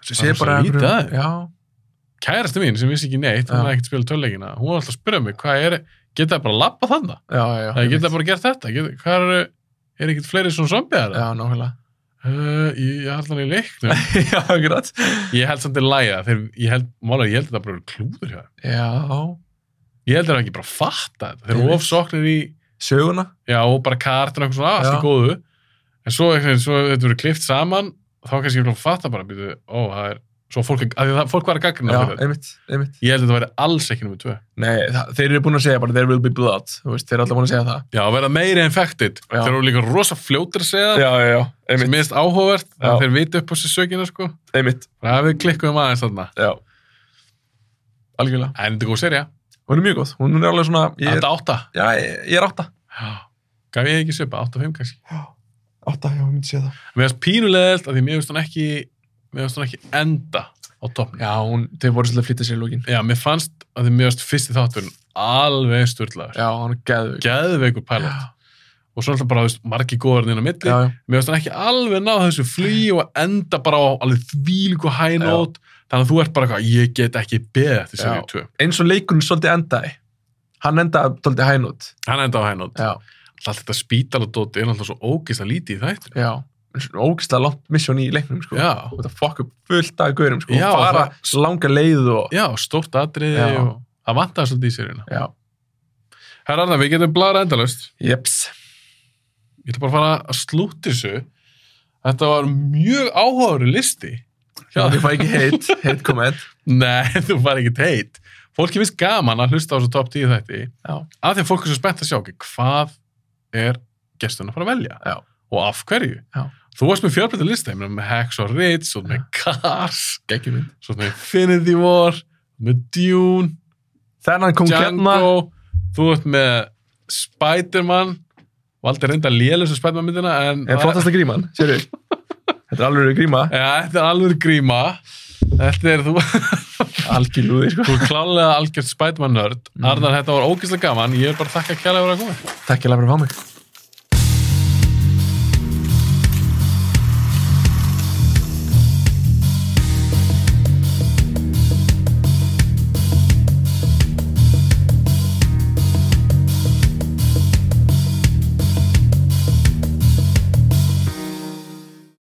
Speaker 2: það
Speaker 1: Það er
Speaker 2: sé bara
Speaker 1: svo lítið
Speaker 2: einhverjum-
Speaker 1: að þeim.
Speaker 2: Já,
Speaker 1: kærasti mín sem vissi ekki neitt, hún
Speaker 2: Já.
Speaker 1: hafði ekkert spilað töluleikina hún var alltaf að spyrja mig, hvað er geta það bara að lappa þannig,
Speaker 2: já, já, já
Speaker 1: það geta bara gert þetta geta, hvað eru, er ekkert fleiri svona zombiðar
Speaker 2: Já, nákvæmlega
Speaker 1: uh, ég, ég held hann í leiknum
Speaker 2: Já, grætt
Speaker 1: ég held samt til læga, þegar ég held málega, ég held þetta bara eru klúður hjá þeim.
Speaker 2: Já,
Speaker 1: ég held þeir hafi ekki bara fatta þetta, þeir
Speaker 2: Ég
Speaker 1: eru
Speaker 2: veit.
Speaker 1: ofsoknir í
Speaker 2: söguna
Speaker 1: Já, og bara kartin og eitthvað svona, "Ah, allt
Speaker 2: Já.
Speaker 1: í góðu. En svo, einhvern veginn, svo þetta verður klift saman, þá kannski ég vil fatta bara, býtu, ó, það er, svo fólk, að það, fólk var að gagna
Speaker 2: Já,
Speaker 1: fyrir þetta.
Speaker 2: einmitt, einmitt
Speaker 1: Ég held að þetta væri alls ekki nummið tvö.
Speaker 2: Nei, það, þeir eru búin að segja bara there will be blood, þú veist, þeir eru alltaf búin að segja það
Speaker 1: Já, að verða meiri infected.
Speaker 2: Já.
Speaker 1: Þeir eru líka rosa fljótir að segja það,
Speaker 2: Já, já, já,
Speaker 1: sem minnst áhugavert,
Speaker 2: Já.
Speaker 1: að þeir viti upp á sér sökina, sko.
Speaker 2: einmitt,
Speaker 1: Það við klikkuðum aðeins þarna.
Speaker 2: já Algjörlega
Speaker 1: En þetta er góð serja.
Speaker 2: Hún er mjög góð, hún er alveg svona ég er,
Speaker 1: Þetta átta.
Speaker 2: Já, ég, ég er átta
Speaker 1: Já. Gaf ég ekki svipa, átta og fimm kannski.
Speaker 2: Átta, já, ég myndi sé það
Speaker 1: Mér finnst pínulegðilt að því mér finnst hann ekki, mér finnst hann ekki enda á toppnum.
Speaker 2: Já, hún, þau voru svolítið að flytta sér í lókin
Speaker 1: Já, mér fannst að þið mjögast fyrsti þátturinn alveg sturlaður.
Speaker 2: Já, hún er geðvig
Speaker 1: Geðveikur pælót. Og svo náttúrulega bara, þú veist, margi góðarinn inn á milli.
Speaker 2: Já, já,
Speaker 1: Mér finnst hann ekki alveg ná þessu flý og enda bara á alveg þvílíku hænót. Þannig að þú ert bara eitthvað, ég get ekki beðið eftir
Speaker 2: Já.
Speaker 1: serið 2.
Speaker 2: eins og leikurinn svolítið endaði Hann endaði svolítið hænút
Speaker 1: Hann enda á hænót.
Speaker 2: Já,
Speaker 1: Alltaf þetta spítaladóti er náttúrulega svo ógist að lítið í þættinu.
Speaker 2: já Ógislega langt misjón í leiknum, sko
Speaker 1: Já.
Speaker 2: Og það fokk upp fullt af gaurum, sko
Speaker 1: Já,
Speaker 2: og Fara langa leið og
Speaker 1: Já, stórt atriði
Speaker 2: Já.
Speaker 1: og það vantaði svolítið í seriðina.
Speaker 2: Já,
Speaker 1: Herra Arnar, við getum blara endalaust.
Speaker 2: jeps
Speaker 1: Ég ætla bara að fara að slúti þessu. Þetta var mjög áhugaður listi.
Speaker 2: Já, þið fæ ekki heit, heit komment
Speaker 1: Nei, þú fari ekki teit. Fólki finnst gaman að hlusta á þessu top 10 þætti
Speaker 2: Já,
Speaker 1: af því að fólk er svo spennt að sjá ekki hvað er gesturinn að fara að velja
Speaker 2: Já.
Speaker 1: og af hverju.
Speaker 2: Já.
Speaker 1: Þú varst með fjölbreytta lista, ég meina með Hex og Ritz og með Cars,
Speaker 2: geggjum mynd
Speaker 1: svo með Infinity War, með Dune,
Speaker 2: Þennan kom hérna
Speaker 1: Django, þú ert með Spider-Man, valdi reynda lélum sem Spider-Man myndina en
Speaker 2: En flottasta gríman, sérðu Þetta er alveg gríma,
Speaker 1: Ja, þetta er alveg gríma. Þetta er þú...
Speaker 2: algjörlúði, sko
Speaker 1: Þú er klálega algjört Spiderman nörd.
Speaker 2: Mm.
Speaker 1: Arnar, þetta var ógeðslega gaman. Ég vil bara þakka kjærlega fyrir að koma.
Speaker 2: Takk ég fyrir að fá mig